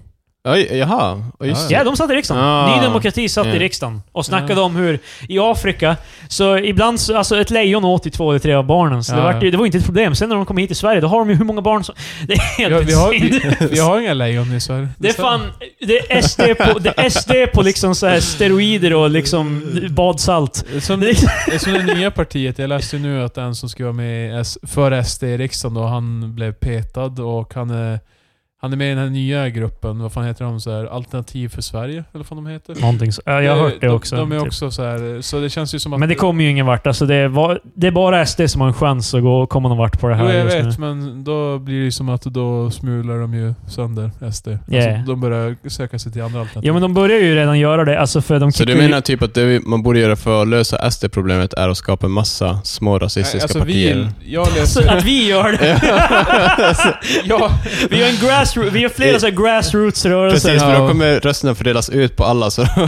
Speaker 1: Oj, jaha, Oj, just
Speaker 2: Ja,
Speaker 1: det.
Speaker 2: de satt i riksdagen.
Speaker 1: Ah.
Speaker 2: Ny Demokrati satt
Speaker 1: Ja.
Speaker 2: i riksdagen och snackade om hur i Afrika, så ibland så, alltså ett lejon åt i två eller tre av barnen. Så det,
Speaker 3: Ja,
Speaker 2: vart, ju- det var inte ett problem. Sen när de kom hit till Sverige, då har de ju hur många barn som... Det är helt
Speaker 3: Ja, vi, har,
Speaker 2: insane.
Speaker 3: vi, vi har inga lejon i Sverige.
Speaker 2: Det är fan... Det är SD på, det är SD på liksom så här steroider och liksom badsalt.
Speaker 3: Det är Som,
Speaker 2: Det
Speaker 3: det
Speaker 2: är-
Speaker 3: är som det nya partiet. Jag läste ju nu att en som skulle vara med i S- för SD i riksdagen då, han blev petad och han är, han är med i den här nya gruppen. Vad fan heter de? Så här, Alternativ för Sverige? Eller vad fan de heter?
Speaker 2: Någonting så, ja, jag har hört det
Speaker 3: de,
Speaker 2: också.
Speaker 3: De är
Speaker 2: typ.
Speaker 3: också så här, så det känns ju som att...
Speaker 2: Men det kommer ju ingen vart. Alltså det, är var, det är bara SD som har en chans att gå, komma någon vart på det
Speaker 3: Jo,
Speaker 2: här
Speaker 3: jag
Speaker 2: just
Speaker 3: vet,
Speaker 2: nu.
Speaker 3: men då blir det ju som att då smular de ju sönder SD.
Speaker 2: Yeah.
Speaker 3: Alltså, de börjar söka sig till andra alternativ.
Speaker 2: Ja men de börjar ju redan göra det. Alltså för de
Speaker 1: Så du
Speaker 2: kickar ju-
Speaker 1: menar typ att det vi- man borde göra för att lösa SD-problemet är att skapa en massa små rasistiska
Speaker 3: alltså,
Speaker 1: partier?
Speaker 3: vi, jag
Speaker 2: Så
Speaker 3: läser...
Speaker 2: Alltså, att vi gör det.
Speaker 3: ja,
Speaker 2: Vi har, en grassro- vi har flera så här grassroots-rörelser.
Speaker 1: Precis,
Speaker 3: Ja.
Speaker 1: för då kommer rösterna fördelas ut på alla. Så
Speaker 2: Fan,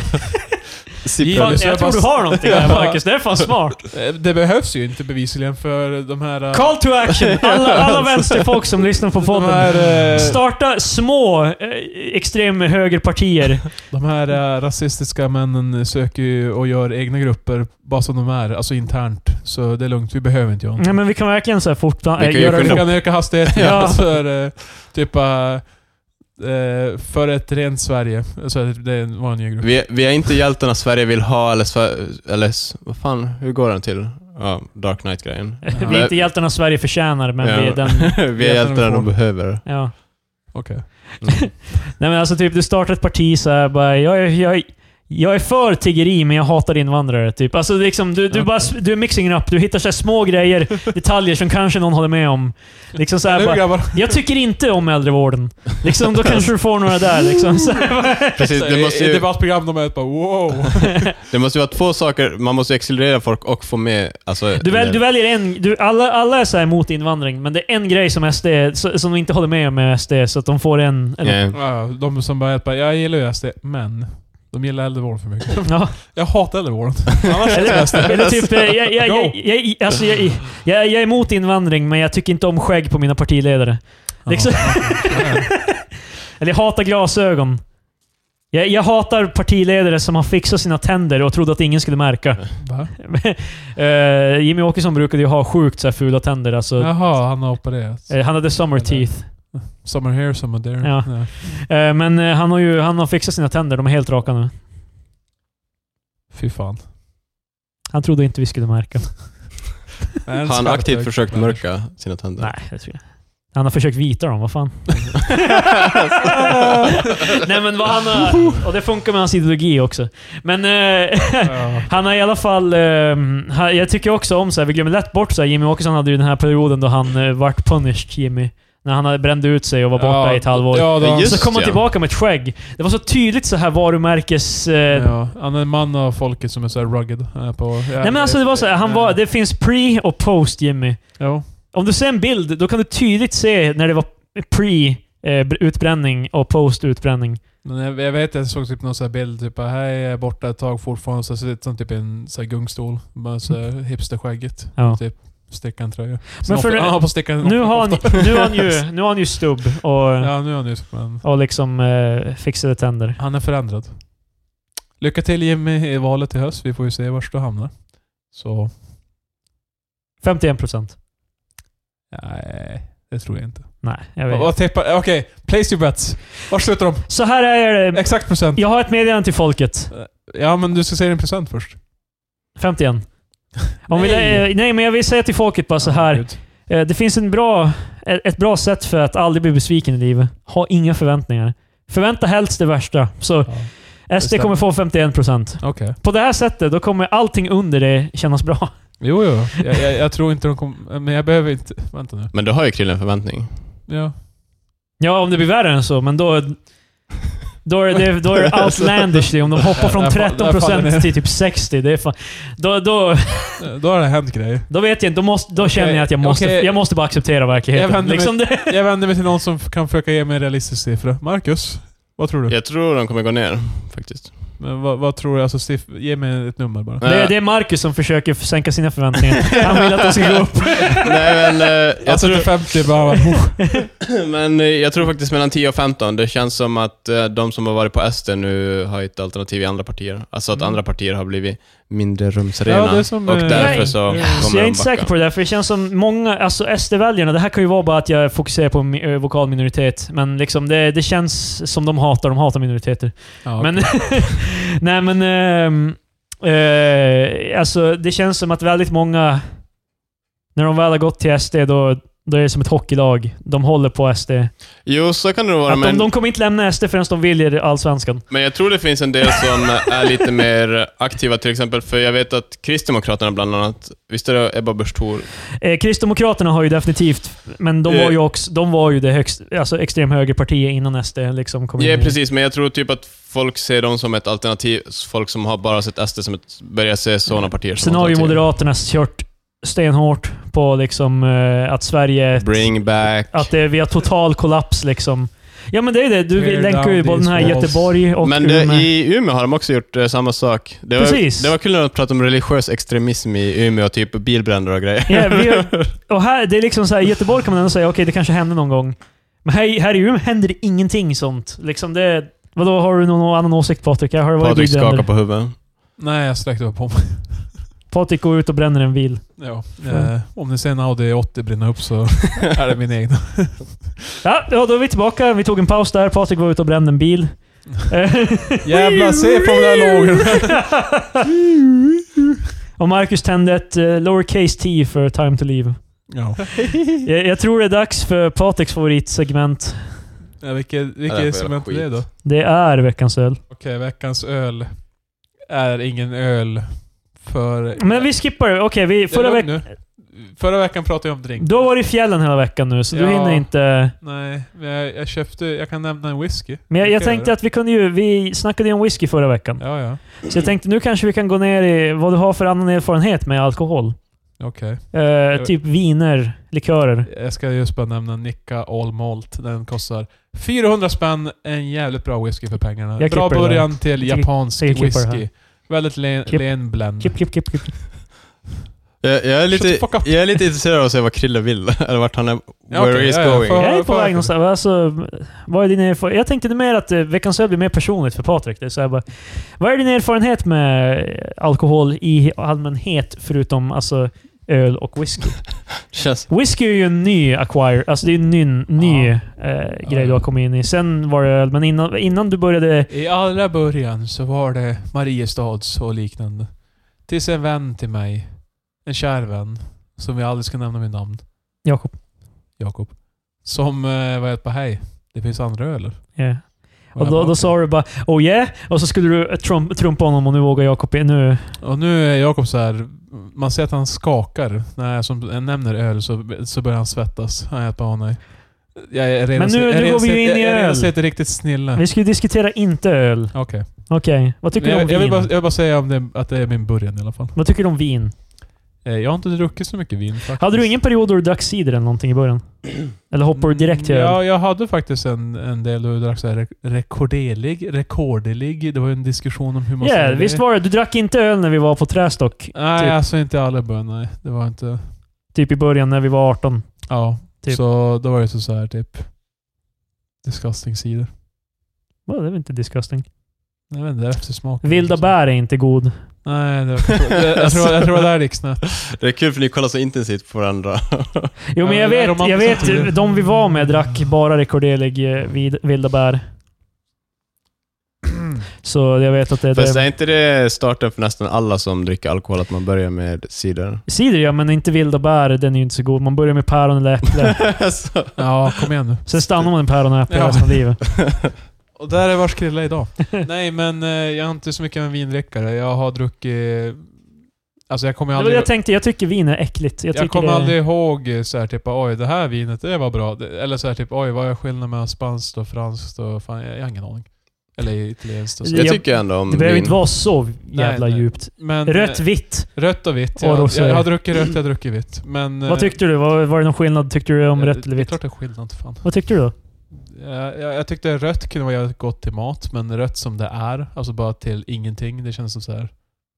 Speaker 1: Sipprar
Speaker 3: Gillar-
Speaker 2: jag tror du har någonting där Marcus. Det är fan smart.
Speaker 3: det behövs ju inte bevisligen för de här... eh,
Speaker 2: Call to action. Alla, alla vänsterfolk som lyssnar på
Speaker 3: de
Speaker 2: podden.
Speaker 3: här, eh,
Speaker 2: Starta små eh, extremhögerpartier.
Speaker 3: de här eh, rasistiska männen söker ju och gör egna grupper bara som de är, alltså internt. Så det är lugnt, vi behöver inte göra
Speaker 2: Nej men vi kan verkligen så här fortplan-
Speaker 1: Vi
Speaker 2: äh,
Speaker 1: kan ju
Speaker 2: göra
Speaker 3: Vi
Speaker 1: skynda-
Speaker 2: det.
Speaker 3: kan öka hastigheten
Speaker 2: Mm. Ja.
Speaker 3: för eh, typ eh, eh, för ett rent Sverige. Alltså, det var en ny grupp.
Speaker 1: vi, vi är inte hjältarna Sverige vill ha, eller, Sver- eller s- vad fan, hur går den till? Ja, Dark Knight-grejen.
Speaker 2: Vi är inte hjältarna Sverige förtjänar, men vi är den...
Speaker 1: vi är hjältarna de behöver.
Speaker 2: Ja.
Speaker 3: Okej.
Speaker 2: Nej men alltså typ, du startar ett parti så här, bara jag är, jag, är- jag är för tiggeri men jag hatar invandrare. Typ. Alltså liksom, du, du,
Speaker 3: Okej.
Speaker 2: bara, du är mixing it up. Du hittar så här små grejer, detaljer som kanske någon håller med om. Liksom så här,
Speaker 3: Nu
Speaker 2: bara,
Speaker 3: grabbar!
Speaker 2: jag tycker inte om äldrevården. Liksom, då kanske du får några där. Liksom. Så här, bara,
Speaker 1: Precis, Typ, det måste
Speaker 3: I
Speaker 1: ju,
Speaker 3: debattprogram de är bara wow.
Speaker 1: det måste ju vara två saker, man måste ju accelerera folk och få med... Alltså,
Speaker 2: du, väl, du väljer en... Du, alla, alla är så här emot invandring, men det är en grej som SD så- som de inte håller med om med SD, så att de får en... en
Speaker 1: Nej.
Speaker 3: Ja, de som bara bara, jag gillar ju SD, men de gillar äldrevården för mycket.
Speaker 2: Ja.
Speaker 3: Jag hatar äldrevården. Annars är det SD.
Speaker 2: Eller, eller typ, eh, jag, jag, jag,
Speaker 3: Go.
Speaker 2: jag, jag, alltså, jag, jag, jag är emot invandring, men jag tycker inte om skägg på mina partiledare. Liksom.
Speaker 3: Ja, ja.
Speaker 2: Eller jag hatar glasögon. Jag, jag hatar partiledare som har fixat sina tänder och trodde att ingen skulle märka.
Speaker 3: Va?
Speaker 2: Eh, Jimmy Åkesson brukade ju ha sjukt så här fula tänder. Alltså,
Speaker 3: Jaha, han har opererat.
Speaker 2: Eh, Han hade summer teeth.
Speaker 3: Summer here, summer there.
Speaker 2: Ja.
Speaker 3: Ja.
Speaker 2: Eh, Men eh, han har ju han har fixat sina tänder. De är helt raka nu.
Speaker 3: Fy fan.
Speaker 2: Han trodde inte vi skulle märka.
Speaker 1: Har han aktivt försökt mörka sina tänder?
Speaker 2: Nej, det tror jag Han har försökt vita dem, vad fan. Nej men vad han har, Och det funkar med hans ideologi också. Men... eh,
Speaker 3: Ja.
Speaker 2: Han har i alla fall... eh, han- jag tycker också om så här, vi glömmer lätt bort så här, Jimmy Åkesson hade ju den här perioden då han uh, vart punished, Jimmy. När han hade- brände ut sig och var borta
Speaker 3: Ja,
Speaker 2: i ett halvår.
Speaker 3: Ja, då,
Speaker 1: Men
Speaker 3: han,
Speaker 1: just-
Speaker 2: så kom han
Speaker 1: ja.
Speaker 2: tillbaka med ett skägg. Det var så tydligt så här varumärkes... eh,
Speaker 3: ja, han är en man av folket som är så här rugged. eh, På,
Speaker 2: Nej men alltså det var så här, han var, det finns pre och post Jimmy.
Speaker 3: Jo.
Speaker 2: Om du ser en bild, då kan du tydligt se när det var pre eh, utbränning och post utbränning.
Speaker 3: Men jag, jag vet, jag såg typ någon sån här bild, typ här är jag borta ett tag fortfarande, så sitter han typ i en sån här gungstol. Bara så
Speaker 2: Mm.
Speaker 3: här hipsterskägget.
Speaker 2: Ja.
Speaker 3: Typ stickan tröja.
Speaker 2: Men
Speaker 3: Men
Speaker 2: för-
Speaker 3: för han har på stickan
Speaker 2: Nu har han, nu har han, ju, nu har han ju stubb och,
Speaker 3: Mm. Ja, nu är han just, men
Speaker 2: och liksom eh, fixade tänder.
Speaker 3: han är förändrad. Lycka till Jimmy i valet i höst. Vi får ju se vart du hamnar. Så,
Speaker 2: 51 procent.
Speaker 3: nej, det tror jag inte.
Speaker 2: Nej, jag vet
Speaker 3: Vad vad tippar... Okej, place your bets. Var slutar de?
Speaker 2: Så här är det.
Speaker 3: Exakt procent.
Speaker 2: Jag har ett meddelande till folket.
Speaker 3: Ja, men du ska säga din procent först.
Speaker 2: 51. Om nej.
Speaker 3: Nej.
Speaker 2: Vi, eh, nej, men jag vill säga till folket bara så
Speaker 3: Ja,
Speaker 2: här.
Speaker 3: gud.
Speaker 2: Eh, Det finns en bra, ett ett bra sätt för att aldrig bli besviken i livet. Ha inga förväntningar. Förvänta helst det värsta. Så
Speaker 3: Ja,
Speaker 2: SD kommer få 51%.
Speaker 3: Okej.
Speaker 2: På det här sättet, då kommer allting under det kännas bra.
Speaker 3: Jo, jo. Jag, jag, jag tror inte de kommer... Men jag behöver inte... Vänta nu.
Speaker 1: Men du har ju Krille en förväntning.
Speaker 3: Ja.
Speaker 2: Ja, om det blir värre än så, men då... Då är det, då är det outlandishly om de hoppar från
Speaker 3: Där fa- där faller ner.
Speaker 2: 13% till typ 60%. Det är fan, då, då,
Speaker 3: Då har det hänt grejer.
Speaker 2: Då vet jag inte. Då, måste, då känner jag att jag måste,
Speaker 3: okej.
Speaker 2: jag måste bara acceptera
Speaker 3: Jag
Speaker 2: verkligheten.
Speaker 3: vänder mig-
Speaker 2: Liksom det.
Speaker 3: Jag vänder mig till någon som kan försöka ge mig en realistisk siffra. Marcus, vad tror du?
Speaker 1: Jag tror de kommer gå ner, faktiskt.
Speaker 3: Men vad, vad tror du? Alltså, siff- ge mig ett nummer bara.
Speaker 1: Nej.
Speaker 2: Det, det är Marcus som försöker sänka sina förväntningar. Han vill att de ska gå upp.
Speaker 1: Nej, men, eh, jag,
Speaker 3: Alltså
Speaker 1: tror,
Speaker 3: till 50 bara... oh.
Speaker 1: men eh, jag tror faktiskt mellan 10 och 15. Det känns som att eh, de som har varit på SD nu har ett alternativ i andra partier. Alltså att
Speaker 3: Mm.
Speaker 1: andra partier har blivit mindre rumsrena.
Speaker 3: Ja, det är som,
Speaker 1: och
Speaker 3: eh,
Speaker 1: därför
Speaker 2: Nej.
Speaker 1: så
Speaker 3: Ja.
Speaker 1: kommer
Speaker 2: Så Alltså, jag är
Speaker 1: de
Speaker 2: inte
Speaker 1: backa.
Speaker 2: säker på det där, för det känns som många, alltså SD-väljarna, det här kan ju vara bara att jag fokuserar på mi- eh, vokal minoritet, men liksom det, det känns som de hatar, de hatar minoriteter.
Speaker 3: Ja,
Speaker 2: Men, nej men, ehm, eh, alltså det känns som att väldigt många, när de väl har gått till SD, då, då är det som ett hockeylag. De håller på SD.
Speaker 1: Jo, så kan det nog vara.
Speaker 2: Att de,
Speaker 1: Men,
Speaker 2: de kommer inte lämna SD förrän de väljer Allsvenskan.
Speaker 1: men jag tror det finns en del som är lite mer aktiva, till exempel. För jag vet att Kristdemokraterna bland annat, visst är det Ebba Busch Thor?
Speaker 2: Eh, Kristdemokraterna har ju definitivt, men de
Speaker 1: Eh.
Speaker 2: var ju, också, de var ju det högst, alltså extremhögerpartiet innan SD liksom kom in.
Speaker 1: Ja,
Speaker 2: i-
Speaker 1: precis. Men jag tror typ att folk ser dem som ett alternativ. Folk som har bara sett SD som ett... Börjar se sådana partier som
Speaker 2: Sen har ju
Speaker 1: alternativ.
Speaker 2: Moderaterna kört stenhårt på liksom, eh, att Sverige... är ett-
Speaker 1: Bring back...
Speaker 2: Att det, vi har total kollaps liksom. Ja men det är det. Du
Speaker 3: Tear
Speaker 2: länkar ju
Speaker 3: down
Speaker 2: både den här
Speaker 3: these walls.
Speaker 2: Göteborg och
Speaker 1: Men det,
Speaker 2: Umeå.
Speaker 1: i Umeå har de också gjort eh, samma sak. Det var,
Speaker 2: Precis.
Speaker 1: Det var kul när de pratade om religiös extremism i Umeå, typ bilbränder och grejer.
Speaker 2: Ja, vi har, och här, det är liksom så här, i Göteborg kan man ändå säga okej, det kanske hände någon gång. Men här, här i Umeå händer det ingenting sånt. Liksom det, vadå, har du någon annan åsikt Patrik? Här Har det varit
Speaker 1: Patrik skakar
Speaker 2: bilbränder?
Speaker 1: på huvudet.
Speaker 3: Nej, jag sträckte bara på mig.
Speaker 2: Patrik går ut och bränner en bil.
Speaker 3: Ja, eh, om ni ser en Audi 80 brinna upp så är det min egna.
Speaker 2: Ja, ja, då är vi tillbaka. Vi tog en paus där. Patrik var ute och brände en bil. Eh,
Speaker 3: Jävlar, se på den där lågen!
Speaker 2: och Marcus tände ett eh, lowercase t för time to leave.
Speaker 3: Ja.
Speaker 2: Jag, jag tror det är dags för Patriks favoritsegment.
Speaker 3: Ja, vilket
Speaker 1: Ja, det är
Speaker 3: vilket som
Speaker 1: jävla
Speaker 3: inte det då?
Speaker 1: skit.
Speaker 3: Okej,
Speaker 2: Det är veckans öl.
Speaker 3: veckans öl är ingen öl för...
Speaker 2: Men vi skippar det. Okej, vi-
Speaker 3: Det är
Speaker 2: förra
Speaker 3: lugnt
Speaker 2: veckan...
Speaker 3: nu. Förra veckan pratade jag om drink.
Speaker 2: Du har varit i fjällen hela veckan nu, så du
Speaker 3: Ja.
Speaker 2: hinner inte...
Speaker 3: Nej, men jag, jag köpte... Jag kan nämna en whisky.
Speaker 2: Men jag, jag
Speaker 3: Brukar
Speaker 2: tänkte
Speaker 3: göra.
Speaker 2: att vi kunde ju... Vi snackade ju om whisky förra veckan.
Speaker 3: Ja, ja.
Speaker 2: Så jag tänkte nu kanske vi kan gå ner i vad du har för annan erfarenhet med alkohol.
Speaker 3: Okej.
Speaker 2: Eh, typ viner, likörer.
Speaker 3: Jag ska just bara nämna Nicka All Malt. Den kostar 400 spänn. En jävligt bra whisky för pengarna.
Speaker 2: Jag klipper
Speaker 3: Bra
Speaker 2: det där.
Speaker 3: början till
Speaker 2: Jag tycker-
Speaker 3: japansk
Speaker 2: jag klipper det här.
Speaker 3: whisky. Väldigt len,
Speaker 2: Klipp.
Speaker 3: len blend.
Speaker 2: Klipp, klipp, klipp, klipp.
Speaker 1: Jag, jag, är
Speaker 3: Shut the
Speaker 1: lite,
Speaker 3: fuck up.
Speaker 1: jag är lite intresserad av att se vad Krille vill, eller vart han är,
Speaker 3: Ja,
Speaker 1: where
Speaker 3: okej,
Speaker 1: is
Speaker 3: ja, ja,
Speaker 1: going.
Speaker 3: får-
Speaker 2: Jag är på
Speaker 3: för-
Speaker 2: väg någonstans. Alltså, vad är din erfarenhet? Jag tänkte mer att eh, Veckans Öl blir mer personligt för Patrik. Det är så här bara, vad är din erfarenhet med eh, alkohol i allmänhet, förutom alltså, öl och whisky?
Speaker 1: Känns,
Speaker 2: Whisky är ju en ny acquire, alltså det är en ny, ny eh, grej du har kommit in i. Sen var det öl, men innan, innan du började...
Speaker 3: I allra början så var det Mariestads och liknande. Tills en vän till mig, en kär vän, som vi aldrig ska nämna med namn,
Speaker 2: Jakob.
Speaker 3: Jakob. Som eh, var ett på hej, det finns andra öl.
Speaker 2: Yeah. Och då, då sa du bara oh yeah, och så skulle du eh, trum, trumpa honom och nu vågar Jakob in- nu.
Speaker 3: Och nu är Jakob så här. man ser att han skakar. När jag, som, jag nämner öl så, så börjar han svettas. Han är bara åh nej. Jag är redan
Speaker 2: Men nu- nu
Speaker 3: sett- jag redan
Speaker 2: går vi
Speaker 3: sett-
Speaker 2: in
Speaker 3: jag-
Speaker 2: i
Speaker 3: Jag har
Speaker 2: öl.
Speaker 3: redan sett riktigt snilla.
Speaker 2: Vi ska ju diskutera inte öl.
Speaker 3: Okej.
Speaker 2: Okej, vad tycker du om
Speaker 3: Jag,
Speaker 2: vin?
Speaker 3: jag, vill bara- jag vill bara säga om det, att det är min början i alla fall.
Speaker 2: Vad tycker du om vin?
Speaker 3: Eh, Jag har inte druckit så mycket vin faktiskt.
Speaker 2: Hade du ingen period då du drack cider eller någonting i början? Eller hoppade du direkt till
Speaker 3: Mm,
Speaker 2: öl?
Speaker 3: Ja, jag hade faktiskt en, en del då jag drack så här re- rekorderlig, rekordelig. Det var ju en diskussion om hur
Speaker 2: Ja,
Speaker 3: man säger
Speaker 2: visst
Speaker 3: det.
Speaker 2: var det? Du drack inte öl när vi var på Trästock?
Speaker 3: Nej,
Speaker 2: typ.
Speaker 3: alltså inte alla bön, nej. Det var inte...
Speaker 2: Typ i början när vi var 18.
Speaker 3: Ja.
Speaker 2: Typ.
Speaker 3: Så då var det så här typ... Disgusting cider.
Speaker 2: Va, det är väl inte disgusting?
Speaker 3: Jag vet inte, det är eftersmak.
Speaker 2: Vilda bär är inte god.
Speaker 3: Nej, det var, jag, tror, jag, tror, jag tror det där gick snett.
Speaker 1: det är kul för ni kollar så intensivt på varandra.
Speaker 2: Jo,
Speaker 3: Ja,
Speaker 2: men jag
Speaker 3: det är
Speaker 2: vet, jag
Speaker 3: romantiskt
Speaker 2: vet
Speaker 3: samtidigt.
Speaker 2: de vi var med drack bara rekorderlig eh, vid, vilda bär. Så jag vet att det är
Speaker 1: Fast
Speaker 2: det.
Speaker 1: är inte det starten för nästan alla som dricker alkohol, att man börjar med cider?
Speaker 2: Cider ja, men inte vilda bär. Den är ju inte så god. Man börjar med päron eller äpple.
Speaker 1: Så-
Speaker 3: Ja, kom igen nu.
Speaker 2: Sen stannar man med päron och äpple
Speaker 3: Ja.
Speaker 2: resten av livet.
Speaker 3: Och där är vars krilla idag. Nej, men eh, jag är inte så mycket av en vindrickare. Jag har druckit... Alltså jag kommer
Speaker 2: Det var
Speaker 3: ju
Speaker 2: det
Speaker 3: aldrig...
Speaker 2: jag tänkte. Jag tycker vin är äckligt. Jag,
Speaker 3: Jag,
Speaker 2: tycker
Speaker 3: kommer
Speaker 2: det...
Speaker 3: aldrig ihåg eh, så här typ oj det här vinet det var bra. Det- Eller så här typ oj vad är skillnaden mellan spanskt och franskt och fan jag jag har ingen aning. Eller italienskt och så.
Speaker 1: Jag
Speaker 2: Jag-
Speaker 1: tycker ändå om
Speaker 2: Det behöver inte
Speaker 1: vin.
Speaker 2: vara så jävla
Speaker 3: nej.
Speaker 2: djupt.
Speaker 3: Men,
Speaker 2: Rött,
Speaker 3: eh,
Speaker 2: vitt.
Speaker 3: rött och vitt.
Speaker 2: och
Speaker 3: Jag,
Speaker 2: rosé.
Speaker 3: jag, har druckit rött, jag har druckit vitt. Men, eh,
Speaker 2: Vad tyckte du? Var, var det någon skillnad tyckte du om
Speaker 3: ja,
Speaker 2: rött eller
Speaker 3: Eh, Det är
Speaker 2: vitt?
Speaker 3: klart det är skillnad fan.
Speaker 2: Vad tyckte du då?
Speaker 3: Jag, jag, jag tyckte rött kunde vara jävligt gott till mat, men rött som det är, alltså bara till ingenting, det känns som så här.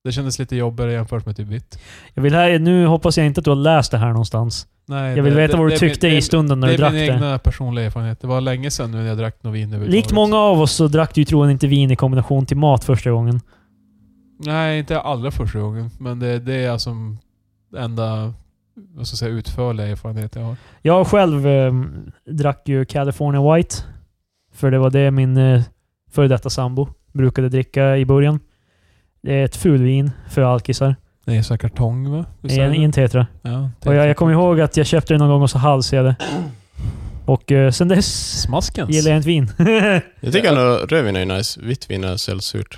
Speaker 3: Det kändes lite jobbigare jämfört med typ vitt.
Speaker 2: Jag vill här, nu hoppas jag inte att du har läst det här någonstans.
Speaker 3: Nej,
Speaker 2: Jag vill
Speaker 3: det-
Speaker 2: veta
Speaker 3: det-
Speaker 2: vad du
Speaker 3: det är min-
Speaker 2: tyckte
Speaker 3: det är-
Speaker 2: i stunden när
Speaker 3: Det
Speaker 2: du
Speaker 3: är
Speaker 2: drack
Speaker 3: min
Speaker 2: det.
Speaker 3: egna personliga erfarenhet. Det var länge sedan nu när jag drack något vin överhuvudtaget.
Speaker 2: Likt många av oss så drack du ju troligen inte vin i kombination till mat första gången.
Speaker 3: Nej, inte allra första gången. Men det, det är alltså enda vad ska jag säga, utförliga erfarenhet jag har.
Speaker 2: Jag själv eh, drack ju California White. För det var det min eh, före detta sambo brukade dricka i början. Det är ett fulvin för alkisar.
Speaker 3: Det är så här kartong va? Visst
Speaker 2: I
Speaker 3: är
Speaker 2: en,
Speaker 3: det?
Speaker 2: i en tetra.
Speaker 3: ja,
Speaker 2: Och jag, jag kommer ihåg att jag köpte det någon gång och så halsade jag det. Och eh, sen dess
Speaker 3: Smaskens?
Speaker 2: gillar jag inte vin.
Speaker 1: Jag tycker ändå rödvin är nice. Vitt vin är sällsynt.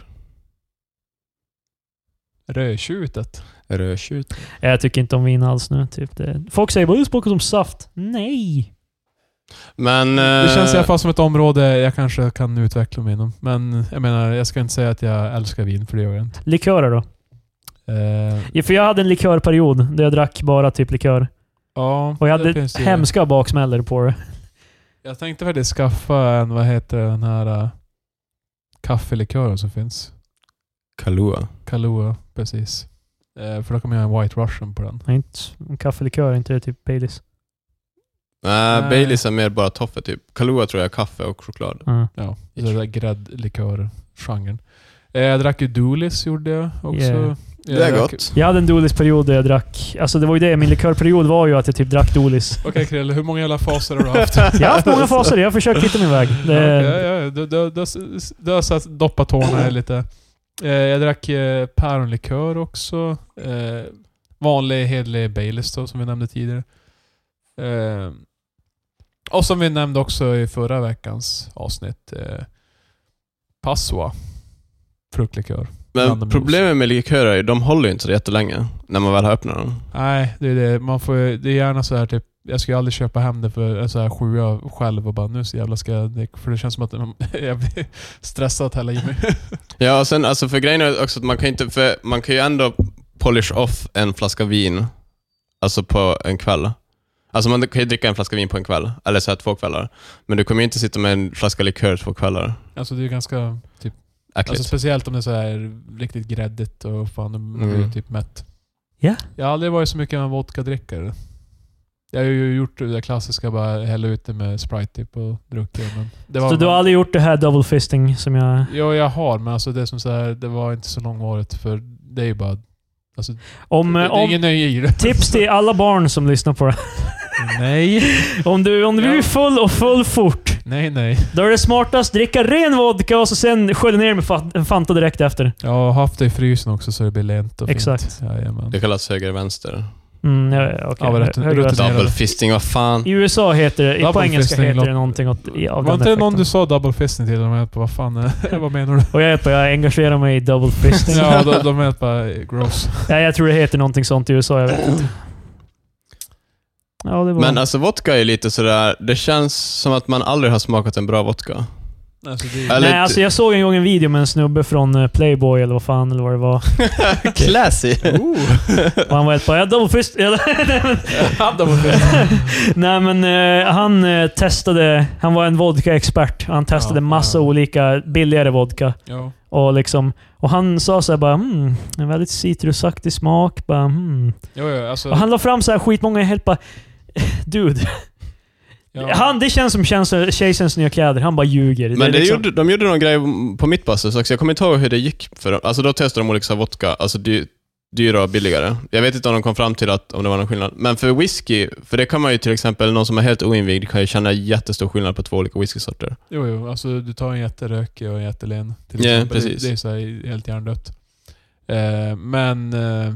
Speaker 3: Rödtjutet.
Speaker 1: Rödtjut.
Speaker 2: jag tycker inte om vin alls nu. Typ det. Folk säger bara du smakar som saft. Nej!
Speaker 1: Men...
Speaker 3: Det känns i
Speaker 1: eh,
Speaker 3: alla fall som ett område jag kanske kan utveckla mig inom. Men jag menar, jag ska inte säga att jag älskar vin, för det gör jag inte.
Speaker 2: Likörer då?
Speaker 3: Eh,
Speaker 2: Ja, För jag hade en likörperiod där jag drack bara typ likör.
Speaker 3: ja,
Speaker 2: Och jag
Speaker 3: det
Speaker 2: hade
Speaker 3: finns ju-
Speaker 2: hemska baksmällor på det.
Speaker 3: Jag tänkte faktiskt skaffa en, vad heter den här uh, kaffelikören som finns?
Speaker 1: Kahlua.
Speaker 3: Kahlua, precis. Eh, för då kommer jag göra en White Russian på den.
Speaker 2: Nej, inte en kaffelikör, inte det typ Baileys.
Speaker 1: Nej,
Speaker 3: Nej.
Speaker 1: Baileys är mer bara toffe typ. Kahlua tror jag är kaffe och choklad.
Speaker 2: Ja.
Speaker 3: Ja, så det där gräddlikör-genren. Eh, jag drack ju Doolis gjorde jag också.
Speaker 2: Yeah.
Speaker 3: Jag
Speaker 1: det är
Speaker 3: drack-
Speaker 1: gott.
Speaker 2: Jag hade en Doolis-period där jag drack... Alltså det var ju det, min likörperiod var ju att jag typ drack Doolis.
Speaker 3: Okej Krille, hur många jävla faser har du haft?
Speaker 2: Jag har haft många faser, jag har försökt hitta min väg. Det,
Speaker 3: Okej, ja, ja. Du, du, du, du har satt, doppat tårna i lite. Eh, jag drack eh, päronlikör också. Eh, vanlig hederlig Baileys då, som vi nämnde tidigare. Eh, och som vi nämnde också i förra veckans avsnitt. Eh, Passoa. Fruktlikör.
Speaker 1: Men
Speaker 3: Blandemjus.
Speaker 1: problemet med likörer är ju de håller ju inte så jättelänge när man väl har öppnat dem.
Speaker 3: Nej, det är det. Man får, ju- det är gärna så här typ, jag skulle aldrig köpa hem det för en så här sjua själv och bara nu så jävla ska jag... drick-" För det känns som att jag blir stressad att hälla i mig.
Speaker 1: Ja, och sen alltså för grejen är också att man kan, inte, för man kan ju ändå polish off en flaska vin alltså på en kväll. Alltså man kan ju dricka en flaska vin på en kväll, eller så här två kvällar. Men du kommer ju inte sitta med en flaska likör två kvällar.
Speaker 3: Alltså det är ju ganska... Typ,
Speaker 1: Äckligt.
Speaker 3: alltså speciellt om det är så här riktigt gräddigt och fan, då blir
Speaker 1: Mm.
Speaker 3: du typ mätt.
Speaker 2: Ja.
Speaker 3: Jag har aldrig varit så mycket av en vodkadrickare. Jag har ju gjort det där klassiska, bara hälla ut det med Sprite typ och druckit. Men det var
Speaker 2: Så du har aldrig gjort det här double fisting som jag...
Speaker 3: Jo, jag har, men alltså det är som så här, det var inte så långvarigt för det är ju bara... Alltså,
Speaker 2: Om,
Speaker 3: det, det är
Speaker 2: om,
Speaker 3: ingen nöje i det.
Speaker 2: tips till alla barn som lyssnar på det.
Speaker 3: Nej.
Speaker 2: Om du, om du blir
Speaker 3: Ja.
Speaker 2: full och full fort,
Speaker 3: Nej, nej.
Speaker 2: då är det smartast dricka ren vodka och så sen skölja ner med fa- en Fanta direkt efter.
Speaker 3: Jag har haft det i frysen också så det blir lent och
Speaker 2: Exakt.
Speaker 3: fint. Jajamän.
Speaker 1: Det kallas höger-vänster.
Speaker 2: Mm, ja, okay.
Speaker 3: Ja, men rutin- rutin-
Speaker 1: Double fisting, vad fan.
Speaker 2: I USA heter det, i
Speaker 3: Double
Speaker 2: på engelska
Speaker 3: fisting
Speaker 2: heter det
Speaker 3: låter-
Speaker 2: någonting åt, i- av
Speaker 3: Var
Speaker 2: den
Speaker 3: inte det någon
Speaker 2: effekten.
Speaker 3: du sa double fisting till? De ät på vad fan, är- vad menar du?
Speaker 2: Och jag vet bara, jag engagerar mig i double fisting.
Speaker 3: ja, de, de ät bara gross.
Speaker 2: Nej, jag tror det heter någonting sånt i USA, jag vet inte. Ja, det var...
Speaker 1: Men alltså vodka är lite sådär, det känns som att man aldrig har smakat en bra vodka.
Speaker 3: Alltså, det är,
Speaker 1: Eller-
Speaker 2: Nej, alltså jag såg en gång en video med en snubbe från eh, Playboy eller vad fan eller vad det var.
Speaker 1: Classy!
Speaker 2: Och han var helt bara “Jag double fist...”
Speaker 3: double fisting.
Speaker 2: Nej men eh, han eh, testade, han var en vodkaexpert. Han testade
Speaker 3: Ja,
Speaker 2: massa
Speaker 3: ja.
Speaker 2: olika billigare vodka.
Speaker 3: Ja.
Speaker 2: Och, liksom, och han sa såhär bara mm, en väldigt citrusaktig smak. Bara, mm.
Speaker 3: Jo, jo, alltså,
Speaker 2: Och han la fram så här skitmånga helt bara Dude,
Speaker 3: ja.
Speaker 2: han, det känns som tjänst- kejsarens nya kläder. Han bara ljuger.
Speaker 1: Men
Speaker 2: är
Speaker 1: det
Speaker 2: liksom-
Speaker 1: gjorde, de gjorde någon grej på mitt pass också, jag kommer inte ihåg hur det gick för dem. Alltså då testade de olika så här vodka, alltså dy, dyra och billigare. Jag vet inte om de kom fram till att, om det var någon skillnad. Men för whisky, för det kan man ju till exempel, någon som är helt oinvigd kan ju känna jättestor skillnad på två olika whiskysorter.
Speaker 3: Jo, jo, alltså du tar en jätterökig och en jättelen. Till
Speaker 1: Ja,
Speaker 3: exempel.
Speaker 1: precis.
Speaker 3: Det, det är så här helt hjärndött. Eh, men eh,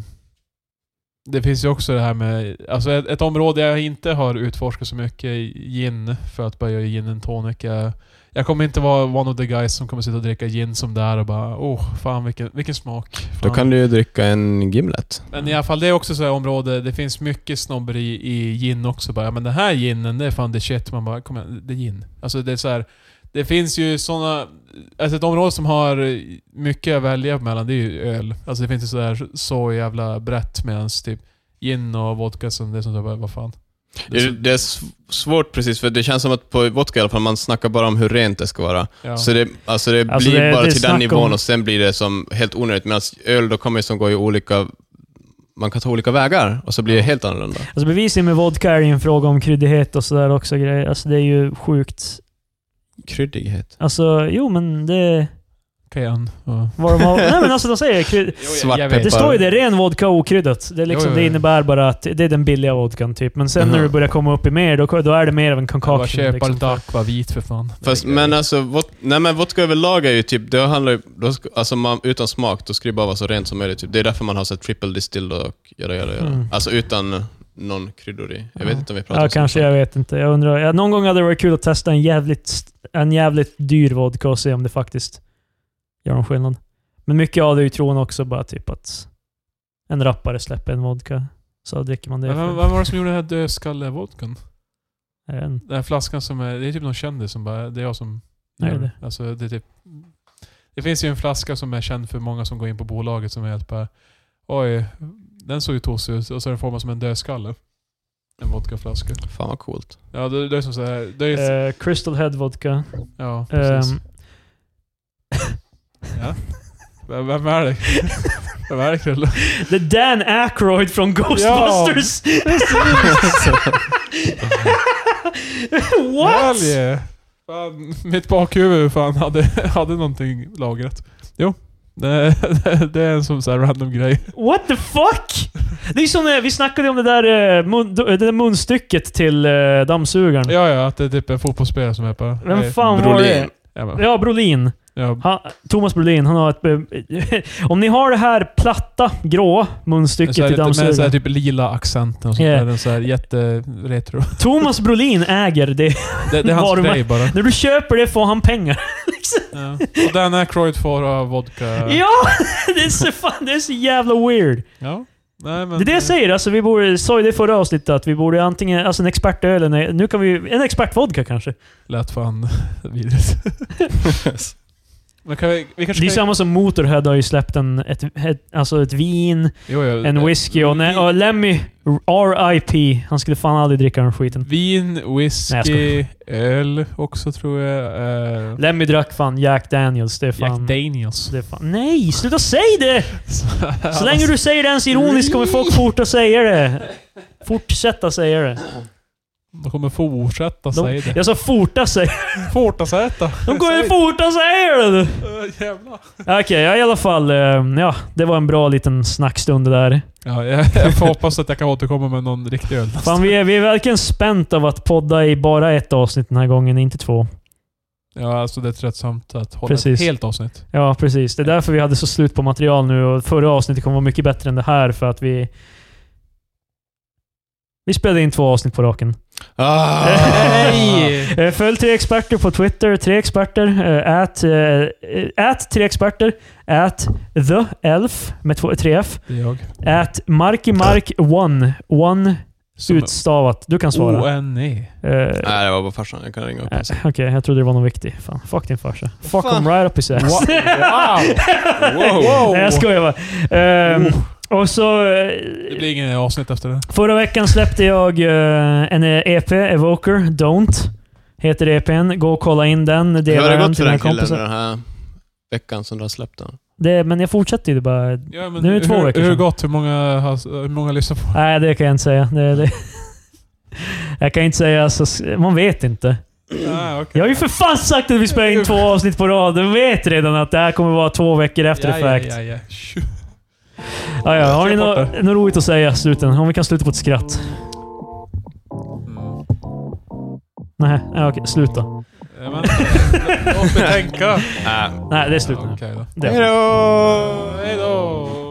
Speaker 3: det finns ju också det här med... Alltså ett, ett område jag inte har utforskat så mycket är gin, för att bara göra gin and tonic. Jag, jag kommer inte vara one of the guys som kommer sitta och dricka gin som där och bara åh, fan vilken, vilken smak.
Speaker 1: Då
Speaker 3: Fan."
Speaker 1: kan du ju dricka en Gimlet.
Speaker 3: Men i alla fall, det är också så här område, det finns mycket snobberi i gin också. Bara, ja, men den här ginen, det är fan the shit. Man bara, kom igen, det är gin. Alltså det är så här, det finns ju såna Alltså ett område som har mycket att välja mellan, det är ju öl. Alltså det finns ju så där så jävla brett medans typ gin och vodka som det är som så här, bara, vad fan.
Speaker 1: Det är, det är sv- svårt precis, för det känns som att på vodka i alla fall, man snackar bara om hur rent det ska vara.
Speaker 3: ja.
Speaker 1: Så det, alltså det
Speaker 2: Alltså,
Speaker 1: blir
Speaker 2: det-
Speaker 1: bara
Speaker 2: det är
Speaker 1: till
Speaker 2: snack
Speaker 1: den nivån
Speaker 2: om-
Speaker 1: och sen blir det som helt onödigt. Medan öl, då kommer det som går i olika... Man kan ta olika vägar och så blir det helt annorlunda.
Speaker 2: Alltså bevisligen med vodka är det ju en fråga om kryddighet och sådär också. grejer. Alltså det är ju sjukt.
Speaker 1: Kryddighet.
Speaker 2: Alltså, jo men det...
Speaker 3: Cayenne och...
Speaker 2: Vad de har, nej men alltså de säger kryd,
Speaker 1: Svartpeppar.
Speaker 2: Det står ju det, ren vodka och okryddat. Det, är liksom,
Speaker 3: Jo, jo, jo.
Speaker 2: det innebär bara att det är den billiga vodkan typ. Men sen när
Speaker 1: Mhm.
Speaker 2: du börjar komma upp i mer, då, då är det mer av en
Speaker 3: Jag bara
Speaker 2: concoction.
Speaker 3: köper
Speaker 2: Liksom.
Speaker 3: lite Aqua vit för fan.
Speaker 1: Fast, men alltså, vod, nej men vodka överlag är ju typ, det handlar ju, då, ska- alltså man, utan smak, då ska det bara vara så rent som möjligt. Typ. Det är därför man har sett triple distilled och göra, göra, göra.
Speaker 2: Mm.
Speaker 1: Alltså utan någon kryddor i. Jag vet
Speaker 2: Ja.
Speaker 1: inte om vi pratar
Speaker 2: Ja,
Speaker 1: om sånt.
Speaker 2: kanske. Jag vet inte. Jag undrar. Ja, någon gång hade det varit kul att testa en jävligt, st- en jävligt dyr vodka och se om det faktiskt gör någon skillnad. Men mycket av det är ju tron också bara typ att en rappare släpper en vodka, så dricker
Speaker 1: eh,
Speaker 2: man det.
Speaker 3: Men
Speaker 2: för-
Speaker 3: vem, vem var det som gjorde den här dödskalle-vodkan?
Speaker 2: Är det en-
Speaker 3: Den här flaskan som är, det är typ någon kändis som bara, det är jag som
Speaker 2: Är det
Speaker 3: gör
Speaker 2: det?
Speaker 3: Alltså det är typ... Det finns ju en flaska som är känd för många som går in på bolaget som är helt bara, oj, den såg ju tossig ut. Och så är den formad som en dödskalle. En vodkaflaska.
Speaker 1: Fan vad coolt.
Speaker 3: Ja, det, det är som så här, det är,
Speaker 2: Eh, Crystal Head Vodka.
Speaker 3: Ja, precis.
Speaker 2: Ehm,
Speaker 3: vem, vem är det?
Speaker 2: ehm,
Speaker 3: vem är det Krille?
Speaker 2: det är Dan Aykroyd från Ghostbusters! What?
Speaker 3: Hell yeah. Fan, mitt bakhuvud fan hade, hade någonting lagrat. Jo. Det, det, det är en sån så här random grej.
Speaker 2: What the fuck? Det är som när vi snackade om det där, eh, mun, det där munstycket till eh, dammsugaren.
Speaker 3: Ja, ja, att det är typ en fotbollsspelare som är på...
Speaker 2: Vem fan var det?
Speaker 1: Brolin.
Speaker 3: Ja, men-
Speaker 2: Ja, Brolin.
Speaker 3: Ja,
Speaker 2: Han, Thomas Brolin, han har ett... eh, om ni har det här platta, grå munstycket
Speaker 3: så här
Speaker 2: till
Speaker 3: lite med så här
Speaker 2: dammsugaren.
Speaker 3: typ lila accenten och sånt
Speaker 2: Yeah.
Speaker 3: där. Den så här jätteretro.
Speaker 2: Thomas Brolin äger det.
Speaker 3: Det, det är hans
Speaker 2: Varumär-
Speaker 3: grej bara.
Speaker 2: När du köper det får han pengar.
Speaker 3: Ja. Och Dan Aykroyd får ha vodka.
Speaker 2: Ja! Det är så, fan, det är så jävla weird.
Speaker 3: Ja. Nej, men,
Speaker 2: Det är det jag säger. Alltså, vi borde, sa ju det i förra avsnittet, att vi borde antingen... Alltså en expertöl, eller en- nu kan vi... En expertvodka kanske.
Speaker 3: Lät fan vidrigt. Men kan vi, vi kanske
Speaker 2: Det är
Speaker 3: kan-
Speaker 2: samma som Motorhead har ju släppt en, ett, ett, alltså ett vin,
Speaker 3: Jo, jo,
Speaker 2: en
Speaker 3: eh,
Speaker 2: whisky och, ne- och Lemmy, RIP, han skulle fan aldrig dricka den skiten.
Speaker 3: Vin,
Speaker 2: Nej,
Speaker 3: whisky,
Speaker 2: jag
Speaker 3: öl också tror jag. eh,
Speaker 2: Lemmy drack fan Jack Daniels. Det är
Speaker 3: Jack
Speaker 2: fan...
Speaker 3: Daniels.
Speaker 2: det är fan. Nej, sluta säg det! Så
Speaker 3: Alltså-
Speaker 2: länge du säger det ens ironiskt kommer folk fortsätta säga det. Fortsätta säga det.
Speaker 3: De kommer fortsätta säga
Speaker 2: De,
Speaker 3: det.
Speaker 2: jag sa forta säga
Speaker 3: Fortasäta.
Speaker 2: De kommer forta säga det! du.
Speaker 3: Uh, jävlar.
Speaker 2: Okej, ja, i alla fall. eh, Ja, det var en bra liten snackstund det där.
Speaker 3: Ja, jag, jag får hoppas att jag kan återkomma med någon riktig öl.
Speaker 2: Fan, vi är, vi är verkligen spänt av att podda i bara ett avsnitt den här gången, inte två.
Speaker 3: Ja, alltså det är tröttsamt att hålla
Speaker 2: Precis.
Speaker 3: ett helt avsnitt.
Speaker 2: Ja, precis. Det är därför vi hade så slut på material nu och förra avsnittet kommer vara mycket bättre än det här för att vi... Vi spelade in två avsnitt på raken.
Speaker 1: Ah.
Speaker 2: Hej! Eh, Följ tre experter på Twitter. Tre experter. eh, Ät, eh, ät tre experter. Ät the elf med två, tre f.
Speaker 3: Det är jag.
Speaker 2: Ät Marky Mark one. One
Speaker 3: Som Oh,
Speaker 2: utstavat. Du kan svara.
Speaker 3: O-N-E.
Speaker 2: Eh,
Speaker 1: Nej, det var bara farsan. Jag kunde ringa upp.
Speaker 2: Eh, Okej, jag trodde det var någon viktig. Fan, fuck din farsa. Fuck
Speaker 1: Fan.
Speaker 2: him right up his ass.
Speaker 3: Wow! Wow!
Speaker 2: Nej, jag skojar bara. Ehm, Och så... eh,
Speaker 3: Uh. Det blir ingen avsnitt efter det.
Speaker 2: Förra veckan släppte jag eh, en EP, Evoker, Don't. Heter EPn. Gå och kolla in den.
Speaker 1: Hur
Speaker 2: Dela
Speaker 1: har det
Speaker 2: den
Speaker 1: gått för
Speaker 2: till
Speaker 1: den
Speaker 2: dina
Speaker 1: killen
Speaker 2: kompisar.
Speaker 1: den här veckan som du har släppt den?
Speaker 2: Det, men jag fortsätter ju det bara.
Speaker 3: Ja,
Speaker 2: Nu är det två
Speaker 3: hur,
Speaker 2: veckor
Speaker 3: Hur
Speaker 2: sedan.
Speaker 3: gott? Hur många, har- hur många lyssnar på?
Speaker 2: Nej, det kan jag inte säga. Det, det. Jag kan inte säga så. Man vet inte.
Speaker 3: Ah, okay.
Speaker 2: Jag har ju för fan sagt att vi spelar in två avsnitt på rad. Du vet redan att det här kommer vara två veckor efter
Speaker 3: ja,
Speaker 2: the fact.
Speaker 3: Ja, ja, ja.
Speaker 2: Ja, ja. Har ni
Speaker 3: Klipp bort
Speaker 2: nå- något roligt att säga i sluten? Om vi kan sluta på ett skratt.
Speaker 3: Mm.
Speaker 2: Nej, ja, okej. Sluta.
Speaker 3: Ja, men, låt mig tänka.
Speaker 1: Nej.
Speaker 2: Nej, det är slut nu.
Speaker 3: Okej då.
Speaker 2: Det.
Speaker 1: Hejdå!
Speaker 3: Hej då!